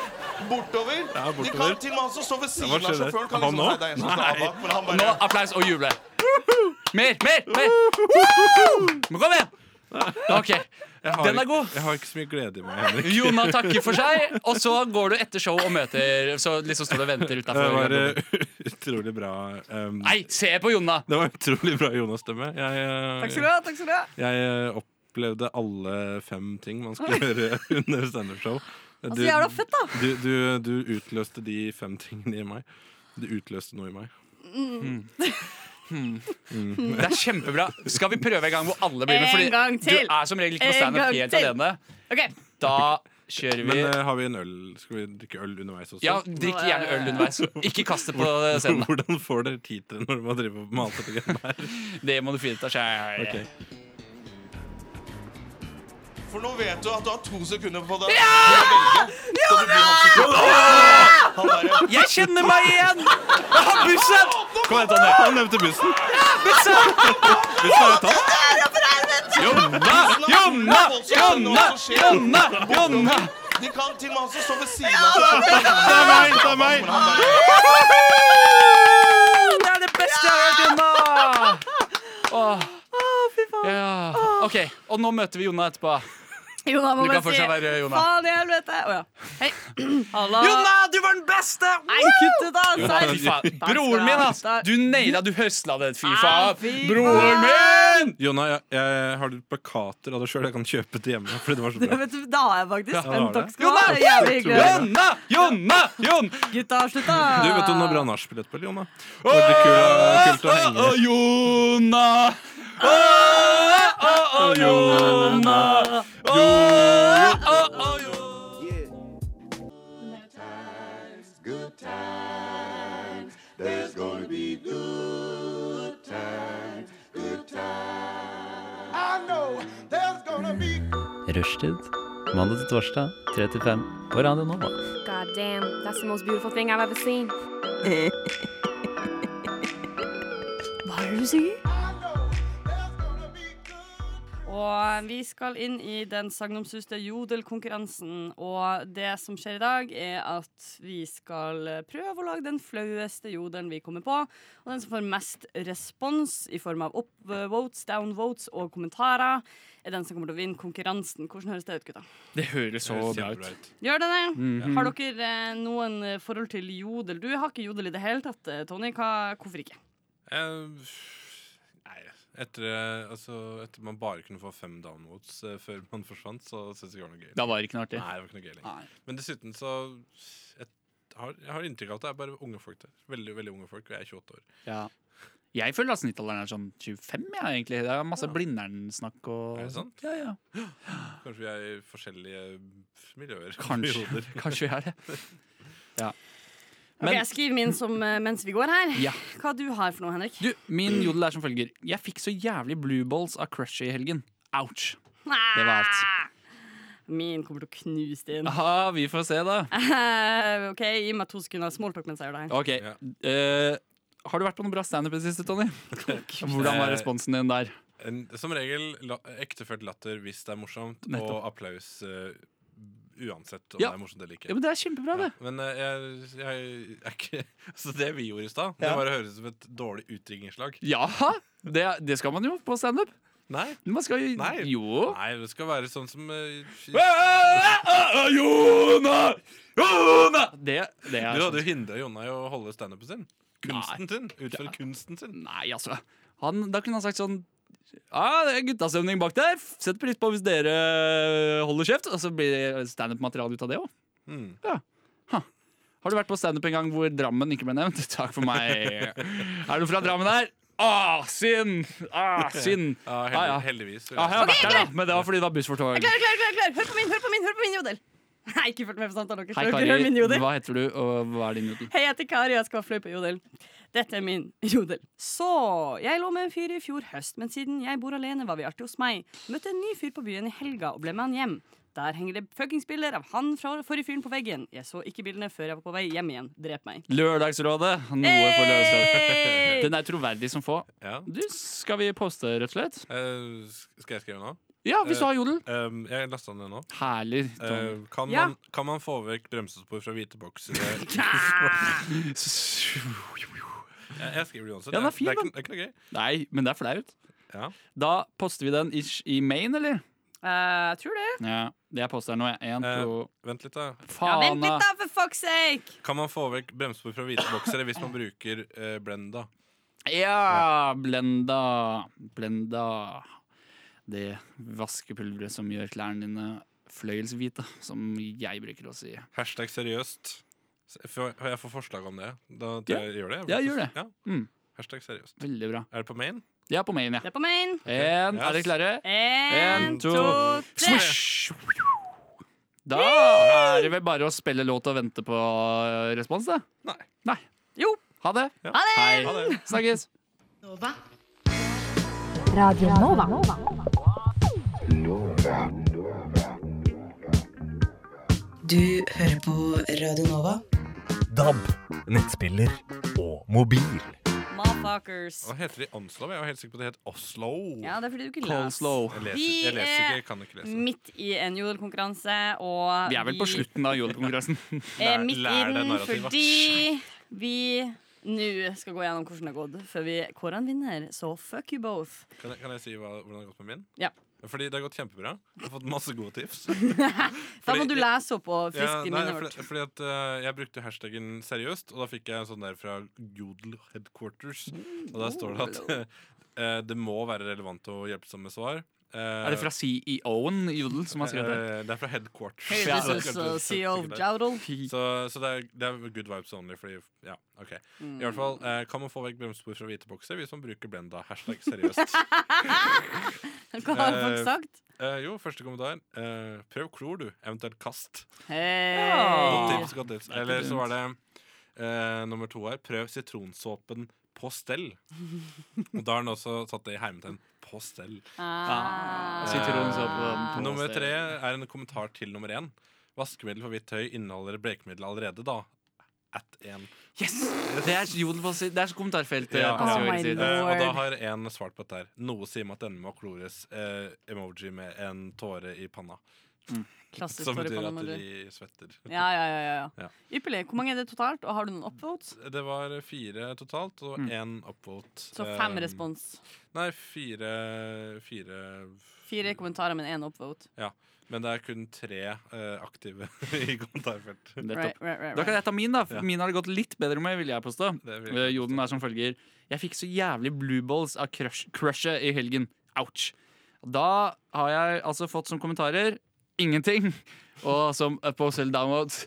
Speaker 13: Bortover.
Speaker 2: Ja, bortover.
Speaker 13: De kan til og med han som står ved
Speaker 2: Ja, hva
Speaker 13: siden av
Speaker 2: skjer der?
Speaker 13: sjåføren, kan
Speaker 2: Han
Speaker 13: liksom
Speaker 2: nå?
Speaker 13: Hei, det er en som skal av
Speaker 2: Nei.
Speaker 13: bak, men han
Speaker 4: Nå
Speaker 13: bare
Speaker 4: applaus og juble. Mer, mer, mer! Men kom igjen! OK.
Speaker 2: Jeg har,
Speaker 4: Den er
Speaker 2: ikke-
Speaker 4: god.
Speaker 2: Jeg har ikke så mye glede i meg, Henrik.
Speaker 4: Jonna takker for seg, og så går du etter show og møter Så liksom står du og venter
Speaker 2: Det var
Speaker 4: utafor.
Speaker 2: eh, utrolig bra. ehm,
Speaker 4: Nei, se på Jonna!
Speaker 2: Det var utrolig bra Jonas-stemme. Jeg, eh,
Speaker 5: Takk skal du ha. takk skal du ha
Speaker 2: Jeg eh, opplevde alle fem ting man skal
Speaker 5: Oi.
Speaker 2: gjøre under standup-show.
Speaker 5: Altså, jævla fett, da.
Speaker 2: Du, du, du utløste de fem tingene i meg. Du utløste noe i meg.
Speaker 5: Mm.
Speaker 4: Hmm.
Speaker 2: Mm.
Speaker 4: Det er kjempebra. Skal vi prøve en gang hvor alle blir med?
Speaker 5: En
Speaker 4: Fordi
Speaker 5: gang til.
Speaker 4: du er som regel ikke på
Speaker 5: En gang
Speaker 4: standup helt
Speaker 5: til.
Speaker 4: alene.
Speaker 5: OK.
Speaker 4: Da kjører
Speaker 2: Men
Speaker 4: vi
Speaker 2: eh, har vi en øl? Skal vi drikke øl underveis også?
Speaker 4: Ja, drikk gjerne øl underveis. Ikke kaste på
Speaker 2: Hvor-
Speaker 4: scenen.
Speaker 2: Hvordan får dere tid til det når man driver og mater til greiene her?
Speaker 4: Det må du finne ut av sjæl.
Speaker 2: Ok.
Speaker 13: For nå vet du at du har to sekunder på deg til å velge. Skal du bli han psykopaten? Han derre
Speaker 4: Jeg kjenner meg igjen! Jeg har bussen!
Speaker 2: Kom igjen, Tonje. Han nevnte bussen.
Speaker 4: Bussen!
Speaker 2: Bussen er jo tatt.
Speaker 4: Jonna! Jonna! Jonna! Jonna! Jonna!
Speaker 13: De kan til og med han som står ved siden
Speaker 4: Ja,
Speaker 13: av
Speaker 4: det er meg, det er meg.
Speaker 13: Men han bare
Speaker 4: Det er det beste jeg har hørt, Jonna! Åh. Ja. OK, og nå møter vi Jonna etterpå.
Speaker 5: Jonna må
Speaker 4: Du kan
Speaker 5: bare si
Speaker 4: fortsatt være Jonna.
Speaker 5: Faen i helvete. Å ja. Hei. Hallo.
Speaker 4: Jonna,
Speaker 5: du var den beste! Nei, kutt ut, da.
Speaker 4: Ja,
Speaker 5: Serr.
Speaker 4: fy faen.
Speaker 5: Takk skal
Speaker 4: Broren min,
Speaker 5: du ha.
Speaker 4: ass! Du naila, du høsla det, fy
Speaker 5: Ah,
Speaker 4: faen.
Speaker 5: fy
Speaker 4: Broren min!
Speaker 2: Jonna, jeg, jeg har plakater av det sjøl jeg kan kjøpe til hjemme. Fordi det var så
Speaker 5: Det,
Speaker 2: bra
Speaker 5: vet du, da er jeg faktisk
Speaker 2: Ja,
Speaker 5: spent.
Speaker 2: da var det.
Speaker 5: Takk skal du ha. Det er Jævlig hyggelig.
Speaker 2: Jonna!
Speaker 4: Jonna! Jon!
Speaker 5: Gutta, slutt, da.
Speaker 2: Du vet hun har bra nachspiel etterpå, Jonna. Det var litt kult, kult å henge med.
Speaker 4: Jonna!
Speaker 2: Jonna!
Speaker 15: Good times. There's gonna be good times. Good times. I know there's gonna be.
Speaker 6: Rushtid. Mandag til torsdag 3 til 5 på Radio Nova.
Speaker 7: God damn, that's the most beautiful thing I've ever seen.
Speaker 5: Hva er det du sier? Og vi skal inn i den sagnomsuste jodelkonkurransen. Og det som skjer i dag, er at vi skal prøve å lage den flaueste jodelen vi kommer på. Og den som får mest respons i form av upvotes, downvotes og kommentarer, er den som kommer til å vinne konkurransen. Hvordan høres det ut, gutta?
Speaker 4: Det høres så
Speaker 2: Det høres
Speaker 4: bra
Speaker 2: kjempebra
Speaker 4: ut.
Speaker 2: ut.
Speaker 5: Gjør det det?
Speaker 4: Mhm.
Speaker 5: Har dere eh, noen eh, forhold til jodel? Du har ikke jodel i det hele tatt, eh, Tony. Hva, hvorfor ikke?
Speaker 2: Eh, Nei, etter, eh, altså, etter man bare kunne få fem downvotes eh, før man forsvant, så syns jeg ikke det var noe gøy.
Speaker 4: Da var det ikke noe artig.
Speaker 2: Nei, det var ikke noe gøy lenger. Men dessuten så jeg har, jeg har inntrykk av at det er bare unge folk der. Veldig veldig unge folk, og jeg er 28 år.
Speaker 4: Ja. Jeg føler at snittalderen er sånn 25, jeg, egentlig. Det er masse
Speaker 2: Ja.
Speaker 4: Blindern-snakk og
Speaker 2: Er det sant?
Speaker 4: Ja, ja.
Speaker 2: Kanskje vi er i forskjellige miljøer.
Speaker 4: Kanskje, kanskje vi er det. Ja.
Speaker 5: Ok, jeg skriver min som eh, mens vi går her.
Speaker 4: Ja.
Speaker 5: Hva du har for noe, Henrik?
Speaker 4: Du, min jodel er som følger. Jeg fikk så jævlig blue balls av crushet i helgen. Ouch. Det
Speaker 5: Ah!
Speaker 4: var alt.
Speaker 5: Min kommer til å knuse din.
Speaker 4: Aha, vi får se, da. Ah.
Speaker 5: Eh, OK, gi meg to sekunder smalltalk mens jeg gjør det her.
Speaker 4: Ok. Eh, har du vært på noe bra standup i det siste, Tony? Hvordan
Speaker 2: Eh,
Speaker 4: var responsen din der?
Speaker 2: En, som regel la, ektefølt latter hvis det er morsomt,
Speaker 4: Nettopp.
Speaker 2: og applaus eh, uansett om
Speaker 4: Ja.
Speaker 2: det er morsomt eller ikke.
Speaker 4: Ja, men Det er kjempebra, det.
Speaker 2: Men eh, jeg, jeg er ikke Så det vi gjorde i stad, det
Speaker 4: Ja.
Speaker 2: var å høres ut som et dårlig utringningslag.
Speaker 4: Jaha! Det, det skal man jo på standup.
Speaker 2: Nei.
Speaker 4: Man skal jo
Speaker 2: Nei.
Speaker 4: Jo.
Speaker 2: Nei, det skal være sånn som eh,
Speaker 4: Jona! Jona! Det, det er
Speaker 2: Du hadde jo
Speaker 4: sånn-
Speaker 2: hindra Jonna i å holde standupen sin. Kunsten sin. Utføre kunsten sin.
Speaker 4: Nei, altså. Han, da kunne han sagt sånn Ja, det er guttastemning bak der. Sett pris på hvis dere holder kjeft. Og så blir det standup-materiale ut av det òg.
Speaker 2: Mm.
Speaker 4: Ja. Ha. Har du vært på standup en gang hvor Drammen ikke ble nevnt? Takk for meg. er du fra Drammen her? Ah, synd! Ah, synd.
Speaker 2: Ja, heldig-
Speaker 4: Ah, ja.
Speaker 2: heldigvis, vil jeg
Speaker 4: Ja, jeg har
Speaker 5: si.
Speaker 4: vært
Speaker 5: Ok,
Speaker 4: der,
Speaker 5: klar.
Speaker 4: da. Men det var fordi det var buss for
Speaker 5: Jeg
Speaker 4: tog.
Speaker 5: er klar, klar, klar, klar. Hør på min, hør på min, hør på min jodel! Nei, ikke følg med på samtalen deres.
Speaker 4: Hei,
Speaker 5: Hør-
Speaker 4: Kari.
Speaker 5: hør min jodel.
Speaker 4: Hva heter du, og hva er din jodel?
Speaker 5: Hei, jeg heter Kari, og jeg skal være flau på jodel. Dette er min jodel. Så, jeg lå med en fyr i fjor høst, men siden jeg bor alene, var vi artig hos meg. Møtte en ny fyr på byen i helga og ble med han hjem. Der henger det fuckings bilder av han fra forrige fyren på veggen. Jeg så ikke bildene før jeg var på vei hjem igjen. Drep meg.
Speaker 4: Lørdagsrådet. Noe for
Speaker 5: Hey!
Speaker 4: Lørdagsrådet. Den er troverdig som få. Du, skal vi poste, rett og slett?
Speaker 2: Eh, s- skal jeg skrive nå?
Speaker 4: Ja, hvis du har jodel.
Speaker 2: Um, jeg lasta ned nå.
Speaker 4: Herlig.
Speaker 2: Eh,
Speaker 4: Tom.
Speaker 2: kan,
Speaker 4: Ja.
Speaker 2: man, kan man få vekk bremsespor fra hvite boksere? jeg, jeg skriver det uansett.
Speaker 4: Ja, den er fin,
Speaker 2: det, er
Speaker 4: den.
Speaker 2: ikke, det er ikke noe gøy.
Speaker 4: Nei, men det er flaut. Da poster vi den ish i main, eller?
Speaker 5: Eh, tror det.
Speaker 4: Ja, det jeg poster nå, er én, to
Speaker 2: Eh, Vent litt, da.
Speaker 5: Ja, vent
Speaker 4: Faen,
Speaker 5: litt,
Speaker 4: da!
Speaker 5: da, for fuck's sake!
Speaker 2: Kan man få vekk bremsespor fra hvite boksere hvis man bruker eh, Blenda?
Speaker 4: Ja, Blenda. Blenda. Det vaskepulveret som gjør klærne dine fløyelshvite, som jeg bruker å si.
Speaker 2: Hashtag seriøst. S- Får får jeg få forslag om det? Da tror
Speaker 4: Ja.
Speaker 2: jeg jeg gjør det?
Speaker 4: Ja, gjør det.
Speaker 2: Ja.
Speaker 4: Mm.
Speaker 2: Hashtag seriøst.
Speaker 4: Veldig bra.
Speaker 2: Er det på main?
Speaker 4: Det er på main, ja.
Speaker 5: Det er på main.
Speaker 4: En,
Speaker 2: Yes.
Speaker 4: Er dere klare?
Speaker 5: En,
Speaker 4: En, to,
Speaker 5: to, tre.
Speaker 4: Swish! Da er det vel bare å spille låt og vente på eh, respons, da.
Speaker 2: Nei.
Speaker 5: Jo.
Speaker 4: Ha det.
Speaker 5: Ha det.
Speaker 4: Hei.
Speaker 5: Ha det.
Speaker 4: Snakkes.
Speaker 5: Nova.
Speaker 7: Radio Nova.
Speaker 8: Du hører på Radio Nova.
Speaker 10: DAB, nettspiller og mobil.
Speaker 5: Motherfuckers.
Speaker 2: Hva heter de? Oslo? Jeg var helt sikker på at det het Oslo.
Speaker 5: Ja, det er fordi du ikke leser.
Speaker 2: Jeg leser, jeg leser ikke, jeg kan ikke lese.
Speaker 5: Vi er midt i en jodelkonkurranse, og Eh,
Speaker 4: Vi er vel på slutten av jodelkongressen.
Speaker 5: er midt i den fordi vi nå skal gå gjennom hvordan det har gått, før vi kårer en vinner. Så fuck you both.
Speaker 2: Kan jeg, kan jeg si hva, hvordan det har gått med min?
Speaker 5: Ja.
Speaker 2: Fordi det har gått kjempebra. Jeg har fått masse gode tips.
Speaker 5: Da må
Speaker 2: Fordi-
Speaker 5: du lese opp og
Speaker 2: Ja,
Speaker 5: friske
Speaker 2: nei,
Speaker 5: minnet
Speaker 2: fordi,
Speaker 5: vårt.
Speaker 2: fordi at eh, Jeg brukte hashtaggen seriøst, og da fikk jeg en sånn der fra Jodel Headquarters. Og der står det at eh, det må være relevant og hjelpsomme svar. Eh,
Speaker 4: Er det fra CEO-en i Jodel som har skrevet det?
Speaker 2: det er fra Headquarters.
Speaker 4: Hey, this is,
Speaker 2: Ja.
Speaker 4: uh, CEO of
Speaker 5: Jodel.
Speaker 2: Så, så det, er, det er good vibes only, fordi Ja, OK. I hvert fall eh, kan man få vekk bremsespor fra hvite bokser hvis man bruker Blenda. Hashtag seriøst.
Speaker 5: Hva har folk
Speaker 2: Eh,
Speaker 5: sagt?
Speaker 2: eh, jo, første kommentar. eh, prøv klor, du. Eventuelt kast.
Speaker 5: Hei.
Speaker 2: Godt tips, godt tips.
Speaker 5: Ah. Det er ikke
Speaker 2: Eller så var
Speaker 5: dumt.
Speaker 2: det eh, nummer to her. Prøv sitronsåpen på stell. Og da har den også satt det i hermetegn. På stell.
Speaker 4: Ah.
Speaker 2: Eh,
Speaker 4: Sitronsåpen på
Speaker 2: nummer
Speaker 4: stell.
Speaker 2: tre er en kommentar til nummer én. Vaskemiddel for hvitt tøy inneholder blekemiddel allerede, da. At én.
Speaker 4: Yes! Det er Jodel på si- Det er så kommentarfeltet.
Speaker 2: Ja,
Speaker 4: passer
Speaker 2: ja.
Speaker 5: Oh
Speaker 4: jo hele tiden.
Speaker 2: Eh, og da har en svart på dette her. Noe sier meg at denne må klores. Eh, emoji med en tåre i panna.
Speaker 5: Klassisk
Speaker 2: Som
Speaker 5: tåre i
Speaker 2: betyr
Speaker 5: panna,
Speaker 2: at
Speaker 5: Marie.
Speaker 2: de svetter.
Speaker 5: Ja, ja, ja, ja, ja.
Speaker 2: Ja.
Speaker 5: Ypperlig. Hvor mange er det totalt, og har du noen upvotes?
Speaker 2: Det var fire totalt, og én upvote.
Speaker 5: Mm. Så fem
Speaker 2: Eh,
Speaker 5: respons.
Speaker 2: Nei, fire, fire
Speaker 5: Fire kommentarer, men én upvote.
Speaker 2: Ja. Men det er kun tre eh, aktive i kommentarfelt.
Speaker 4: Nettopp. Da kan jeg ta min, da. for
Speaker 2: Ja.
Speaker 4: Min har det gått litt bedre med, vil jeg påstå.
Speaker 2: vil jeg
Speaker 4: Eh, Joden er som følger. Jeg fikk så jævlig blue balls av crush- crushet i helgen. Ouch. Da har jeg altså fått som kommentarer ingenting. Og som upos eller downloads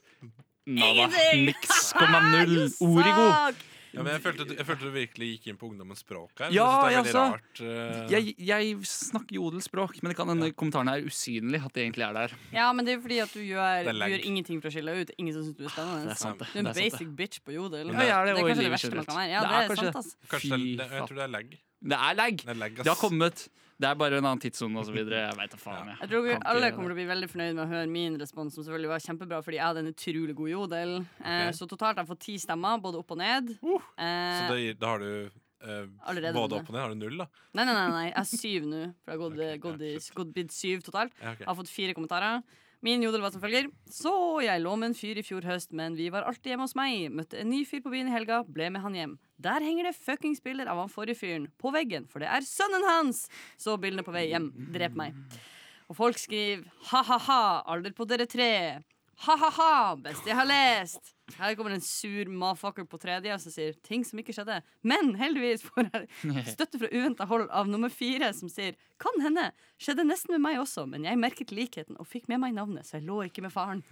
Speaker 4: nada.
Speaker 2: Ingenting!
Speaker 4: Niks, komma null. Origo.
Speaker 5: ah,
Speaker 2: Ja, men jeg følte, du- jeg følte du virkelig gikk inn på ungdommens språk her.
Speaker 4: Ja,
Speaker 2: jeg
Speaker 4: jeg
Speaker 2: synes det er
Speaker 4: også.
Speaker 2: veldig rart. eh,
Speaker 4: Jeg, jeg snakker jodelspråk, men det kan hende kommentaren er usynlig. At det egentlig er der
Speaker 5: Ja, men det er jo fordi at du gjør,
Speaker 4: Det er
Speaker 5: du
Speaker 4: lag.
Speaker 5: gjør ingenting for å skille deg ut. Ingen som syns du er spennende.
Speaker 4: Det er sant, det.
Speaker 5: Du er en
Speaker 4: Det er sant,
Speaker 5: basic bitch på jodel.
Speaker 4: Ja, jeg er det,
Speaker 5: er
Speaker 4: og i
Speaker 5: kanskje det
Speaker 4: livet
Speaker 5: verste man
Speaker 4: generelt.
Speaker 5: kan være. Ja,
Speaker 4: Det
Speaker 5: det
Speaker 4: er
Speaker 5: er
Speaker 4: kanskje-
Speaker 5: sant, ass.
Speaker 2: Kanskje det,
Speaker 4: Fy
Speaker 2: det, jeg tror det er lag.
Speaker 4: Det er lag!
Speaker 2: Det, er lag, ass.
Speaker 4: Det har kommet. Det er bare en annen tidssone osv. Jeg veit da faen.
Speaker 5: Jeg tror vi alle kommer til å bli veldig fornøyd med å høre min respons, som selvfølgelig var kjempebra, fordi jeg hadde en utrolig god jodel. Eh,
Speaker 2: Ok.
Speaker 5: så totalt har jeg fått ti stemmer, både opp og ned.
Speaker 4: Uh,
Speaker 2: Så
Speaker 5: Eh,
Speaker 2: da, gir- da har du eh,
Speaker 5: Allerede
Speaker 2: både
Speaker 5: vunnet.
Speaker 2: opp og ned. Har du null, da?
Speaker 5: Nei, nei, nei, nei, jeg er syv nå. For jeg har gått, gått, i- gått bidd syv totalt.
Speaker 2: Ja, ok.
Speaker 5: Jeg har fått fire kommentarer. Min jodel var som følger. Så jeg lå med en fyr i fjor høst, men vi var alltid hjemme hos meg. Møtte en ny fyr på byen i helga, ble med han hjem. Der henger det fuckings bilder av han forrige fyren. På veggen, for det er sønnen hans! Så bildene på vei hjem. Drep meg. Og folk skriver ha-ha-ha, alder på dere tre. Ha-ha-ha, best jeg har lest. Her kommer en sur mafucker på tredje som sier ting som ikke skjedde. Men heldigvis får jeg støtte fra uventa hold av nummer fire, som sier kan hende. Skjedde nesten med meg også, men jeg merket likheten og fikk med meg navnet, så jeg lå ikke med faren.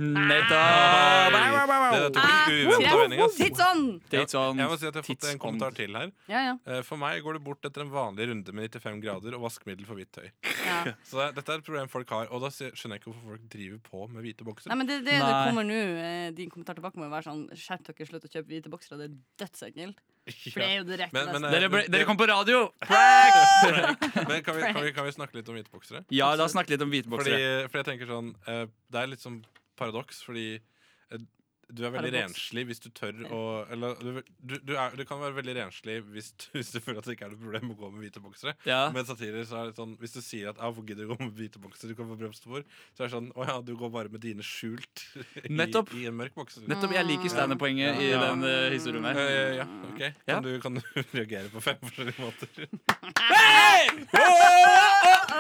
Speaker 5: Ah,
Speaker 2: Det tok en uventet vending, ass.
Speaker 5: Tidsånd!
Speaker 2: Jeg,
Speaker 4: sånn
Speaker 2: jeg må si at jeg har fått en kommentar til her.
Speaker 5: sånn! Ja, ja.
Speaker 2: Eh, For meg går det bort etter en vanlig runde med 95 grader og vaskemiddel for hvitt tøy.
Speaker 5: Ja.
Speaker 2: Så det, dette er et problem folk har, og da sier- skjønner jeg ikke hvorfor folk driver på med hvite bokser.
Speaker 5: Nei, men det, det, det kommer nå. eh, Din kommentar tilbake må jo være sånn Skjerp dere, slutt å kjøpe hvite boksere. Det er dødsekkelt. For det er jo direkte
Speaker 2: Men- men,
Speaker 5: nesten.
Speaker 2: eh, Dere ble- dere kom
Speaker 4: på radio!
Speaker 2: Men kan vi, kan, vi, kan vi snakke litt om hvite boksere?
Speaker 4: Ja, la oss snakke litt om hvite
Speaker 2: Fordi,
Speaker 4: boksere.
Speaker 2: fordi jeg tenker sånn eh, Det er litt sånn paradoks, fordi eh, du er veldig
Speaker 4: Paradoks.
Speaker 2: renslig hvis du tør å Eller du, du, du, er, du kan være veldig renslig hvis du, hvis du føler at det ikke er noe problem å gå med hvite boksere.
Speaker 4: Ja.
Speaker 2: Men samtidig så er det sånn hvis du sier at ah, 'Hvor gidder du å gå med hvite boksere? Du kan få bremsespor', så er det sånn 'Å ja, du går bare med dine skjult i,
Speaker 4: Nettopp.
Speaker 2: i en mørk boks'.
Speaker 4: Nettopp, jeg liker Steiner-poenget i den, eh, historien her.
Speaker 2: Eh, ja, ok.
Speaker 4: Ja.
Speaker 2: Kan, du, kan du reagere på fem forskjellige måter?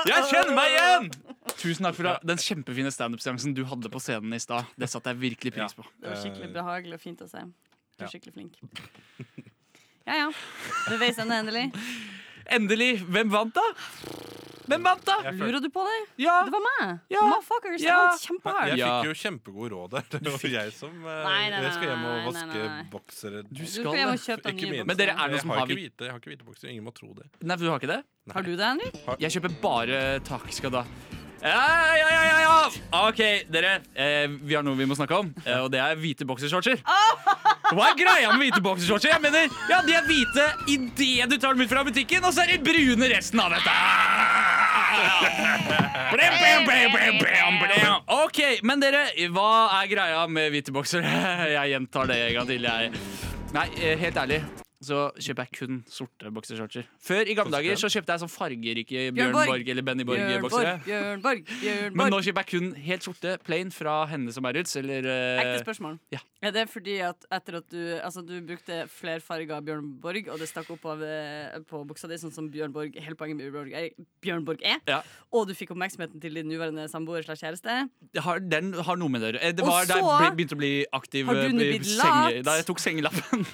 Speaker 4: Jeg kjenner meg igjen! Tusen takk for da- den kjempefine standup-seansen du hadde på scenen i stad. Det satte jeg virkelig pris på.
Speaker 5: Det var skikkelig behagelig og fint å se. Du
Speaker 4: Eh, Ja.
Speaker 5: er skikkelig flink. Ja ja. Ved veis ende, endelig.
Speaker 4: Endelig! Hvem vant, da? Hvem vant, da?
Speaker 5: Lurer du på det? Det var meg!
Speaker 4: Ja.
Speaker 5: Motherfuckers!
Speaker 4: Ja.
Speaker 5: Det var kjempehardt.
Speaker 2: Jeg fikk jo kjempegode råd der. Det var jeg som eh,
Speaker 5: Nei, nei,
Speaker 2: Jeg skal hjem og
Speaker 5: nei, nei,
Speaker 2: vaske
Speaker 5: nei.
Speaker 2: boksere.
Speaker 4: Du skal skal hjem og kjøpe deg nye boksere. Men dere er noen
Speaker 2: jeg
Speaker 4: som
Speaker 2: har
Speaker 4: har
Speaker 2: ikke
Speaker 4: hvit-
Speaker 2: hvite, Jeg har ikke hvite boksere. Ingen må tro det.
Speaker 4: Nei, for du har ikke det?
Speaker 5: Har du det, Henrik?
Speaker 4: Jeg kjøper bare takskadda. Ja, ja, ja, ja, ja! OK, dere. Eh, vi har noe vi må snakke om, eh, og det er hvite boksershortser. Hva er greia med hvite boksershortser? Jeg mener, ja, De er hvite idet du tar dem ut fra butikken, og så er de brune resten av dette. Blam, blam, blam, blam, blam, blam. OK, men dere, hva er greia med hvite boksere? Jeg gjentar det en gang til, jeg. Nei, eh, helt ærlig. Så kjøper jeg kun sorte boksershortser. Før i gamle dager så kjøpte jeg sånn fargerike Bjørn Borg eller Benny
Speaker 5: Bjørn
Speaker 4: Borg-boksere.
Speaker 5: Borg, Bjørn Borg, Bjørn
Speaker 4: Men
Speaker 5: Borg.
Speaker 4: nå kjøper jeg kun helt sorte plain fra henne som er ruts. Eller eh,
Speaker 5: Ekte spørsmål.
Speaker 4: Ja.
Speaker 5: Ja, det er fordi at etter at du, altså, du brukte flerfarga Bjørn Borg, og det stakk opp av, eh, på buksa di, sånn som Bjørn Borg, hele poenget med Bjørn Borg er, Bjørn Borg er.
Speaker 4: Ja.
Speaker 5: og du fikk oppmerksomheten til din nåværende samboer slash kjæreste
Speaker 4: Det eh, har, den har noe med det å gjøre. Eh, Det
Speaker 5: Og
Speaker 4: var da jeg
Speaker 5: så
Speaker 4: ble- begynte å bli aktiv.
Speaker 5: har du
Speaker 4: eh,
Speaker 5: nå
Speaker 4: i
Speaker 5: blitt
Speaker 4: senge-
Speaker 5: lat?
Speaker 4: Da jeg tok sengelappen.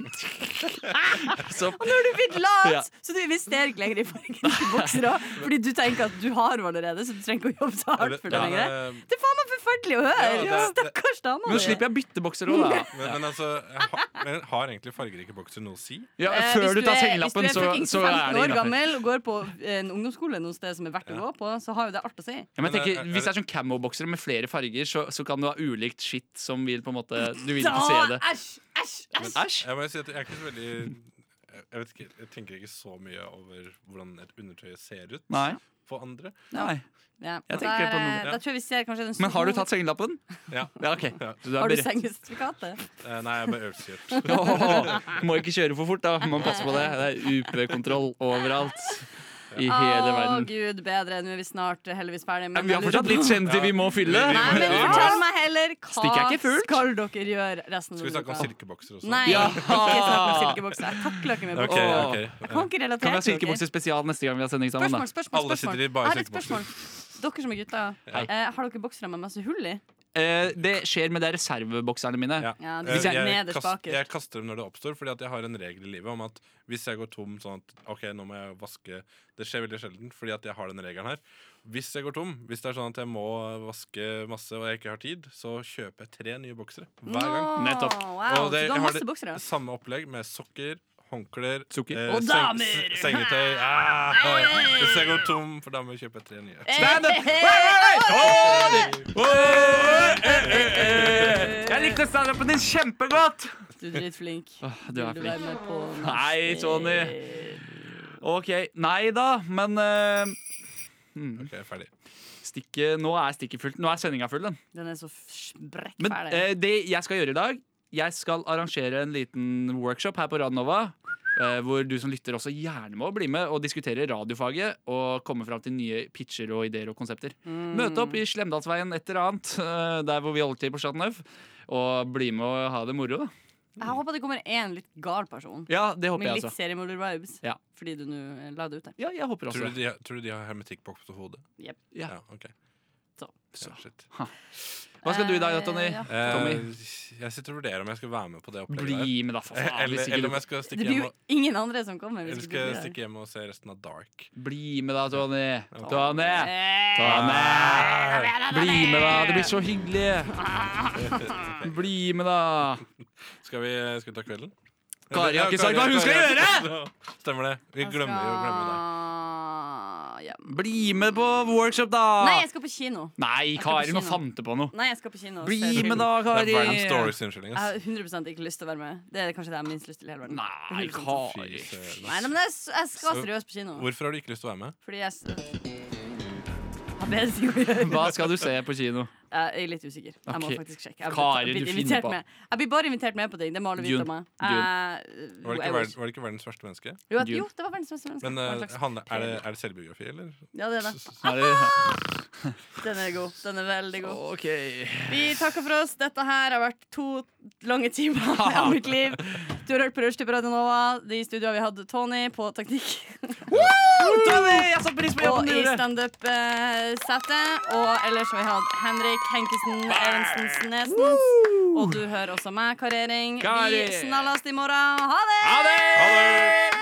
Speaker 4: så,
Speaker 5: Og nå har du blitt lat!
Speaker 4: Ja.
Speaker 5: Så du investerer ikke lenger i fargen i bukser òg. Fordi du tenker at du har henne allerede, så du trenger ikke å jobbe så hardt for det
Speaker 2: Ja, det-
Speaker 5: lenger. Det er faen meg forferdelig å høre!
Speaker 2: Ja, det- det-
Speaker 5: Stakkars dama
Speaker 4: Nå
Speaker 5: di.
Speaker 4: slipper jeg byttebokser òg, da.
Speaker 2: Men, men altså, jeg har, men har egentlig fargerike bokser noe å si?
Speaker 4: Ja,
Speaker 5: Eh, hvis
Speaker 4: før du tar
Speaker 5: er-
Speaker 4: sengelappen,
Speaker 5: hvis du
Speaker 4: så,
Speaker 5: fucking
Speaker 4: så er
Speaker 5: 15
Speaker 4: det
Speaker 5: år
Speaker 4: innafor.
Speaker 5: gammel og går på eh, en ungdomsskole noe sted som er verdt å gå på, så har jo det art å si.
Speaker 4: Ja, men jeg tenker, hvis det er sånn camo-boksere med flere farger, så, så kan du ha ulikt skitt som vil på en måte Du vil ikke se det.
Speaker 5: Æsj, æsj,
Speaker 2: Men,
Speaker 5: æsj!
Speaker 2: Jeg må jo si at jeg er ikke så veldig jeg, jeg vet ikke, jeg tenker ikke så mye over hvordan et undertøy ser ut
Speaker 4: Nei.
Speaker 2: på andre.
Speaker 4: Nei.
Speaker 5: Ja. Der,
Speaker 4: Jeg tenker på
Speaker 5: eh,
Speaker 4: noe-
Speaker 5: Da tror jeg vi ser kanskje den
Speaker 4: Men har du
Speaker 5: store-
Speaker 4: tatt sengelappen?
Speaker 2: Ja.
Speaker 4: ok. Du er
Speaker 5: Har du
Speaker 4: beredt.
Speaker 5: sengesertifikatet?
Speaker 2: Eh, Nei, jeg er bare øvelseskjørt.
Speaker 4: Åh, må ikke kjøre for fort, da. Man passer på det. Det er UP-kontroll overalt. I hele
Speaker 5: Å,
Speaker 4: verden.
Speaker 5: gud bedre. Nå er vi snart eh, heldigvis ferdig.
Speaker 4: Ja, men vi har fortsatt litt kjente vi må fylle.
Speaker 5: Nei, men
Speaker 4: Ja.
Speaker 5: fortell meg heller
Speaker 4: Stikk er ikke
Speaker 5: hva skal dere gjøre resten av
Speaker 2: Skal vi snakke om
Speaker 5: uka?
Speaker 2: silkebokser også?
Speaker 5: Nei,
Speaker 4: Ja.
Speaker 5: ikke snakk om silkebokser. Jeg takler ikke med
Speaker 2: Ok,
Speaker 5: bukser.
Speaker 2: ok.
Speaker 5: Jeg kan ikke
Speaker 4: Kan vi
Speaker 5: relatere
Speaker 4: ha silkebokser spesial neste gang vi har sending sammen? da?
Speaker 5: Spørsmål, spørsmål,
Speaker 2: Alle
Speaker 5: spørsmål.
Speaker 2: sitter i bare
Speaker 5: Jeg har et
Speaker 2: silkebokser.
Speaker 5: spørsmål. Dere som er gutter,
Speaker 4: Ja.
Speaker 5: eh, har dere boksere med masse hull i?
Speaker 4: Eh, det skjer med de reservebokserne mine.
Speaker 5: Ja,
Speaker 2: Eh,
Speaker 5: det er
Speaker 2: jeg,
Speaker 5: nederst
Speaker 2: kast,
Speaker 5: bakerst.
Speaker 2: jeg kaster dem når det oppstår, Fordi at jeg har en regel i livet om at hvis jeg går tom sånn at Ok, nå må jeg vaske Det skjer veldig sjelden, fordi at jeg har den regelen her. Hvis jeg går tom, hvis det er sånn at jeg må vaske masse og jeg ikke har tid, så kjøper jeg tre nye boksere hver gang.
Speaker 5: Nå, Nettopp. wow,
Speaker 2: Og
Speaker 5: så du
Speaker 2: jeg
Speaker 5: har masse boksere, da.
Speaker 2: det samme opplegg med sokker. Håndklær, eh,
Speaker 5: Og damer!
Speaker 2: s- sengetøy ah, Hvis jeg går tom for damer, kjøper jeg tre nye.
Speaker 4: Stand up! Hey, hey, hey! Åh, det- Åh, eh, eh, eh. Jeg likte standupen din kjempegodt!
Speaker 5: Du er dritflink.
Speaker 4: Åh, du
Speaker 5: Vil
Speaker 4: er
Speaker 5: du være med på
Speaker 4: flink. Nei, Tony. OK. Nei da, men eh, mm.
Speaker 2: ferdig.
Speaker 4: Stikket, nå er stikket fullt. Nå er sendinga full, den.
Speaker 5: Den er så sprekk
Speaker 4: Men
Speaker 5: ferdig.
Speaker 4: eh, det jeg skal gjøre i dag Jeg skal arrangere en liten workshop her på Radnova eh, Hvor du som lytter også gjerne må bli med Og diskutere radiofaget Og komme frem til nye pitcher og ideer og konsepter
Speaker 16: Mm.
Speaker 4: Møte opp i Slemdalsveien et eller annet eh, Der hvor vi holder til på Chateauneuf Og bli med og ha det moro da
Speaker 5: Jeg håper det kommer én litt gal person.
Speaker 4: Ja, det håper
Speaker 5: Med
Speaker 4: jeg
Speaker 5: litt
Speaker 4: altså.
Speaker 5: seriemorder-vibes.
Speaker 4: Ja.
Speaker 5: Fordi du nå eh, la det ut der.
Speaker 4: Ja, jeg håper
Speaker 2: Tror du, de, har- tror du de har hermetikkboks på hodet?
Speaker 5: Jep.
Speaker 4: Ja.
Speaker 2: ok
Speaker 5: Så.
Speaker 2: Ja, shit.
Speaker 4: Hva skal du i dag, Tony?
Speaker 2: Eh,
Speaker 4: Tommy?
Speaker 2: Jeg sitter og vurderer om jeg skal være med på det opplegget.
Speaker 4: Bli
Speaker 2: der.
Speaker 4: med da, for faen,
Speaker 2: Eh,
Speaker 4: altså,
Speaker 2: eller,
Speaker 4: hvis ikke
Speaker 2: eller
Speaker 4: du-
Speaker 2: om jeg skal
Speaker 5: Det
Speaker 2: stikke
Speaker 5: blir
Speaker 2: hjem
Speaker 5: jo
Speaker 2: og,
Speaker 5: ingen andre som kommer.
Speaker 2: eller
Speaker 5: Hvis
Speaker 2: skal
Speaker 5: ikke
Speaker 2: jeg
Speaker 5: du blir
Speaker 2: stikke hjem og se resten av Dark.
Speaker 4: Bli med da, Tony Tony
Speaker 5: der.
Speaker 4: Tony Bli med da, det blir så
Speaker 2: Ok.
Speaker 4: hyggelig Bli med da
Speaker 2: Skal vi, skal vi ta kvelden?
Speaker 4: Kari har ikke
Speaker 2: Ja,
Speaker 4: sagt hva hun skal
Speaker 2: Kari har
Speaker 4: gjøre!
Speaker 2: ikke sagt- Stemmer det. Vi glemmer jo glemmer deg.
Speaker 5: Ah, ja.
Speaker 4: Bli med på workshop, da!
Speaker 5: Nei, jeg skal på kino.
Speaker 4: Nei,
Speaker 5: Jeg skal på
Speaker 4: Kari, nå
Speaker 5: kino.
Speaker 4: fant du på noe.
Speaker 5: Nei, jeg skal på kino. og
Speaker 4: Bli
Speaker 5: se film.
Speaker 4: med da, Kari!
Speaker 2: Det er Brian Stories unnskyldning,
Speaker 5: Jeg
Speaker 2: ass.
Speaker 5: har 100 ikke lyst til å være med. Det er kanskje det jeg har minst lyst til i hele verden.
Speaker 4: Nei,
Speaker 5: 100%.
Speaker 4: Kari.
Speaker 5: Nei, nei, men jeg, s- jeg skal
Speaker 2: Så-
Speaker 5: seriøst på kino.
Speaker 2: Hvorfor har du ikke lyst til å være med?
Speaker 5: Fordi jeg s- har bedre ting å gjøre.
Speaker 4: Hva skal du se på kino?
Speaker 5: Jeg er litt usikker. Jeg må
Speaker 4: Ok.
Speaker 5: faktisk sjekke. Jeg
Speaker 4: Kari,
Speaker 5: blir- blir
Speaker 4: du finner
Speaker 5: invitert
Speaker 4: på.
Speaker 5: Med. Jeg blir bare invitert med på ting. Det må alle vite
Speaker 2: Dune.
Speaker 5: om meg.
Speaker 2: Dune.
Speaker 5: Eh,
Speaker 2: Var det ikke,
Speaker 5: I
Speaker 2: verden,
Speaker 5: wish.
Speaker 2: var det ikke verdens verste menneske?
Speaker 5: Jo, at- jo, det var verdens beste menneske.
Speaker 2: Men
Speaker 5: Det var en
Speaker 2: eh,
Speaker 5: slags
Speaker 2: handler- er, det,
Speaker 5: trailer.
Speaker 2: er det selvbiografi, eller?
Speaker 5: Ja, det er det. Den er god. Den er veldig god. Vi takker for oss. Dette her har vært to lange timer av mitt liv. Du har hørt på Rushtid på Radio Nova. I studio har vi hatt Tony på teknikk.
Speaker 4: Tony, jeg satte pris på jobben
Speaker 5: Og
Speaker 4: du
Speaker 5: i
Speaker 4: gjorde.
Speaker 5: standup-settet. Og ellers har vi hatt Henrik Henkesen Evensen Snesens. Og du hører også meg, Karering.
Speaker 4: Kari.
Speaker 5: Vi snallast i morgen. Ha det!
Speaker 4: Ha det!